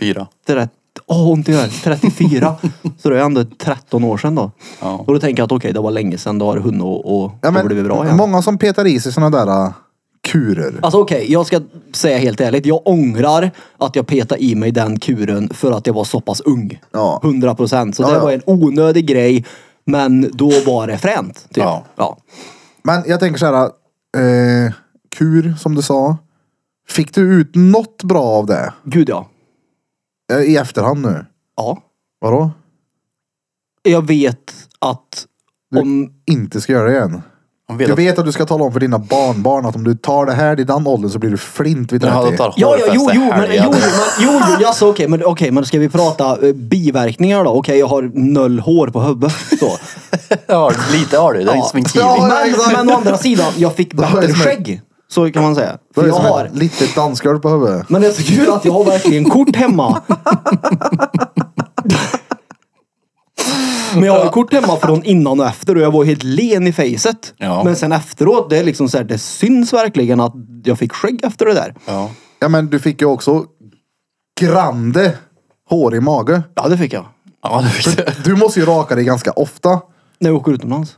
[SPEAKER 4] Fyra.
[SPEAKER 1] 30 åh ont i örat, 34. så det är ändå 13 år sedan då.
[SPEAKER 4] Ja.
[SPEAKER 1] Och då tänker jag att okej, det var länge sedan, då har det hunnit och, och,
[SPEAKER 2] Ja, men
[SPEAKER 1] och blivit bra igen.
[SPEAKER 2] Många som petar i sig sådana där äh, kurer.
[SPEAKER 1] Alltså okej, jag ska säga helt ärligt. Jag ångrar att jag petade i mig den kuren för att jag var så pass ung.
[SPEAKER 2] Ja.
[SPEAKER 1] 100 procent. Så
[SPEAKER 2] Ja,
[SPEAKER 1] det
[SPEAKER 2] ja.
[SPEAKER 1] var en onödig grej. Men då var det fränt. Typ.
[SPEAKER 4] Ja.
[SPEAKER 1] Ja.
[SPEAKER 2] Men jag tänker så här. Eh, kur, som du sa. Fick du ut något bra av det?
[SPEAKER 1] Gud ja.
[SPEAKER 2] Eh, I efterhand nu.
[SPEAKER 1] Ja.
[SPEAKER 2] Vadå?
[SPEAKER 1] Jag vet att om...
[SPEAKER 2] Inte ska göra det igen.
[SPEAKER 4] Hon
[SPEAKER 2] Du
[SPEAKER 4] vet
[SPEAKER 2] vet att du ska tala om för dina barnbarn att om du tar det här i den åldern så blir du flint vid 30.
[SPEAKER 4] att de tar
[SPEAKER 1] Ja, ja,
[SPEAKER 4] hårfäste
[SPEAKER 1] jo, jo, men, jo,
[SPEAKER 4] helgade.
[SPEAKER 1] jo, men, jo, jo, jaså, okej, men, okej, men ska vi prata eh, biverkningar då? Okej, jag har noll hår på huvudet. Så.
[SPEAKER 4] Ja, lite har du. Det är inte som en kiwi.
[SPEAKER 2] Ja,
[SPEAKER 1] Men,
[SPEAKER 2] exakt.
[SPEAKER 1] men å andra sidan, jag fick
[SPEAKER 2] är det
[SPEAKER 1] bättre
[SPEAKER 2] som är-
[SPEAKER 1] skägg. Så kan man säga.
[SPEAKER 2] Då
[SPEAKER 1] För
[SPEAKER 2] är det
[SPEAKER 1] jag
[SPEAKER 2] som ett
[SPEAKER 1] har.
[SPEAKER 2] litet dansgolv på huvudet.
[SPEAKER 1] Men det är så kul att jag har verkligen kort hemma. Men jag har ju kort hemma från innan och efter och jag var helt len i fejset.
[SPEAKER 4] Ja.
[SPEAKER 1] Men sen efteråt, det är liksom så här, det syns verkligen att jag fick skägg efter det där.
[SPEAKER 4] Ja.
[SPEAKER 2] Ja men du fick ju också grande hår i mage.
[SPEAKER 1] Ja, det fick jag.
[SPEAKER 4] Ja, det fick du.
[SPEAKER 2] Du måste ju raka dig ganska ofta.
[SPEAKER 1] När jag åker utomlands.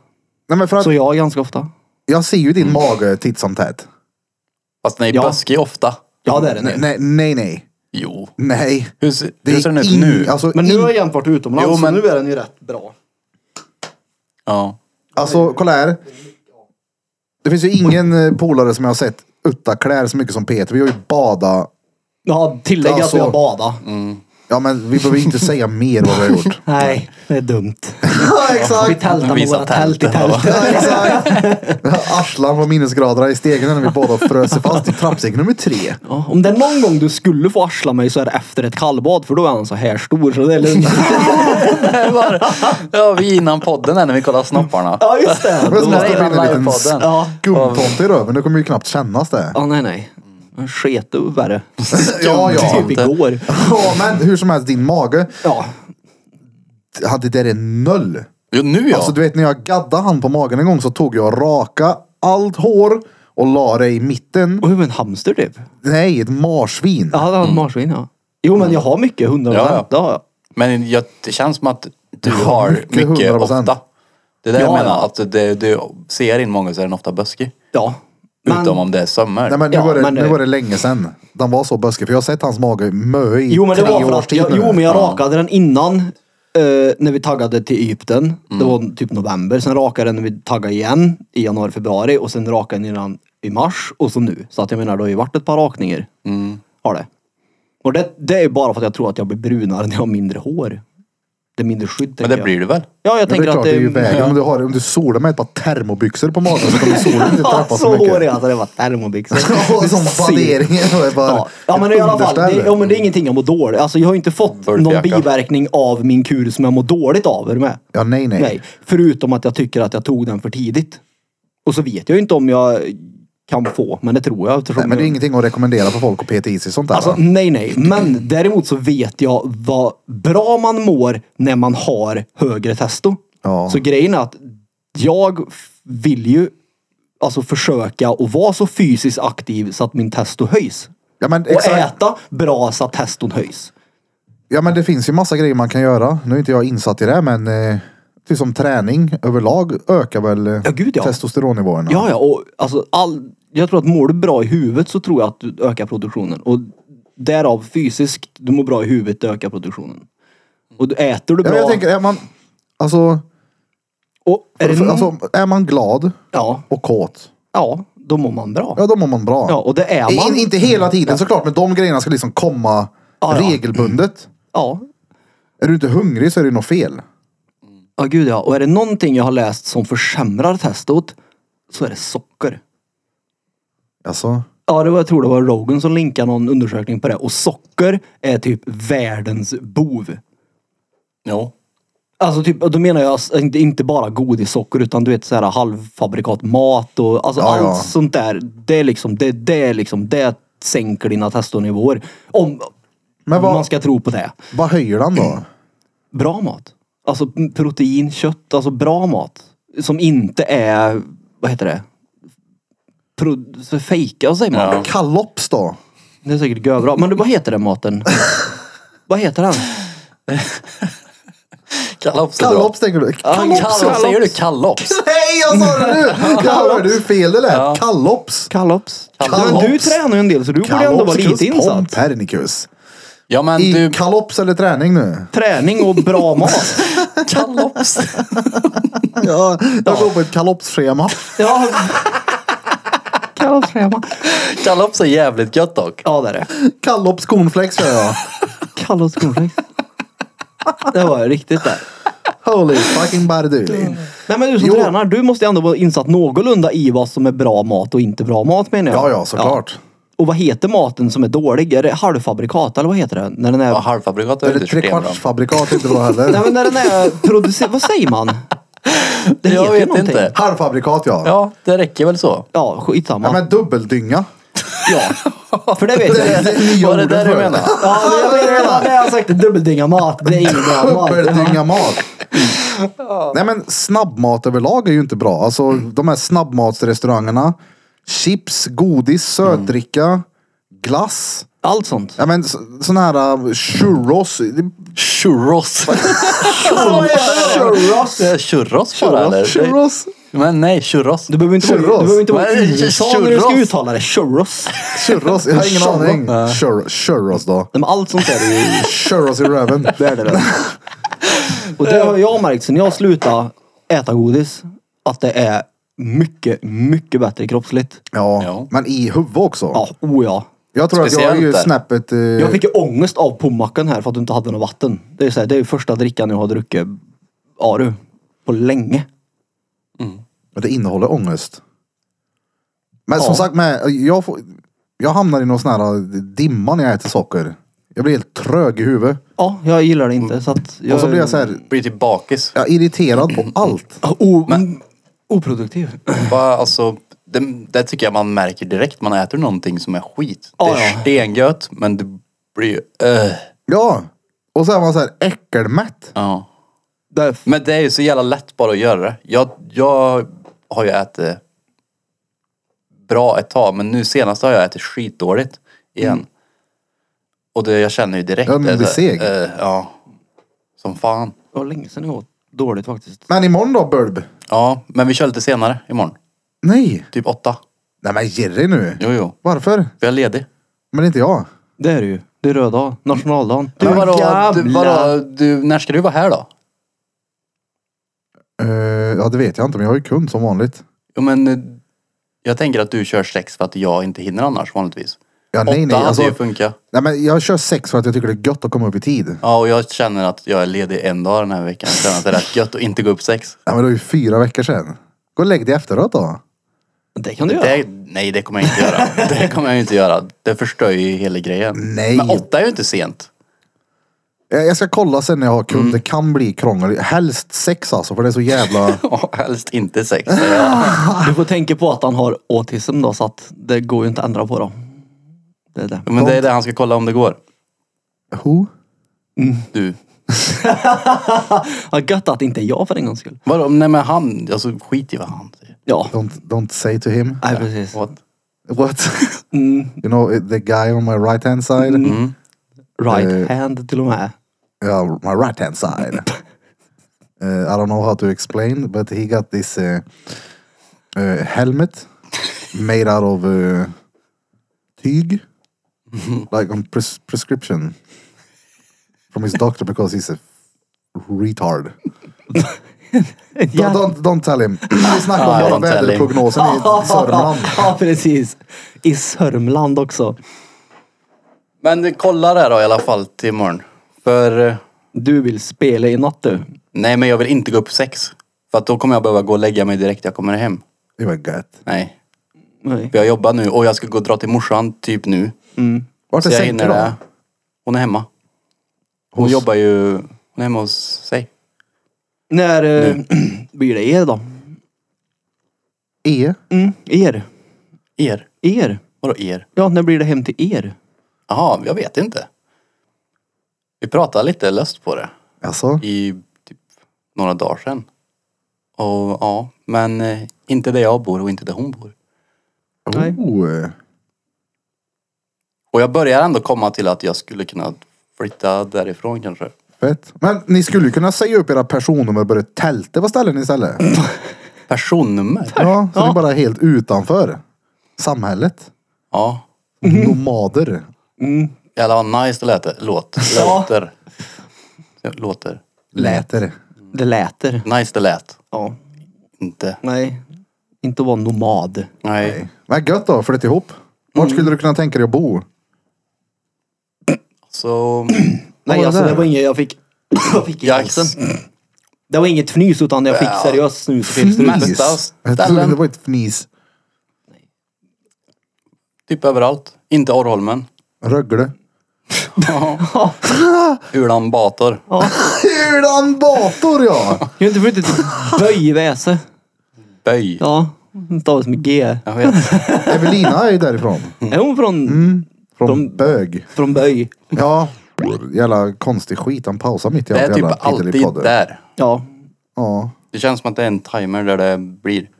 [SPEAKER 2] Nej men för att
[SPEAKER 1] Så jag ganska ofta.
[SPEAKER 2] jag ser ju din mage titt som tätt.
[SPEAKER 4] Fast den är
[SPEAKER 1] Ja.
[SPEAKER 4] buskig ofta.
[SPEAKER 1] Ja, det är det.
[SPEAKER 2] Nej, nej, nej. Nej.
[SPEAKER 4] Jo.
[SPEAKER 2] nej.
[SPEAKER 4] Hur, ser- hur ser den ut
[SPEAKER 2] in-
[SPEAKER 4] nu?
[SPEAKER 2] Alltså,
[SPEAKER 1] Men nu
[SPEAKER 2] in,
[SPEAKER 1] har jag jämt varit utomlands,
[SPEAKER 4] Jo, men-
[SPEAKER 1] så nu är den ju rätt bra.
[SPEAKER 4] Ja.
[SPEAKER 2] alltså kolla här. Det finns ju ingen eh, polare som jag har sett utta klär så mycket som Peter. Vi har ju badat.
[SPEAKER 1] Ja, tillägg
[SPEAKER 2] Ja,
[SPEAKER 1] att vi
[SPEAKER 2] så.
[SPEAKER 1] har badat.
[SPEAKER 2] Ja men vi behöver inte säga mer vad vi har gjort.
[SPEAKER 1] Nej, det är dumt.
[SPEAKER 2] ja
[SPEAKER 1] Vi
[SPEAKER 2] exakt.
[SPEAKER 1] tältar med
[SPEAKER 4] Visa
[SPEAKER 1] våra tält i
[SPEAKER 4] tälten, va?
[SPEAKER 1] tältet.
[SPEAKER 2] Ja, exakt. Arslan var minusgraderna i stegen när vi båda frös sig fast i trappsteg nummer tre.
[SPEAKER 1] Ja, om det är någon gång du skulle få arsla mig så är det efter ett kallbad för då är han så här stor så det är lugnt.
[SPEAKER 4] ja, vi innan podden här när vi kollar snopparna.
[SPEAKER 1] ja just det.
[SPEAKER 2] Men så
[SPEAKER 1] Då-
[SPEAKER 2] måste det bli en liten
[SPEAKER 4] livepodden.
[SPEAKER 1] Ja.
[SPEAKER 2] skumtomte i röven. Det kommer ju knappt kännas det.
[SPEAKER 1] Ja nej nej. En sketu värre.
[SPEAKER 2] Ja, ja.
[SPEAKER 1] Typ igår.
[SPEAKER 2] Ja, men hur som helst, din mage.
[SPEAKER 1] Ja.
[SPEAKER 2] Ja, det där är noll.
[SPEAKER 4] Jo, nu ja.
[SPEAKER 2] Alltså du vet när jag gaddade han på magen en gång så tog jag och raka allt hår och la det i mitten.
[SPEAKER 1] Och hur en hamster typ.
[SPEAKER 2] Nej, ett marsvin.
[SPEAKER 1] Ja det var ett marsvin ja. Jo men jag har mycket hundar.
[SPEAKER 4] Ja, ja.
[SPEAKER 1] Ja, ja.
[SPEAKER 4] Men jag, det känns som att du har
[SPEAKER 2] mycket,
[SPEAKER 4] mycket,
[SPEAKER 2] 100%.
[SPEAKER 4] ofta. Det är det jag
[SPEAKER 1] Ja,
[SPEAKER 4] menar.
[SPEAKER 1] ja.
[SPEAKER 4] Att det, du ser in många så är den ofta buskig.
[SPEAKER 1] ja. Men,
[SPEAKER 4] Utom om det är sömmar.
[SPEAKER 2] Nej men nu,
[SPEAKER 1] Ja,
[SPEAKER 2] var det,
[SPEAKER 1] men
[SPEAKER 2] nu
[SPEAKER 1] det-
[SPEAKER 2] var det länge sedan. Den var så buskig för jag har sett hans mage mö i
[SPEAKER 1] jo men det
[SPEAKER 2] tre
[SPEAKER 1] var för
[SPEAKER 2] års
[SPEAKER 1] att
[SPEAKER 2] tid
[SPEAKER 1] jag,
[SPEAKER 2] nu.
[SPEAKER 1] jo, men jag
[SPEAKER 4] Ja.
[SPEAKER 1] rakade den innan. eh, när vi taggade till Egypten. Det var typ november. Sen rakade den när vi taggade igen i januari, februari. Och sen rakade jag den i mars. Och så nu. Så att jag menar det har ju varit ett par rakningar.
[SPEAKER 4] Mm.
[SPEAKER 1] Har det. Och det, det är ju bara för att jag tror att jag blir brunare när jag har mindre hår. Det är mindre skydd.
[SPEAKER 4] men
[SPEAKER 1] tänker
[SPEAKER 4] det
[SPEAKER 1] jag.
[SPEAKER 4] blir du väl?
[SPEAKER 1] Ja, jag
[SPEAKER 2] Ja, det är
[SPEAKER 1] tänker
[SPEAKER 2] klart,
[SPEAKER 1] att
[SPEAKER 2] det är ju
[SPEAKER 1] det...
[SPEAKER 2] vägen. Om, du har, om du solar med ett par termobyxor på magen så kommer solen inte
[SPEAKER 1] Ja,
[SPEAKER 2] träffa så,
[SPEAKER 1] så
[SPEAKER 2] mycket.
[SPEAKER 1] hårig alltså. Det var termobyxor.
[SPEAKER 2] Ja, som banderingen. och är bara
[SPEAKER 1] Ja, ja men
[SPEAKER 2] ett
[SPEAKER 1] i alla fall, det,
[SPEAKER 2] underställ.
[SPEAKER 1] ja, men det är ingenting jag mår dåligt. Alltså jag har ju inte fått någon
[SPEAKER 4] Burkjacka.
[SPEAKER 1] biverkning av min kur som jag mår dåligt av. Är du med?
[SPEAKER 2] Ja, nej, nej.
[SPEAKER 1] Nej. Förutom att jag tycker att jag tog den för tidigt. Och så vet jag ju inte om jag kan få, men det tror jag. eftersom
[SPEAKER 2] Nej, men det är
[SPEAKER 1] jag-
[SPEAKER 2] ingenting att rekommendera för folk att peta i sig sånt där.
[SPEAKER 1] Alltså
[SPEAKER 2] va?
[SPEAKER 1] nej nej, men däremot så vet jag vad bra man mår när man har högre testo.
[SPEAKER 2] Ja.
[SPEAKER 1] Så grejen är att jag f- vill ju alltså försöka att vara så fysiskt aktiv så att min testo höjs.
[SPEAKER 2] ja, men
[SPEAKER 1] Och
[SPEAKER 2] exakt.
[SPEAKER 1] äta bra så att teston höjs.
[SPEAKER 2] Ja, men det finns ju massa grejer man kan göra. Nu är inte jag insatt i det, men eh, typ som träning överlag ökar väl eh,
[SPEAKER 1] Ja, gud, ja.
[SPEAKER 2] testosteronnivåerna.
[SPEAKER 1] Ja, ja, och alltså all, jag tror att mår du bra i huvudet så tror jag att du ökar produktionen. Och därav fysiskt, du mår bra i huvudet, det ökar produktionen. Och du äter du
[SPEAKER 2] Ja,
[SPEAKER 1] bra.
[SPEAKER 2] men jag tänker, är man, alltså,
[SPEAKER 1] och är det,
[SPEAKER 2] för,
[SPEAKER 1] n-
[SPEAKER 2] alltså, är man glad
[SPEAKER 1] ja,
[SPEAKER 2] och kåt,
[SPEAKER 1] ja, då mår man bra.
[SPEAKER 2] ja då mår man bra.
[SPEAKER 1] Ja, och det är man.
[SPEAKER 2] In, inte hela tiden såklart, men de grejerna ska liksom komma
[SPEAKER 1] Ja, ja.
[SPEAKER 2] regelbundet.
[SPEAKER 1] Ja.
[SPEAKER 2] Är du inte hungrig så är det något fel.
[SPEAKER 1] ja, gud ja. Och är det någonting jag har läst som försämrar testot så är det socker.
[SPEAKER 2] Alltså,
[SPEAKER 1] Ja, det var, jag tror det var Rogan som linkade någon undersökning på det. Och socker är typ världens bov.
[SPEAKER 4] Jo.
[SPEAKER 1] Alltså typ, och då menar jag s- inte- inte bara godissocker utan du vet såhär halvfabrikat mat och alltså
[SPEAKER 2] Ja,
[SPEAKER 1] allt
[SPEAKER 2] ja.
[SPEAKER 1] sånt där. Det är liksom, det, det är liksom, det sänker dina testonivåer. Om
[SPEAKER 2] Men vad-
[SPEAKER 1] man ska tro på det.
[SPEAKER 2] vad höjer den då?
[SPEAKER 1] Bra mat. Alltså m- protein, kött, alltså bra mat. Som inte är, vad heter det? Pro, så fejka säger man.
[SPEAKER 4] Ja.
[SPEAKER 2] Kalops då?
[SPEAKER 1] Det är säkert görbra. Men du, vad heter den maten? vad heter den?
[SPEAKER 4] Kallops är bra.
[SPEAKER 2] Kalops tänker du?
[SPEAKER 4] Kallops.
[SPEAKER 1] Kallops.
[SPEAKER 4] Säger du kallops?
[SPEAKER 2] Nej, jag sa det nu! Jag hörde hur fel det lät.
[SPEAKER 4] Ja.
[SPEAKER 2] Kalops.
[SPEAKER 1] Kallops.
[SPEAKER 2] Kallops.
[SPEAKER 1] Men du tränar ju en del så du borde ändå vara lite insatt.
[SPEAKER 2] Pompernicus.
[SPEAKER 4] Ja men
[SPEAKER 2] I
[SPEAKER 4] du,
[SPEAKER 2] kalops eller träning nu?
[SPEAKER 1] Träning och bra mat.
[SPEAKER 4] kallops.
[SPEAKER 2] Ja, jag går på ett kalopsschema.
[SPEAKER 1] Ja. Kallopsschema.
[SPEAKER 4] Kallops är jävligt gött dock.
[SPEAKER 1] Ja det är det.
[SPEAKER 2] Kalops cornflakes gör jag.
[SPEAKER 1] Kallopskornflex. Det var riktigt där.
[SPEAKER 2] Holy fucking bardulin.
[SPEAKER 1] Nej men du som
[SPEAKER 2] Jo.
[SPEAKER 1] tränar, du måste ju ändå vara insatt någorlunda i vad som är bra mat och inte bra mat menar jag.
[SPEAKER 2] Ja, ja, såklart.
[SPEAKER 1] Och vad heter maten som är dålig? Är det halvfabrikat eller vad heter det? När den är...
[SPEAKER 4] Ja, halvfabrikat är
[SPEAKER 2] Eller
[SPEAKER 4] inte systembra.
[SPEAKER 2] trekvartsfabrikat inte bra
[SPEAKER 1] Nej
[SPEAKER 2] heller.
[SPEAKER 1] men när den är producerad, vad säger man? Det
[SPEAKER 4] Jag
[SPEAKER 1] heter ju
[SPEAKER 4] vet
[SPEAKER 1] någonting.
[SPEAKER 4] inte.
[SPEAKER 2] Halvfabrikat ja. ja.
[SPEAKER 4] Ja, det räcker väl så.
[SPEAKER 1] Ja, skitsamma.
[SPEAKER 2] men dubbeldynga.
[SPEAKER 1] Ja, för det vet
[SPEAKER 2] Det är
[SPEAKER 1] jag.
[SPEAKER 2] det nya
[SPEAKER 4] Var det
[SPEAKER 2] ordet
[SPEAKER 4] där du
[SPEAKER 2] för det.
[SPEAKER 4] menar?
[SPEAKER 1] Ja, men jag vet vad det har jag sagt. Dubbeldynga mat. Det är ingen bra mat.
[SPEAKER 2] Dubbeldynga mat. Nej men snabbmat överlag är ju inte bra. Alltså de här snabbmatsrestaurangerna. Chips, godis, sötdricka, glass.
[SPEAKER 1] Allt sånt.
[SPEAKER 2] Ja men sådana här uh, churros.
[SPEAKER 4] Churros.
[SPEAKER 2] Churros?
[SPEAKER 4] Det är Churros bara eller?
[SPEAKER 2] Churros?
[SPEAKER 4] Men nej, churros.
[SPEAKER 1] Du behöver inte vara, du
[SPEAKER 2] Churros.
[SPEAKER 1] behöver inte vara
[SPEAKER 4] Vad är det?
[SPEAKER 1] i USA när du ska
[SPEAKER 4] Churros.
[SPEAKER 1] uttala det. Churros.
[SPEAKER 2] Churros? Jag har ingen aning. Chur- Churros då.
[SPEAKER 1] Nej, men allt sånt är det ju.
[SPEAKER 2] Churros i röven.
[SPEAKER 1] Det är det väl. Och det har jag märkt sen jag slutade äta godis. Att det är mycket, mycket bättre kroppsligt.
[SPEAKER 2] Ja,
[SPEAKER 4] Ja.
[SPEAKER 2] men i huvudet också.
[SPEAKER 1] Ja, oh ja.
[SPEAKER 2] Jag tror att jag är
[SPEAKER 4] Speciellt
[SPEAKER 2] ju
[SPEAKER 4] där.
[SPEAKER 2] snäppet... eh,
[SPEAKER 1] Jag fick ju ångest av pommacken här för att du inte hade något vatten. Det är ju så här, det är ju första drickan jag har druckit, ja du, på länge.
[SPEAKER 2] Men det innehåller ångest. Men som sagt, med, jag, får, jag hamnar i någon sån här dimma när jag äter socker. Jag blir helt trög i huvudet.
[SPEAKER 1] Ja, jag gillar det inte så att jag...
[SPEAKER 2] Och så blir jag så här,
[SPEAKER 4] Blir till bakis.
[SPEAKER 2] jag är irriterad på allt.
[SPEAKER 1] O, oproduktiv.
[SPEAKER 4] Bara, alltså, det, det tycker jag man märker direkt. Man äter någonting som är skit. Det
[SPEAKER 1] Ja,
[SPEAKER 4] är
[SPEAKER 1] ja.
[SPEAKER 4] stengött, men det blir ju... eh,
[SPEAKER 2] Ja. Och så är man så här äckelmätt.
[SPEAKER 4] ja.
[SPEAKER 1] Det är
[SPEAKER 4] Men det är ju så jävla lätt bara att göra det. Jag, jag har ju ätit bra ett tag, men nu senast har jag ätit skitdåligt igen. Och det, jag känner ju direkt
[SPEAKER 2] Ja, men
[SPEAKER 4] det,
[SPEAKER 2] blir
[SPEAKER 4] så-
[SPEAKER 2] seg.
[SPEAKER 4] eh, ja. Som fan.
[SPEAKER 1] det var länge sedan jag åt dåligt faktiskt.
[SPEAKER 2] Men imorgon då, Bulb?
[SPEAKER 4] Ja, men vi kör lite senare imorgon.
[SPEAKER 2] Nej.
[SPEAKER 4] Typ åtta.
[SPEAKER 2] Nej men Jerry nu.
[SPEAKER 4] Jo, jo.
[SPEAKER 2] Varför?
[SPEAKER 4] Vi är ledig.
[SPEAKER 2] Men inte jag.
[SPEAKER 1] Det är det ju. Det är röda, nationaldagen.
[SPEAKER 4] Du,
[SPEAKER 1] Men
[SPEAKER 4] vadå, du,
[SPEAKER 1] jävla-
[SPEAKER 4] vadå, du, när ska du vara här då?
[SPEAKER 2] Eh, ja, det vet jag inte, men jag är ju kund som vanligt.
[SPEAKER 4] Jo, men eh, jag tänker att du kör sex för att jag inte hinner annars vanligtvis.
[SPEAKER 2] Ja,
[SPEAKER 4] Åtta
[SPEAKER 2] nej, nej.
[SPEAKER 4] hade
[SPEAKER 2] Alltså,
[SPEAKER 4] ju funkat.
[SPEAKER 2] nej men jag kör sex för att jag tycker det är gött att komma upp i tid.
[SPEAKER 4] Ja, och jag känner att jag är ledig en dag den här veckan. Jag känner att det är rätt gött att inte gå upp sex.
[SPEAKER 2] Ja, men det var ju fyra veckor sedan. Gå och lägg dig efteråt då.
[SPEAKER 1] Det kan du göra.
[SPEAKER 4] Det, nej, det kommer jag inte göra. Det kommer jag inte göra. Det förstör ju hela grejen.
[SPEAKER 2] Nej.
[SPEAKER 4] Men åtta är ju inte sent.
[SPEAKER 2] Eh, Jag jag ska kolla sen när jag har kund. Det kan bli krångel. Helst sex alltså, för det är så jävla...
[SPEAKER 4] Ja, helst inte sex. säger jag.
[SPEAKER 1] Du får tänka på att han har autism då så att det går ju inte att ändra på då. Det är det.
[SPEAKER 4] Men det är det han ska kolla om det går.
[SPEAKER 2] Who?
[SPEAKER 4] Du.
[SPEAKER 1] Vad gött att det inte är jag för en gångs skull.
[SPEAKER 4] Vadå? Nej men han, alltså skit i vad han säger.
[SPEAKER 1] Ja.
[SPEAKER 2] Don't, don't say to him.
[SPEAKER 1] Nej precis.
[SPEAKER 4] What?
[SPEAKER 2] What? You know eh, the guy on my right hand side?
[SPEAKER 1] Right
[SPEAKER 2] Eh,
[SPEAKER 1] hand till och med.
[SPEAKER 2] Yeah, my right hand side. Uh, I don't know how to explain, but he got this uh, uh, helmet made out of uh, tyg, like on pres- prescription from his doctor because he's a retard. Don't,
[SPEAKER 1] Ja.
[SPEAKER 2] don't, don't tell him. Vi snackade
[SPEAKER 4] Ah,
[SPEAKER 2] om bara
[SPEAKER 4] don't tell him.
[SPEAKER 2] väderprognosen i Sörmland.
[SPEAKER 1] Ja precis. I Sörmland också.
[SPEAKER 4] Men eh, kolla där då i alla fall till imorgon. För eh,
[SPEAKER 1] Du vill spela i natt du.
[SPEAKER 4] nej men jag vill inte gå upp sex. För att då kommer jag behöva gå och lägga mig direkt jag kommer hem.
[SPEAKER 2] Det var gött.
[SPEAKER 4] Nej.
[SPEAKER 1] Nej.
[SPEAKER 4] För jag jobbar nu och jag ska gå och dra till morsan typ nu.
[SPEAKER 2] Vart är
[SPEAKER 4] Så jag
[SPEAKER 2] Senke
[SPEAKER 4] hinner
[SPEAKER 2] då?
[SPEAKER 4] det. Hon är hemma. Hon
[SPEAKER 2] Hos-
[SPEAKER 4] jobbar ju, hon är hemma hos sig.
[SPEAKER 1] När eh, blir det er då?
[SPEAKER 2] E?
[SPEAKER 1] Mm, er.
[SPEAKER 4] Er.
[SPEAKER 1] Er.
[SPEAKER 4] Vadå er?
[SPEAKER 1] Ja, när blir det hem till er?
[SPEAKER 4] Jaha, jag vet inte. Vi pratade lite löst på det
[SPEAKER 2] Alltså,
[SPEAKER 4] i typ några dagar sedan. Och ja, men eh, inte där jag bor och inte där hon bor.
[SPEAKER 1] Nej.
[SPEAKER 2] oh,
[SPEAKER 4] Och jag börjar ändå komma till att jag skulle kunna flytta därifrån kanske.
[SPEAKER 2] fett. Men ni skulle ju kunna säga upp era personnummer och börja tälta på ställen istället.
[SPEAKER 4] Personnummer?
[SPEAKER 2] Ja, så ni är bara helt utanför samhället.
[SPEAKER 4] Ja.
[SPEAKER 2] Nomader.
[SPEAKER 4] Jävlar vad nice det lät. det. Låt. Låter. Låter.
[SPEAKER 2] Läter.
[SPEAKER 1] Det läter.
[SPEAKER 4] Nice det lät.
[SPEAKER 1] Ja.
[SPEAKER 4] Inte.
[SPEAKER 1] Nej. Inte att vara nomad.
[SPEAKER 4] Nej.
[SPEAKER 2] Vad gött då, flytta ihop. Vart
[SPEAKER 4] Mm.
[SPEAKER 2] skulle du kunna tänka dig att bo?
[SPEAKER 4] Så...
[SPEAKER 1] Nej,
[SPEAKER 2] var
[SPEAKER 1] alltså
[SPEAKER 2] det?
[SPEAKER 1] det var inget jag fick Jag fick
[SPEAKER 4] i
[SPEAKER 1] inte
[SPEAKER 4] axeln.
[SPEAKER 1] alls. Det var inget fnys utan jag fick seriöst snus.
[SPEAKER 4] Mest av
[SPEAKER 2] Jag trodde det
[SPEAKER 4] ställen,
[SPEAKER 2] var ett fnis.
[SPEAKER 4] typ överallt. Inte Orrholmen.
[SPEAKER 2] Rögle.
[SPEAKER 4] Ulan Bator.
[SPEAKER 2] Ulan Bator ja!
[SPEAKER 1] Jag har inte typ flyttat till Böjväse.
[SPEAKER 4] Böj.
[SPEAKER 1] Ja, stavas med G.
[SPEAKER 4] Jag vet.
[SPEAKER 2] Evelina är ju därifrån.
[SPEAKER 4] Mm.
[SPEAKER 1] Är hon från,
[SPEAKER 2] Från
[SPEAKER 1] De-
[SPEAKER 2] Bög.
[SPEAKER 1] från Böj?
[SPEAKER 2] Ja. Jävla konstig skit. Han pausar mitt i
[SPEAKER 4] Det är
[SPEAKER 2] allt
[SPEAKER 4] typ
[SPEAKER 2] jävla
[SPEAKER 4] alltid
[SPEAKER 2] piddelipodder.
[SPEAKER 4] där.
[SPEAKER 1] Ja.
[SPEAKER 2] Ja.
[SPEAKER 4] Det känns som att det är en timer där det blir.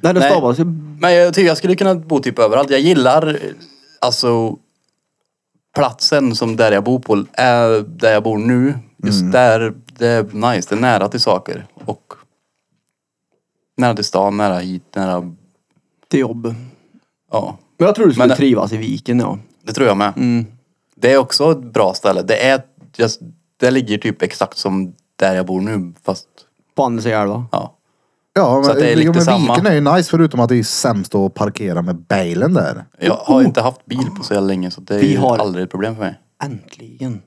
[SPEAKER 1] Nej, det
[SPEAKER 4] Nej.
[SPEAKER 1] stavas ju...
[SPEAKER 4] Men jag tycker jag skulle kunna bo typ överallt. Jag gillar eh, alltså platsen som där jag bor på, är där jag bor nu. Just
[SPEAKER 1] Mm.
[SPEAKER 4] där, det är nice. Det är nära till saker. Och nära till stan, nära hit, nära,
[SPEAKER 1] till jobb.
[SPEAKER 4] ja.
[SPEAKER 1] Men jag tror du skulle
[SPEAKER 4] Men det-
[SPEAKER 1] trivas i viken ja.
[SPEAKER 4] Det tror jag med.
[SPEAKER 1] Mm.
[SPEAKER 4] Det är också ett bra ställe. Det är, just, det ligger typ exakt som där jag bor nu fast,
[SPEAKER 1] På andra sidan älva.
[SPEAKER 4] ja.
[SPEAKER 2] Ja,
[SPEAKER 4] Så
[SPEAKER 2] men,
[SPEAKER 4] att det är lite
[SPEAKER 2] jo, men
[SPEAKER 4] samma.
[SPEAKER 2] Viken är ju nice förutom att det är sämst att parkera med bilen där.
[SPEAKER 4] Jag har inte haft bil på så jävla länge så det är
[SPEAKER 1] Oh. Vi
[SPEAKER 4] ju
[SPEAKER 1] har-
[SPEAKER 4] aldrig ett problem för mig.
[SPEAKER 1] Äntligen.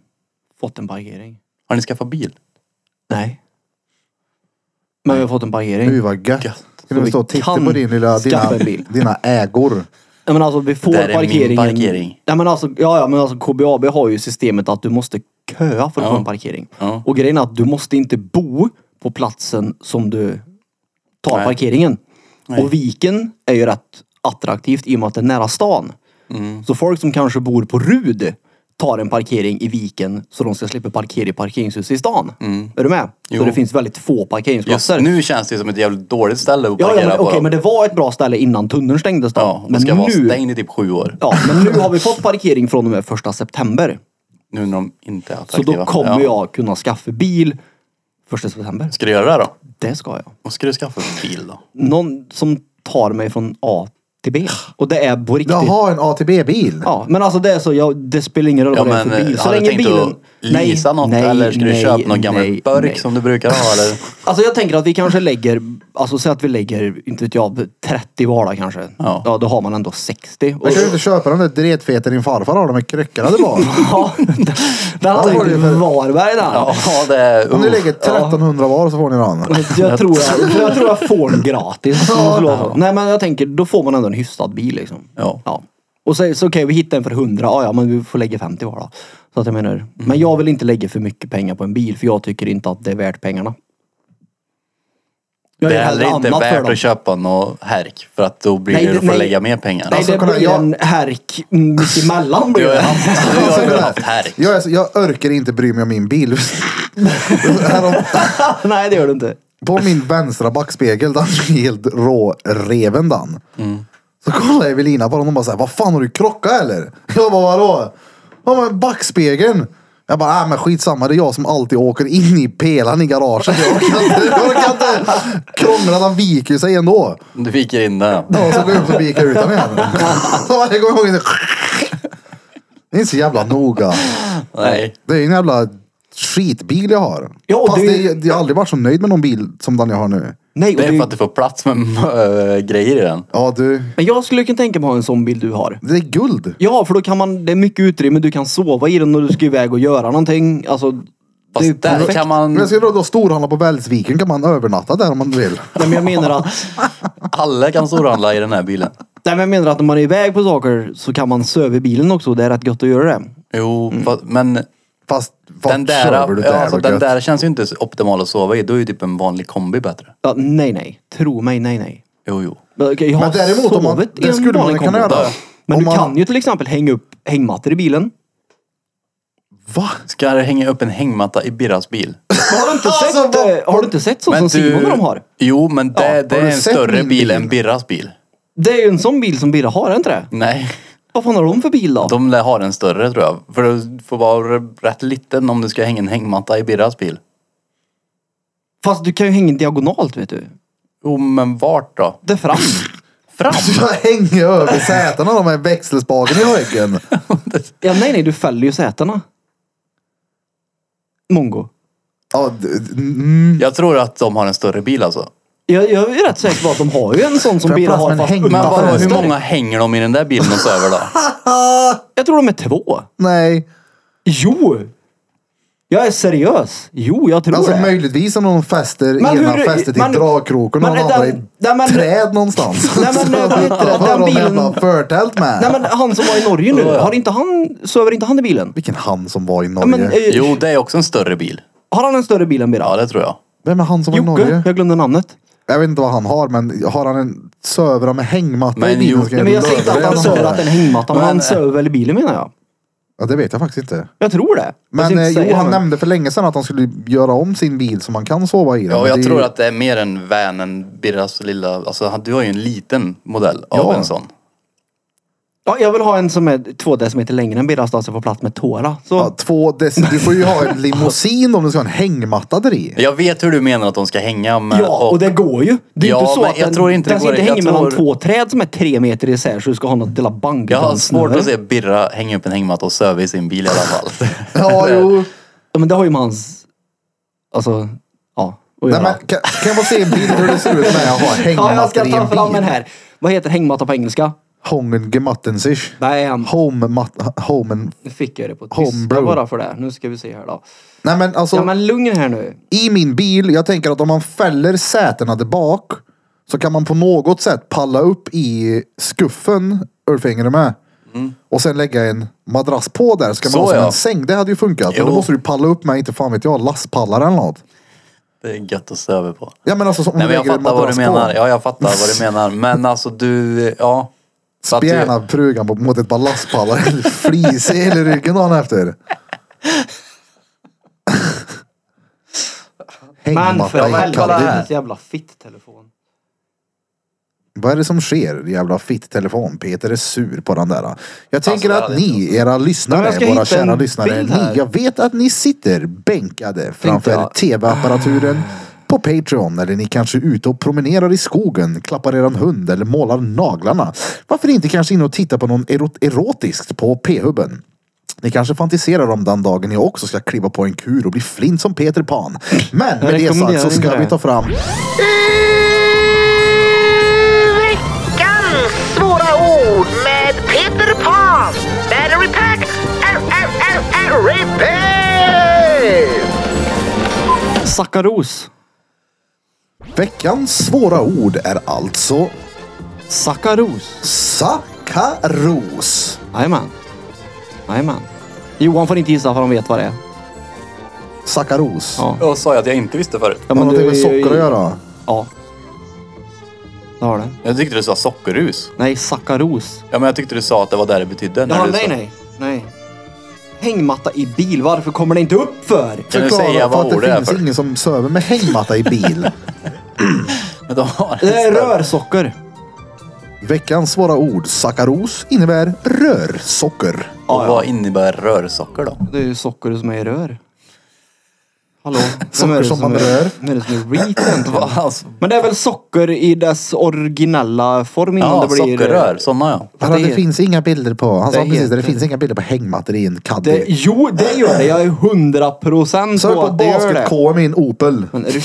[SPEAKER 1] Fått en parkering.
[SPEAKER 4] Har ni skaffat bil?
[SPEAKER 1] Nej. Men vi har fått en parkering.
[SPEAKER 2] Gud vad gött.
[SPEAKER 4] Gött.
[SPEAKER 2] Ska du
[SPEAKER 1] vi
[SPEAKER 2] stå och titta
[SPEAKER 1] kan
[SPEAKER 2] på din lilla, dina,
[SPEAKER 1] skaffa en bil.
[SPEAKER 2] dina ägor?
[SPEAKER 1] Ja, men alltså vi får
[SPEAKER 4] Där är min
[SPEAKER 1] parkeringen.
[SPEAKER 4] parkering.
[SPEAKER 1] Ja, men alltså, ja, ja, men alltså KBAB har ju systemet att du måste köa för att
[SPEAKER 4] Ja.
[SPEAKER 1] få en parkering.
[SPEAKER 4] Ja.
[SPEAKER 1] Och grejen är att du måste inte bo på platsen som du tar
[SPEAKER 4] Nej.
[SPEAKER 1] parkeringen.
[SPEAKER 4] Nej.
[SPEAKER 1] Och viken är ju rätt attraktivt i och med att det är nära stan.
[SPEAKER 4] Mm.
[SPEAKER 1] Så folk som kanske bor på Rud tar en parkering i viken så de ska slippa parkera i parkeringshuset i stan. Är du med? Så
[SPEAKER 4] Mm. Jo.
[SPEAKER 1] det finns väldigt få parkeringsplatser.
[SPEAKER 4] Just nu känns det som ett jävligt dåligt ställe att
[SPEAKER 1] Ja, ja,
[SPEAKER 4] parkera
[SPEAKER 1] men,
[SPEAKER 4] på.
[SPEAKER 1] okej, men det var ett bra ställe innan tunneln stängdes då.
[SPEAKER 4] ja, man
[SPEAKER 1] men
[SPEAKER 4] ska vara
[SPEAKER 1] nu,
[SPEAKER 4] stängd i typ sju år.
[SPEAKER 1] Ja, men nu har vi fått parkering från och med första september.
[SPEAKER 4] Nu när de inte är
[SPEAKER 1] Så
[SPEAKER 4] attraktiva.
[SPEAKER 1] då kommer
[SPEAKER 4] ja.
[SPEAKER 1] jag kunna skaffa bil första september.
[SPEAKER 4] Ska du göra det då?
[SPEAKER 1] Det ska jag.
[SPEAKER 4] Vad ska du skaffa för bil då?
[SPEAKER 1] Någon som tar mig från A till B. Och det är på riktigt.
[SPEAKER 2] Jaha, en ATB-bil?
[SPEAKER 1] Ja, men alltså det är så, jag, det spelar ingen roll
[SPEAKER 4] Ja,
[SPEAKER 1] vad det är för
[SPEAKER 4] men,
[SPEAKER 1] bil. Så
[SPEAKER 4] har du
[SPEAKER 1] länge
[SPEAKER 4] tänkt
[SPEAKER 1] bilen...
[SPEAKER 4] att leasa något eller ska du köpa någon gammal burk som du brukar ha? Eller?
[SPEAKER 1] Alltså jag tänker att vi kanske lägger, alltså säg att vi lägger, inte vet jag, 30 vardar kanske.
[SPEAKER 4] Ja.
[SPEAKER 1] då har man ändå 60. Och,
[SPEAKER 2] Men kan du inte köpa den där dretfeta din farfar har, de är krökade bak?
[SPEAKER 1] ja, den hade
[SPEAKER 2] var
[SPEAKER 1] varit i
[SPEAKER 2] det för-
[SPEAKER 1] Varberg den.
[SPEAKER 4] Ja, det är...
[SPEAKER 2] Om ni
[SPEAKER 4] Uh,
[SPEAKER 2] lägger 1300 var så får ni den.
[SPEAKER 4] Alltså,
[SPEAKER 1] Jag tror jag, jag tror jag får den gratis. Ja. Nej men jag tänker, då får man ändå en hyfsad bil liksom.
[SPEAKER 4] Ja.
[SPEAKER 1] Och så, så okej, vi hittar en för 100, ja ja men vi får lägga 50 var då. Så att jag menar, men jag vill inte lägga för mycket pengar på en bil för jag tycker inte att det är värt pengarna. Jag
[SPEAKER 4] det
[SPEAKER 1] gör
[SPEAKER 4] är heller inte
[SPEAKER 1] annat för
[SPEAKER 4] värt
[SPEAKER 1] dem.
[SPEAKER 4] att köpa något härk för att då blir
[SPEAKER 1] Nej,
[SPEAKER 4] det,
[SPEAKER 1] det-
[SPEAKER 4] du får
[SPEAKER 1] nej.
[SPEAKER 4] lägga mer pengar.
[SPEAKER 1] Nej
[SPEAKER 2] Alltså,
[SPEAKER 1] det
[SPEAKER 2] kolla,
[SPEAKER 1] blir
[SPEAKER 2] jag-
[SPEAKER 1] en härk mitt emellan blir
[SPEAKER 4] du har ju
[SPEAKER 1] Alltså, det.
[SPEAKER 4] haft, du har ju haft härk.
[SPEAKER 2] Jag, är, så- jag orkar inte bry mig om min bil. Härom-
[SPEAKER 1] Nej det gör du inte.
[SPEAKER 2] På min vänstra backspegel, den är helt råreven den. Så kollar Evelina på den och bara såhär, vad fan har du krockat eller? Jag bara, vadå? Ja men backspegeln. Jag bara, äh, men skitsamma, det är jag som alltid åker in i pelaren i garaget. Jag orkar inte, jag orkar inte krångla, den viker ju sig ändå.
[SPEAKER 4] Du fick in det.
[SPEAKER 2] Ja, så går jag upp och vikar ut den igen. Så varje gång jag går in Det är inte så jävla noga.
[SPEAKER 4] Nej.
[SPEAKER 2] Det är en jävla skitbil jag har.
[SPEAKER 1] Ja,
[SPEAKER 2] Fast
[SPEAKER 1] det är
[SPEAKER 2] det,
[SPEAKER 1] ju-
[SPEAKER 2] jag har aldrig varit så nöjd med någon bil som den jag har nu.
[SPEAKER 1] Nej, och
[SPEAKER 4] Det är
[SPEAKER 1] det-
[SPEAKER 4] för att du får plats med äh, grejer i den.
[SPEAKER 2] Ja du,
[SPEAKER 1] Men jag skulle kunna tänka mig att ha en sån bil du har.
[SPEAKER 2] det är guld.
[SPEAKER 1] Ja, för då kan man, det är mycket utrymme, du kan sova i den när du ska iväg och göra någonting. Alltså, det är ju
[SPEAKER 4] Fast där
[SPEAKER 1] perfekt.
[SPEAKER 4] kan man...
[SPEAKER 2] Men ska du då storhandla på Välsviken kan man övernatta där om man vill.
[SPEAKER 1] Nej, men jag menar att,
[SPEAKER 4] Alla kan storhandla i den här bilen.
[SPEAKER 1] nej, men jag menar att när man är iväg på saker så kan man söva i bilen också. Det är rätt gött att göra det.
[SPEAKER 4] Jo, fast, men
[SPEAKER 2] Fast vart
[SPEAKER 4] den där,
[SPEAKER 2] Mm. kör du
[SPEAKER 4] ja,
[SPEAKER 2] där?
[SPEAKER 4] alltså,
[SPEAKER 2] och
[SPEAKER 4] den
[SPEAKER 2] gött?
[SPEAKER 4] där känns ju inte så optimal att sova i. Då är ju typ en vanlig kombi bättre.
[SPEAKER 1] Ja, nej, nej. Tro mig, nej, nej.
[SPEAKER 4] Jo, jo.
[SPEAKER 1] Men, okej, jag har
[SPEAKER 2] Men däremot om man-
[SPEAKER 1] sovit i
[SPEAKER 2] det
[SPEAKER 1] en
[SPEAKER 2] skulle man
[SPEAKER 1] vanlig
[SPEAKER 2] kunna
[SPEAKER 1] kombi.
[SPEAKER 2] göra.
[SPEAKER 1] Men
[SPEAKER 2] Om
[SPEAKER 1] du
[SPEAKER 2] man-
[SPEAKER 1] kan ju till exempel hänga upp hängmattor i bilen.
[SPEAKER 2] Va?
[SPEAKER 4] Ska jag hänga upp en hängmatta i Birras bil?
[SPEAKER 1] Har du inte
[SPEAKER 2] Alltså,
[SPEAKER 1] sett,
[SPEAKER 2] vad-
[SPEAKER 1] eh, har du inte sett sånt som Simon och de har?
[SPEAKER 4] Jo, men det, det
[SPEAKER 2] har
[SPEAKER 4] är
[SPEAKER 2] du
[SPEAKER 4] en
[SPEAKER 2] sett
[SPEAKER 4] större
[SPEAKER 2] min
[SPEAKER 4] bil,
[SPEAKER 2] bil?
[SPEAKER 4] än Birras bil.
[SPEAKER 1] Det är ju en sån bil som Birra har, är det inte det?
[SPEAKER 4] Nej,
[SPEAKER 1] Vad fan har de för bil då?
[SPEAKER 4] de lär ha en större tror jag. För du får vara rätt liten om du ska hänga en hängmatta i Birras bil.
[SPEAKER 1] Fast du kan ju hänga diagonalt, vet du.
[SPEAKER 4] Jo, men vart då?
[SPEAKER 1] Där fram.
[SPEAKER 4] Fram!
[SPEAKER 2] Alltså, Jag hänger över sätena de här växelspaken i ryggen.
[SPEAKER 1] Ja, nej, nej, du fäller ju sätena. Mongo.
[SPEAKER 2] Ja, d- d- mm.
[SPEAKER 4] Jag tror att de har en större bil alltså.
[SPEAKER 1] Jag, jag är rätt säker på att de har ju en sån som
[SPEAKER 2] Får jag
[SPEAKER 1] Birra
[SPEAKER 2] plats med
[SPEAKER 1] har
[SPEAKER 2] en
[SPEAKER 1] fast
[SPEAKER 2] hängmatta?
[SPEAKER 4] Men
[SPEAKER 1] utanför
[SPEAKER 4] vadå,
[SPEAKER 2] fan,
[SPEAKER 4] hur
[SPEAKER 1] fönster.
[SPEAKER 4] många hänger de i den där bilen och söver då?
[SPEAKER 1] Jag tror de är två.
[SPEAKER 2] Nej.
[SPEAKER 1] Jo! Jag är seriös. Jo, jag tror
[SPEAKER 2] Alltså
[SPEAKER 1] det.
[SPEAKER 2] möjligtvis om någon fäster
[SPEAKER 1] Men
[SPEAKER 2] ena
[SPEAKER 1] hur-
[SPEAKER 2] fästet i
[SPEAKER 1] men-
[SPEAKER 2] dragkroken och
[SPEAKER 1] men
[SPEAKER 2] någon andra i
[SPEAKER 1] den- nej, men-
[SPEAKER 2] träd någonstans.
[SPEAKER 1] Nej, men-
[SPEAKER 2] Så
[SPEAKER 1] nej, men-
[SPEAKER 2] vad
[SPEAKER 1] den
[SPEAKER 2] har de
[SPEAKER 1] bilen-
[SPEAKER 2] jävla förtält med?
[SPEAKER 1] Nej men han som var i Norge nu, har inte han, sover inte han i bilen?
[SPEAKER 2] Vilken han som var i
[SPEAKER 1] Ja,
[SPEAKER 2] Norge.
[SPEAKER 1] men, eh,
[SPEAKER 4] Jo, det är också en större bil.
[SPEAKER 1] Har han en större bil än
[SPEAKER 4] Ja,
[SPEAKER 1] Birra?
[SPEAKER 4] det tror jag.
[SPEAKER 2] Vem är han som var i
[SPEAKER 1] Jocke,
[SPEAKER 2] Norge?
[SPEAKER 1] jag glömde namnet.
[SPEAKER 2] Jag vet inte vad han har men har han en sövra med hängmatta i
[SPEAKER 4] Men
[SPEAKER 2] bilen?
[SPEAKER 4] jo-
[SPEAKER 2] ska
[SPEAKER 1] Nej,
[SPEAKER 2] jag
[SPEAKER 1] men jag säger inte att han
[SPEAKER 2] lösa
[SPEAKER 1] sover
[SPEAKER 2] det.
[SPEAKER 1] att en hängmatta, men
[SPEAKER 4] Men-
[SPEAKER 1] han sover väl i bilen menar jag.
[SPEAKER 2] Ja det vet jag faktiskt inte.
[SPEAKER 1] Jag tror det. Jag ska
[SPEAKER 2] Men
[SPEAKER 1] inte
[SPEAKER 2] eh,
[SPEAKER 1] säga
[SPEAKER 2] jo,
[SPEAKER 1] det,
[SPEAKER 2] han
[SPEAKER 1] men-
[SPEAKER 2] nämnde för länge sedan att han skulle göra om sin bil så man kan sova i den.
[SPEAKER 4] Ja,
[SPEAKER 2] Men
[SPEAKER 4] och
[SPEAKER 2] det
[SPEAKER 4] jag
[SPEAKER 2] är
[SPEAKER 4] tror
[SPEAKER 2] ju-
[SPEAKER 4] att det är mer en van än Birras lilla... Alltså, han- du har ju en liten modell av
[SPEAKER 2] Ja.
[SPEAKER 4] en sån.
[SPEAKER 1] Ja, jag vill ha en som är två decimeter längre än Birras då, så jag får plats med tårna. Så,
[SPEAKER 2] Ja, två dec- du får ju ha en limousin om du ska ha en hängmatta där i.
[SPEAKER 4] Jag vet hur du menar att de ska hänga med...
[SPEAKER 1] ja, och det går ju. Det är
[SPEAKER 4] Ja,
[SPEAKER 1] inte så
[SPEAKER 4] men
[SPEAKER 1] att
[SPEAKER 4] jag
[SPEAKER 1] den,
[SPEAKER 4] tror inte det
[SPEAKER 1] den ska
[SPEAKER 4] går-
[SPEAKER 1] inte
[SPEAKER 4] jag
[SPEAKER 1] hänga mellan
[SPEAKER 4] tror-
[SPEAKER 1] två träd som är tre meter isär så du ska ha något lilla bank.
[SPEAKER 4] Jag har
[SPEAKER 1] utan
[SPEAKER 4] svårt
[SPEAKER 1] snöre.
[SPEAKER 4] att se Birra hänga upp en hängmatta och söva i sin bil i alla fall.
[SPEAKER 2] Ja, jo.
[SPEAKER 1] Ja, men det har ju med hans... Alltså, ja. att
[SPEAKER 2] Nej,
[SPEAKER 1] göra.
[SPEAKER 2] men, kan, kan jag få se en bild hur det ser ut när jag har
[SPEAKER 1] Ja, jag
[SPEAKER 2] hängmattor
[SPEAKER 1] ska
[SPEAKER 2] i
[SPEAKER 1] ta
[SPEAKER 2] en
[SPEAKER 1] fram en
[SPEAKER 2] bil?
[SPEAKER 1] här. Vad heter hängmatta på engelska?
[SPEAKER 2] Hångengemattensisch.
[SPEAKER 1] Bam!
[SPEAKER 2] Homematta... Homen...
[SPEAKER 1] Nu fick jag det på tyska
[SPEAKER 2] Homebrew.
[SPEAKER 1] bara för det. Nu ska vi se här då.
[SPEAKER 2] Nej men alltså,
[SPEAKER 1] Ja men lugn här nu.
[SPEAKER 2] i min bil, jag tänker att om man fäller sätena där bak så kan man på något sätt palla upp i skuffen, Ulf hänger du med? Och sen lägga en madrass på där så kan man
[SPEAKER 4] Mm. Så
[SPEAKER 2] ha som
[SPEAKER 4] ja.
[SPEAKER 2] en säng. Det hade ju funkat. Men då
[SPEAKER 4] Jo.
[SPEAKER 2] måste du palla upp med, inte fan vet jag, lastpallar eller något.
[SPEAKER 4] Det är gött att söva på.
[SPEAKER 2] Ja men alltså som
[SPEAKER 4] Nej men jag
[SPEAKER 2] lägger en
[SPEAKER 4] fattar vad du
[SPEAKER 2] madrass på.
[SPEAKER 4] menar. Ja, jag fattar vad du menar. Men alltså du, ja. Så att du,
[SPEAKER 2] Spjärna prugan på- mot ett par lastpallar. Flis i hela ryggen dagen efter.
[SPEAKER 1] Men för
[SPEAKER 2] Hängmatta i
[SPEAKER 1] helvete.
[SPEAKER 2] kalldusch.
[SPEAKER 1] Hennes jävla fitt-telefon.
[SPEAKER 2] Vad är det som sker? Jävla fitt-telefon. Peter är sur på den där. Jag
[SPEAKER 1] Alltså,
[SPEAKER 2] tänker
[SPEAKER 4] det
[SPEAKER 2] att
[SPEAKER 4] hade
[SPEAKER 2] ni, era lyssnare,
[SPEAKER 1] jag ska
[SPEAKER 2] våra
[SPEAKER 1] hitta
[SPEAKER 2] kära
[SPEAKER 1] en
[SPEAKER 2] lyssnare.
[SPEAKER 1] bild
[SPEAKER 2] Ni,
[SPEAKER 1] här.
[SPEAKER 2] jag vet att ni sitter bänkade framför
[SPEAKER 1] jag. Ah.
[SPEAKER 2] tv-apparaturen på Patreon. Eller ni kanske är ute och promenerar i skogen, klappar er hund eller målar naglarna. Varför inte kanske in och titta på någon erot- erotiskt på p-hubben? Ni kanske fantiserar om den dagen ni också ska kliva på en kur och bli flint som Peter Pan. Men med det sagt så
[SPEAKER 1] rekommenderar
[SPEAKER 2] ska
[SPEAKER 1] inte
[SPEAKER 2] vi
[SPEAKER 1] det.
[SPEAKER 2] ta fram
[SPEAKER 5] Veckans svåra ord med Peter Pan. Battery pack. Er, er, er, er, repair.
[SPEAKER 1] Sackaros.
[SPEAKER 2] veckans svåra ord är alltså
[SPEAKER 1] Sackaros.
[SPEAKER 2] Sakaros.
[SPEAKER 1] Jajamän. Jajamän. Johan får inte gissa för han vet vad det är.
[SPEAKER 2] Sakaros.
[SPEAKER 1] Ja.
[SPEAKER 4] jag sa ju att jag inte visste förut.
[SPEAKER 1] Ja,
[SPEAKER 2] Har någonting
[SPEAKER 1] du
[SPEAKER 2] med
[SPEAKER 1] är ju-
[SPEAKER 2] socker att göra?
[SPEAKER 1] Ja. Det har det.
[SPEAKER 4] Jag tyckte du sa sockerrus.
[SPEAKER 1] Nej, sackaros.
[SPEAKER 4] Ja men jag tyckte du sa att det var det det betydde. när
[SPEAKER 1] Ja,
[SPEAKER 4] du
[SPEAKER 1] nej,
[SPEAKER 4] sa-
[SPEAKER 1] nej. Nej. Hängmatta i bil. Varför kommer det inte upp för?
[SPEAKER 4] Kan du säga
[SPEAKER 2] för
[SPEAKER 4] vad
[SPEAKER 2] att
[SPEAKER 4] ordet
[SPEAKER 2] det
[SPEAKER 4] är
[SPEAKER 2] finns
[SPEAKER 4] för?
[SPEAKER 2] ingen som söver med hängmatta i bil.
[SPEAKER 4] Men de har en
[SPEAKER 1] Det är
[SPEAKER 4] större-
[SPEAKER 1] rörsocker.
[SPEAKER 2] Veckans svåra ord, sakaros, innebär rörsocker.
[SPEAKER 4] Och vad innebär rörsocker då?
[SPEAKER 1] Det är ju socker som är i rör. Hallå?
[SPEAKER 2] Socker
[SPEAKER 1] Vem är det
[SPEAKER 2] som man
[SPEAKER 1] är-
[SPEAKER 2] rör.
[SPEAKER 1] Vem är det som är reet
[SPEAKER 4] Va,
[SPEAKER 1] egentligen?
[SPEAKER 4] alltså,
[SPEAKER 1] Men det är väl socker i dess originella form innan
[SPEAKER 4] ja,
[SPEAKER 1] det blir...
[SPEAKER 4] sockerrör. Sådana ja.
[SPEAKER 1] Ja,
[SPEAKER 2] Hallå,
[SPEAKER 1] det
[SPEAKER 2] det
[SPEAKER 1] heter-
[SPEAKER 2] finns inga bilder på. Han sa
[SPEAKER 1] det
[SPEAKER 2] precis det, det
[SPEAKER 1] heter-
[SPEAKER 2] finns inga bilder på hängmattor i en
[SPEAKER 1] Det,
[SPEAKER 2] caddy.
[SPEAKER 1] jo, det gör det. Jag är hundra procent
[SPEAKER 2] Sök
[SPEAKER 1] på
[SPEAKER 2] på
[SPEAKER 1] att det gör det.
[SPEAKER 2] basket-KM i en Opel.
[SPEAKER 1] Men är du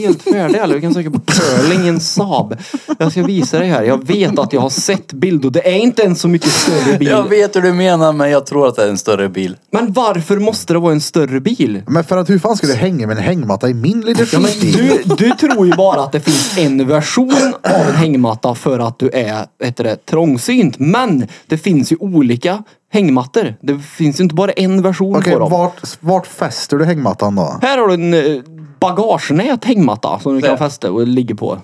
[SPEAKER 1] helt färdig eller? Du kan söka på curling i en Saab. Jag ska visa dig här. Jag vet att jag har sett bild och det är inte en så mycket större bil.
[SPEAKER 4] Jag vet hur du menar men jag tror att det är en större bil.
[SPEAKER 1] Men varför måste det vara en större bil?
[SPEAKER 2] Men för att hur fan ska du hänga med en hängmatta i min lilla
[SPEAKER 1] Ja, men
[SPEAKER 2] skitbil?
[SPEAKER 1] du, du tror ju bara att det finns en version av en hängmatta för att du är heter det, trångsynt. Men det finns ju olika hängmattor. Det finns ju inte bara en version
[SPEAKER 2] Okej,
[SPEAKER 1] på dem.
[SPEAKER 2] vart, vart fäster du hängmattan då?
[SPEAKER 1] Här har du en eh, bagagenät hängmatta som du kan
[SPEAKER 4] Där.
[SPEAKER 1] fästa och ligga på.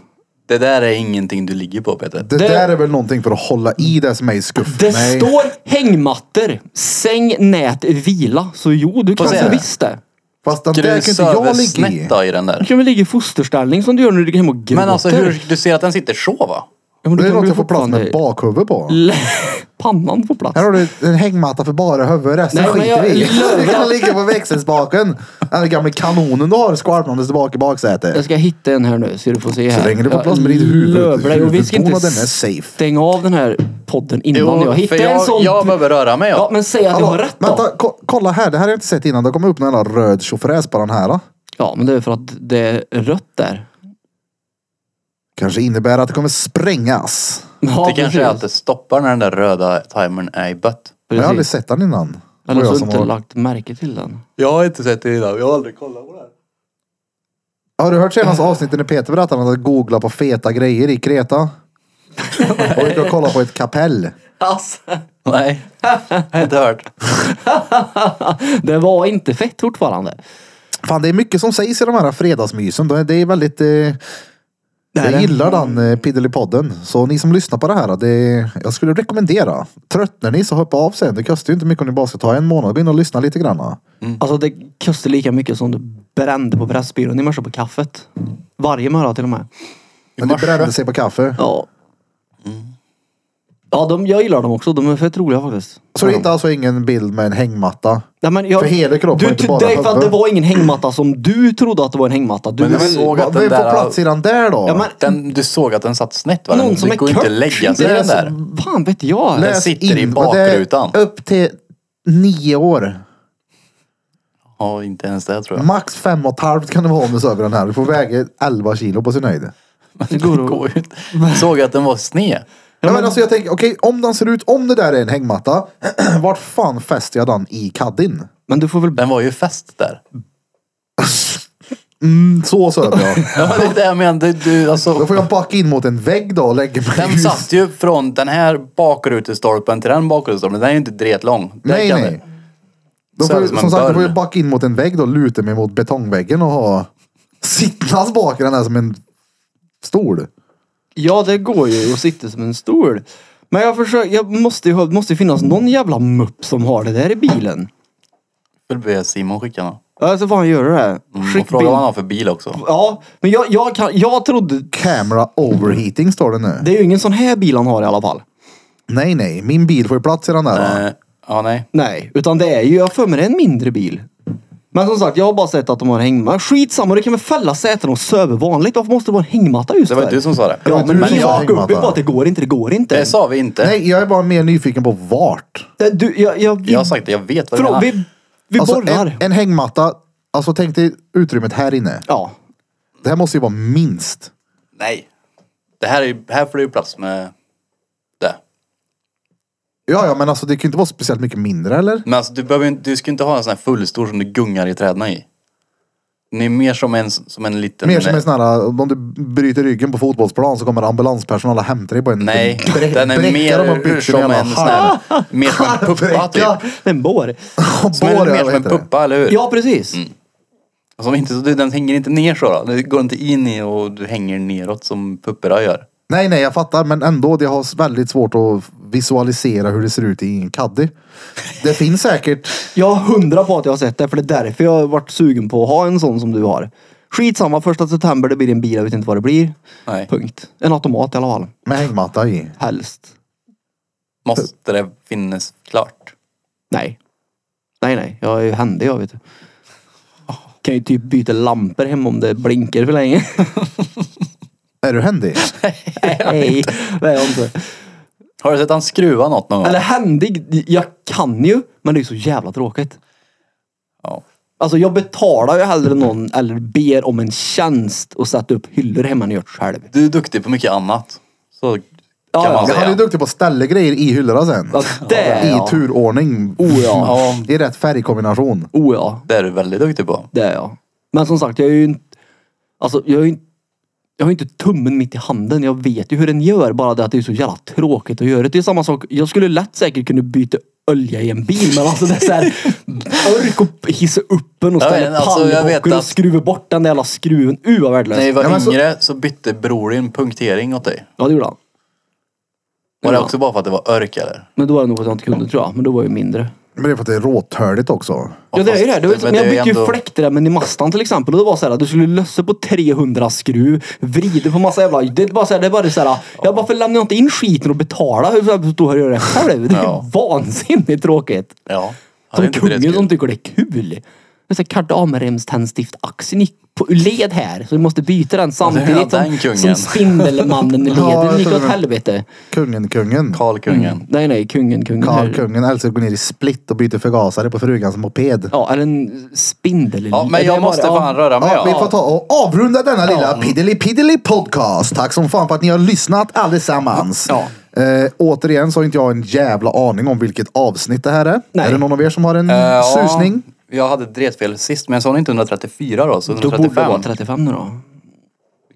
[SPEAKER 4] Det där är ingenting du ligger på Peter.
[SPEAKER 2] Det,
[SPEAKER 1] Det-
[SPEAKER 2] där är väl någonting för att hålla i det som är i skuffen?
[SPEAKER 1] Det
[SPEAKER 2] Nej.
[SPEAKER 1] står hängmattor, säng, nät, vila. Så jo, du kan
[SPEAKER 4] se
[SPEAKER 1] så
[SPEAKER 4] det.
[SPEAKER 1] visst det.
[SPEAKER 2] Fast den
[SPEAKER 4] Tycker
[SPEAKER 2] där
[SPEAKER 4] du
[SPEAKER 2] kan inte jag
[SPEAKER 4] söver
[SPEAKER 2] ligga i.
[SPEAKER 4] snett då i den
[SPEAKER 1] Du
[SPEAKER 4] där?
[SPEAKER 1] kan väl ligga i fosterställning som du gör när du ligger hemma och gråter.
[SPEAKER 4] Men alltså hur, du ser att den sitter så va?
[SPEAKER 1] Ja, men du
[SPEAKER 2] Det är
[SPEAKER 1] kan
[SPEAKER 2] något
[SPEAKER 1] väl
[SPEAKER 2] jag får plats med
[SPEAKER 1] fortfarande-
[SPEAKER 2] bakhuvud på.
[SPEAKER 1] Pannan får plats.
[SPEAKER 2] Här har du en hängmatta för bara huvud. Resten
[SPEAKER 1] Nej, men
[SPEAKER 2] skiter vi
[SPEAKER 1] jag-
[SPEAKER 2] i. Du kan ligga på växelspaken. Den där gamla kanonen du har skvalpandes tillbaka i
[SPEAKER 1] Jag
[SPEAKER 2] baksätet.
[SPEAKER 1] ska hitta en här nu så du får se här.
[SPEAKER 2] Så länge du får
[SPEAKER 1] Jag
[SPEAKER 2] plats med ditt huvud-
[SPEAKER 1] lövar dig. Och vi ska inte
[SPEAKER 2] huvudbonaden är safe.
[SPEAKER 1] stänga av den här podden innan jag hittar
[SPEAKER 4] för jag,
[SPEAKER 1] en sån.
[SPEAKER 4] jag behöver röra mig.
[SPEAKER 1] Ja
[SPEAKER 4] Ja.
[SPEAKER 1] men säg att jag har rätt då.
[SPEAKER 2] vänta, ko- kolla här. Det här har jag inte sett innan. Det kommer upp en jävla röd tjofräs på den här. Då.
[SPEAKER 1] Ja men det är för att det är rött där.
[SPEAKER 2] Kanske innebär att det kommer sprängas.
[SPEAKER 1] Ja,
[SPEAKER 4] Det kanske är att
[SPEAKER 1] precis.
[SPEAKER 4] det stoppar när den där röda timern är i bött.
[SPEAKER 2] Jag har aldrig
[SPEAKER 1] Precis.
[SPEAKER 2] sett den innan.
[SPEAKER 1] Men
[SPEAKER 2] Och jag
[SPEAKER 1] alltså
[SPEAKER 2] som
[SPEAKER 1] inte
[SPEAKER 2] har-
[SPEAKER 1] lagt märke till den.
[SPEAKER 4] Jag har inte sett det innan. Jag har aldrig kollat på det här.
[SPEAKER 2] Har du hört senaste avsnittet när Peter berättade att han googlade på feta grejer i Kreta? Och gick och kollade på ett kapell.
[SPEAKER 1] Alltså.
[SPEAKER 4] Nej, jag har inte hört.
[SPEAKER 1] Det var inte fett fortfarande.
[SPEAKER 2] Fan, det är mycket som sägs i de här fredagsmysen. Det det är väldigt... Eh, jag gillar
[SPEAKER 4] Mm.
[SPEAKER 2] den eh, Piddelipodden. Så ni som lyssnar på det här, det, jag skulle rekommendera. Tröttnar ni så hoppa av sen. Det kostar ju inte mycket om ni bara ska ta en månad. Gå in och lyssna lite grann.
[SPEAKER 4] Mm.
[SPEAKER 1] Alltså det kostar lika mycket som du brände på Pressbyrån i morse på kaffet. Varje morgon till och med.
[SPEAKER 2] Men det brände sig på kaffe.
[SPEAKER 1] Ja.
[SPEAKER 4] Mm.
[SPEAKER 1] Ja, de, jag gillar dem också. De är fett roliga faktiskt.
[SPEAKER 2] Så det är inte alltså ingen bild med en hängmatta.
[SPEAKER 1] Nej, men jag,
[SPEAKER 2] För hela kroppen,
[SPEAKER 1] du,
[SPEAKER 2] inte
[SPEAKER 1] ty-
[SPEAKER 2] bara
[SPEAKER 1] Det är för att
[SPEAKER 2] huvudet.
[SPEAKER 1] det var ingen hängmatta som du trodde att det var en hängmatta. Du,
[SPEAKER 4] Men jag
[SPEAKER 1] men,
[SPEAKER 4] såg
[SPEAKER 2] Vad
[SPEAKER 4] att
[SPEAKER 2] vem
[SPEAKER 4] den
[SPEAKER 2] får
[SPEAKER 4] där...
[SPEAKER 2] plats i den där då?
[SPEAKER 1] ja, men,
[SPEAKER 4] Den, du såg att den satt snett va?
[SPEAKER 1] någon
[SPEAKER 4] Den,
[SPEAKER 1] som
[SPEAKER 4] det
[SPEAKER 1] är
[SPEAKER 4] går inte
[SPEAKER 1] kört.
[SPEAKER 4] att lägga sig
[SPEAKER 2] Det
[SPEAKER 4] i
[SPEAKER 2] är
[SPEAKER 4] den där.
[SPEAKER 1] Fan vet jag.
[SPEAKER 4] Läs- sitter i
[SPEAKER 2] och det är
[SPEAKER 4] bakrutan.
[SPEAKER 2] Upp till nio år.
[SPEAKER 4] Ja, inte ens det tror jag.
[SPEAKER 2] Max fem och ett halvt kan det vara om du söver den här. Du får väga 11 kilo på sin höjd.
[SPEAKER 4] Det går, ju inte. Såg att den var sned.
[SPEAKER 2] Ja, men alltså jag tänker, okej om den ser ut, om det där är en hängmatta. vart fan fäster jag den i kaddin?
[SPEAKER 1] Men du får väl...
[SPEAKER 4] Den var ju fäst där.
[SPEAKER 2] Mm, så söver jag.
[SPEAKER 4] Ja, men det är det jag menar. Du, du,
[SPEAKER 2] Då
[SPEAKER 4] alltså,
[SPEAKER 2] får jag backa in mot en vägg då och lägga mig i
[SPEAKER 4] den
[SPEAKER 2] hus.
[SPEAKER 4] satt ju från den här bakrutestolpen till den bakrutestolpen. Den är ju inte dretlång. Den
[SPEAKER 2] Nej,
[SPEAKER 4] kan
[SPEAKER 2] nej.
[SPEAKER 4] det-
[SPEAKER 2] Då
[SPEAKER 4] Så
[SPEAKER 2] får,
[SPEAKER 4] är det
[SPEAKER 2] jag-
[SPEAKER 4] som
[SPEAKER 2] som
[SPEAKER 4] en
[SPEAKER 2] sagt, då
[SPEAKER 4] dörr.
[SPEAKER 2] får jag backa in mot en vägg då och luta mig mot betongväggen och ha sittnas bak i den här som en stol.
[SPEAKER 1] Ja, det går ju att sitta som en stol. Men jag försöker... Jag måste ju ha- måste ju finnas någon jävla mupp som har det där i bilen.
[SPEAKER 4] Får be Simon skicka någon.
[SPEAKER 1] Ja, så får han göra det.
[SPEAKER 4] Mm, och
[SPEAKER 1] Skicka
[SPEAKER 4] fråga
[SPEAKER 1] bild.
[SPEAKER 4] vad han har för bil också.
[SPEAKER 1] Ja, men jag, jag, kan, jag trodde...
[SPEAKER 2] Camera overheating står det nu.
[SPEAKER 1] Det är ju ingen sån här bil han har i alla fall.
[SPEAKER 2] Nej, nej. Min bil får ju plats i den där. va?
[SPEAKER 4] Eh, ja, nej.
[SPEAKER 1] Nej, utan det är ju, jag har för mig det är en mindre bil. Men som sagt, jag har bara sett att de har hängmatta. Skitsamma, det kan väl fälla säten och söva vanligt. Varför måste det vara en hängmatta just
[SPEAKER 4] Det var
[SPEAKER 1] där?
[SPEAKER 4] ju du som sa det.
[SPEAKER 1] Ja,
[SPEAKER 2] var
[SPEAKER 1] men
[SPEAKER 2] du
[SPEAKER 1] min
[SPEAKER 2] som sa
[SPEAKER 1] hak
[SPEAKER 2] hängmatta.
[SPEAKER 1] uppe var att det går inte, det går inte.
[SPEAKER 4] Det sa vi inte.
[SPEAKER 2] Nej, jag är bara mer nyfiken på vart.
[SPEAKER 1] Det- Du, jag, jag, vi,
[SPEAKER 4] Jag har sagt det. Jag vet vad du
[SPEAKER 1] Förlåt,
[SPEAKER 4] menar.
[SPEAKER 1] vi, vi
[SPEAKER 2] Alltså,
[SPEAKER 1] borrar.
[SPEAKER 2] en, en hängmatta. Alltså tänk dig utrymmet här inne.
[SPEAKER 1] Ja.
[SPEAKER 2] Det här måste ju vara minst.
[SPEAKER 4] Nej. Det här, är, ju- här får det ju plats med det.
[SPEAKER 2] Ja, ja, men alltså det kan ju inte vara speciellt mycket mindre eller?
[SPEAKER 4] Men alltså, du, behöver, ju inte- du ska inte ha en sån här fullstor som du gungar i träden i. Ni är mer som en, som en liten...
[SPEAKER 2] Mer som en sån här, om du bryter ryggen på fotbollsplan så kommer ambulanspersonal och hämtar dig på en
[SPEAKER 4] Nej,
[SPEAKER 2] liten brä-
[SPEAKER 4] den är
[SPEAKER 2] bräcka de har byggt
[SPEAKER 4] mer
[SPEAKER 2] i
[SPEAKER 4] som
[SPEAKER 2] jävla
[SPEAKER 4] en sån
[SPEAKER 2] halm.
[SPEAKER 4] här, Mer som en puppa
[SPEAKER 2] Bräcka.
[SPEAKER 4] typ.
[SPEAKER 1] En bår.
[SPEAKER 4] Som
[SPEAKER 2] Bår,
[SPEAKER 4] en,
[SPEAKER 2] ja, Ah, vad
[SPEAKER 4] mer som en
[SPEAKER 2] heter det?
[SPEAKER 4] puppa, eller hur?
[SPEAKER 1] Ja, precis.
[SPEAKER 4] Som inte, så du- den hänger inte ner så då. Du går inte in i och du hänger neråt som pupporna gör.
[SPEAKER 2] Nej, nej, jag fattar. Men ändå, det har väldigt svårt att visualisera hur det ser ut i en caddy. Det finns säkert.
[SPEAKER 1] Jag har hundra på att jag har sett det, för det är därför jag har varit sugen på att ha en sån som du har. Skitsamma, första september det blir en bil, jag vet inte vad det blir.
[SPEAKER 4] Nej.
[SPEAKER 1] Punkt. En automat i alla fall.
[SPEAKER 2] Med hängmatta i.
[SPEAKER 1] Helst.
[SPEAKER 4] Måste det finnas klart.
[SPEAKER 1] Nej. Nej, nej. Jag är ju händig jag vet du. Kan ju typ byta lampor hemma om det blinkar för länge.
[SPEAKER 2] Är du händig?
[SPEAKER 1] Nej, det är jag inte.
[SPEAKER 4] Har du sett han skruva något någon gång?
[SPEAKER 1] Eller händig, jag kan ju. Men det är ju så jävla tråkigt.
[SPEAKER 4] Ja.
[SPEAKER 1] Alltså jag betalar ju hellre någon eller ber om en tjänst och sätta upp hyllor hemma när jag gör själv.
[SPEAKER 4] Du är duktig på mycket annat. Så kan
[SPEAKER 1] ja.
[SPEAKER 4] man
[SPEAKER 2] Ja,
[SPEAKER 4] säga.
[SPEAKER 2] han är duktig på att ställa grejer i hyllorna sen.
[SPEAKER 1] Ja, det
[SPEAKER 2] I
[SPEAKER 1] ja.
[SPEAKER 2] turordning.
[SPEAKER 1] Oh, ja.
[SPEAKER 2] I rätt färgkombination.
[SPEAKER 1] Oh ja,
[SPEAKER 4] Det är du väldigt duktig på.
[SPEAKER 1] det är jag. Men som sagt, jag är ju inte... Alltså jag är ju inte... Jag har ju inte tummen mitt i handen. Jag vet ju hur den gör. Bara det att det är så jävla tråkigt att göra. Det är samma sak. Jag skulle lätt säkert kunna byta olja i en bil. Men alltså det är såhär... Ork och hissa upp den och
[SPEAKER 4] Jag
[SPEAKER 1] ställa
[SPEAKER 4] vet, alltså, jag vet
[SPEAKER 1] pallbockar och
[SPEAKER 4] att-
[SPEAKER 1] skruva bort den där jävla skruven. Uh vad värdelöst.
[SPEAKER 4] När vi var
[SPEAKER 2] Ja, men så-
[SPEAKER 4] yngre så... bytte bror din punktering åt dig.
[SPEAKER 1] Ja det gjorde han.
[SPEAKER 4] Var det
[SPEAKER 1] Ja.
[SPEAKER 4] också bara för att det var örk eller?
[SPEAKER 1] Men då var det nog för att jag inte kunde tror jag. Men då var jag ju mindre.
[SPEAKER 2] Men det är för att det är råtörligt också.
[SPEAKER 1] Ja det är ju det. det var, ju
[SPEAKER 4] Men
[SPEAKER 1] så- men jag
[SPEAKER 4] det är
[SPEAKER 1] bytte ju
[SPEAKER 4] ändå-
[SPEAKER 1] fläktremmen i Mastan till exempel. Och det var så här att du skulle lösa på 300 skruv. Vrida på massa jävla... Det är bara så här, det är bara så här. Jag bara, varför lämnar jag inte in skiten och betalar? Hur ska jag stå här och göra det själv? Det är
[SPEAKER 4] Ja.
[SPEAKER 1] vansinnigt tråkigt.
[SPEAKER 4] Ja. Ja, det är
[SPEAKER 1] Som
[SPEAKER 4] inte direkt
[SPEAKER 1] kungen som
[SPEAKER 4] kul.
[SPEAKER 1] tycker det är kul. Det är så här, Kardamremständstift-axeln gick på ur led här. Så du måste byta den samtidigt
[SPEAKER 4] den
[SPEAKER 1] som,
[SPEAKER 4] kungen.
[SPEAKER 1] som Spindelmannen i
[SPEAKER 2] Ja,
[SPEAKER 1] leden.
[SPEAKER 2] jag
[SPEAKER 1] Den gick
[SPEAKER 2] tror
[SPEAKER 1] åt
[SPEAKER 2] det.
[SPEAKER 1] helvete.
[SPEAKER 2] Kungen, kungen.
[SPEAKER 4] Karl kungen.
[SPEAKER 1] Nej, nej, kungen, kungen.
[SPEAKER 2] Karl
[SPEAKER 1] här.
[SPEAKER 2] kungen älskar att gå ner i split och byta förgasare på frugans moped.
[SPEAKER 1] Ja, eller en spindel.
[SPEAKER 2] Mm.
[SPEAKER 4] Ja, men
[SPEAKER 1] Det är
[SPEAKER 4] jag måste
[SPEAKER 1] ja.
[SPEAKER 4] fan röra mig.
[SPEAKER 2] Ja, vi
[SPEAKER 4] ja.
[SPEAKER 2] får ta och avrunda denna lilla piddly piddly podcast. Tack som fan för att ni har lyssnat allesammans.
[SPEAKER 1] Ja.
[SPEAKER 2] Eh, återigen så har inte jag en jävla aning om vilket avsnitt det här är.
[SPEAKER 1] Nej.
[SPEAKER 2] Är det någon av er som har en
[SPEAKER 4] Eh,
[SPEAKER 2] susning?
[SPEAKER 4] Ja, jag hade dretfel sist, men jag sa inte 134 då, så
[SPEAKER 1] Då borde det vara
[SPEAKER 4] 135.
[SPEAKER 1] 35 nu då.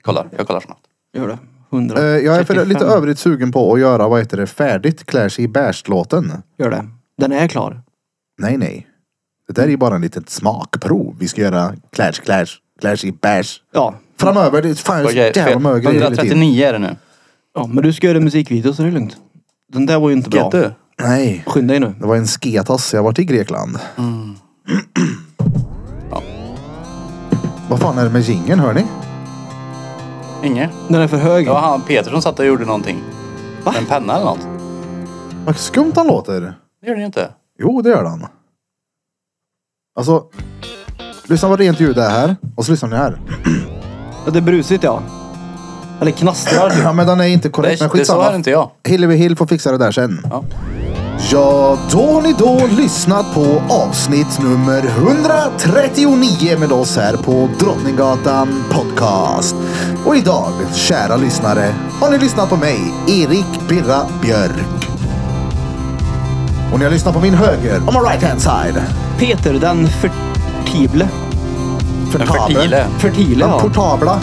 [SPEAKER 4] Kollar, jag kollar snabbt.
[SPEAKER 1] Gör det. 100.
[SPEAKER 2] Eh, jag är för
[SPEAKER 1] 35.
[SPEAKER 2] lite övrigt sugen på att göra, vad heter det, färdigt Clash i Bärst-låten.
[SPEAKER 1] Gör det. Den är klar.
[SPEAKER 2] Nej, nej. Det där är ju bara en litet smakprov. Vi ska göra Clash, Clash, Clash i Bärs.
[SPEAKER 1] Ja.
[SPEAKER 2] Framöver, det är fan så
[SPEAKER 4] Okej,
[SPEAKER 2] jävla
[SPEAKER 4] fel.
[SPEAKER 2] många grejer hela tiden.
[SPEAKER 4] 139 är det nu.
[SPEAKER 1] ja. Men du ska göra en musikvideo så det är lugnt. Den där var ju inte bra.
[SPEAKER 4] Vet du?
[SPEAKER 2] Nej,
[SPEAKER 1] Skynda dig nu.
[SPEAKER 2] det var en sketas. Jag har varit i Grekland.
[SPEAKER 4] Mm.
[SPEAKER 2] Vad fan är det med jingeln, hör ni?
[SPEAKER 4] Inge?
[SPEAKER 1] Den är för hög.
[SPEAKER 4] Det var han Peter som satt och gjorde någonting. Med en penna eller något.
[SPEAKER 2] Vad skumt han låter.
[SPEAKER 4] Det gör den ju inte.
[SPEAKER 2] Jo, det gör han. Alltså, lyssna vad rent ljud det är här. Och så lyssnar ni här.
[SPEAKER 1] Ja, det är brusigt ja. Eller knastrar. typ.
[SPEAKER 2] Ja, men den är inte korrekt.
[SPEAKER 4] Det,
[SPEAKER 2] Men
[SPEAKER 4] det sa
[SPEAKER 2] skitsamma.
[SPEAKER 4] inte jag.
[SPEAKER 2] Hillevi Hill får fixa det där sen.
[SPEAKER 4] Ja.
[SPEAKER 2] Ja, då har ni då lyssnat på avsnitt nummer 139 med oss här på Drottninggatan Podcast. Och idag, kära lyssnare, har ni lyssnat på mig, Erik Birra Björk. Och ni har lyssnat på min höger, on my right hand side.
[SPEAKER 1] Peter den fertible.
[SPEAKER 4] Den fertile.
[SPEAKER 1] Fertile
[SPEAKER 2] Den
[SPEAKER 1] ja.
[SPEAKER 2] portabla.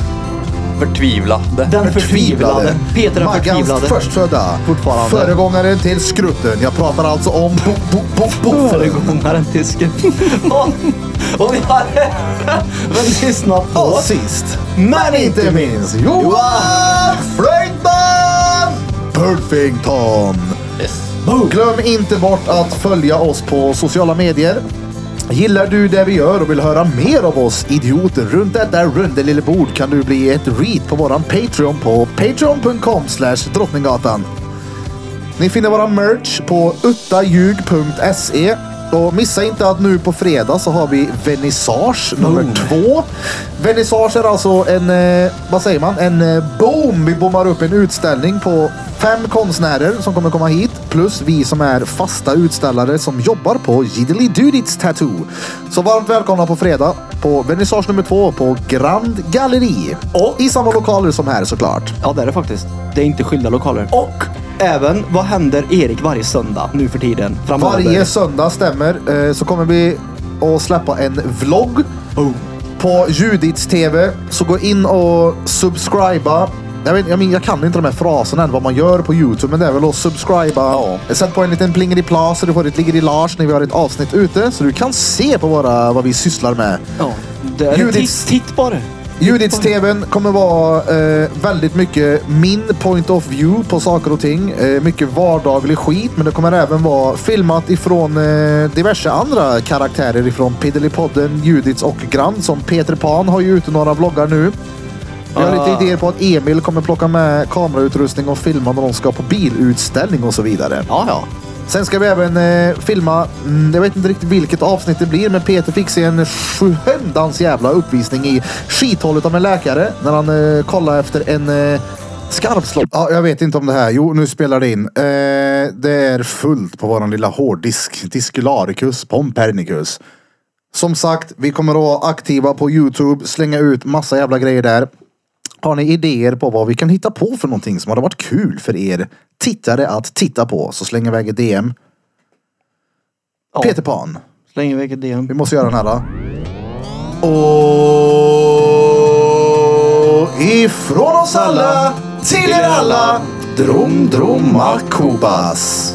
[SPEAKER 4] Förtvivlade.
[SPEAKER 1] Den förtvivlade. Peter den
[SPEAKER 2] Maggans
[SPEAKER 1] förtvivlade.
[SPEAKER 2] förstfödda.
[SPEAKER 1] Fortfarande.
[SPEAKER 2] Föregångaren till skrutten. Jag pratar alltså om bo, bo, bo, bo.
[SPEAKER 1] Föregångaren till skrutten. och, och vi har även lyssnat på...
[SPEAKER 2] Och sist,
[SPEAKER 1] Men
[SPEAKER 2] inte minst, Johan Fredman Perfington.
[SPEAKER 4] Yes.
[SPEAKER 2] Glöm inte bort att följa oss på sociala medier. Gillar du det vi gör och vill höra mer av oss idioter runt detta runda lilla bord kan du bli ett read på våran Patreon på patreon.com slash drottninggatan. Ni finner våran merch på uttaljug.se. Och missa inte att nu på fredag så har vi vernissage nummer
[SPEAKER 1] Oh.
[SPEAKER 2] två. Vernissage är alltså en, eh, vad säger man, en eh, boom. Vi bommar upp en utställning på fem konstnärer som kommer komma hit. Plus vi som är fasta utställare som jobbar på Jiddly Dudits Tattoo. Så varmt välkomna på fredag på vernissage nummer två på Grand Galleri.
[SPEAKER 1] Och-
[SPEAKER 2] I samma lokaler som här såklart.
[SPEAKER 1] Ja, det är det faktiskt. Det är inte skilda lokaler. Och även, vad händer Erik varje söndag nu för tiden? Framöver.
[SPEAKER 2] Varje söndag stämmer eh, så kommer vi att släppa en vlogg
[SPEAKER 1] Boom.
[SPEAKER 2] på Judits TV. Så gå in och subscriba. Jag, vet, jag, men, jag kan inte de här fraserna än vad man gör på Youtube, men det är väl att subscriba.
[SPEAKER 4] Ja.
[SPEAKER 2] Sätt på en liten plingeli-plas så du får ett ligger-i-lars när vi har ett avsnitt ute. Så du kan se på våra, vad vi sysslar med.
[SPEAKER 1] Ja, det är
[SPEAKER 2] Judits-
[SPEAKER 1] Titt, titt på det.
[SPEAKER 2] Judits TVn kommer vara eh, väldigt mycket min point of view på saker och ting. Eh, mycket vardaglig skit, men det kommer även vara filmat ifrån eh, diverse andra karaktärer ifrån Piddelipodden, Judits och Grand. Som Peter Pan har ju ute några vloggar nu. Jag har
[SPEAKER 1] Ah.
[SPEAKER 2] lite idéer på att Emil kommer plocka med kamerautrustning och filma när de ska på bilutställning och så vidare.
[SPEAKER 1] Ja, ja.
[SPEAKER 2] Sen ska vi även eh, filma, mm, jag vet inte riktigt vilket avsnitt det blir, men Peter fick se en sjuhändans jävla uppvisning i skithålet av en läkare när han eh, kollade efter en eh, skarpslå... Ja, jag vet inte om det här. Jo, nu spelar det in. Eh, det är fullt på våran lilla hårddisk. Discularicus Pompernicus. Som sagt, vi kommer att vara aktiva på Youtube, slänga ut massa jävla grejer där. Har ni idéer på vad vi kan hitta på för någonting som hade varit kul för er tittare att titta på så släng iväg ett DM.
[SPEAKER 1] ja.
[SPEAKER 2] Peter Pan,
[SPEAKER 1] Släng iväg ett DM.
[SPEAKER 2] vi måste göra den här. då. Och ifrån oss alla till er alla. Drom drom akobas.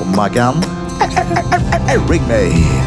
[SPEAKER 2] Och Maggan, ring mig.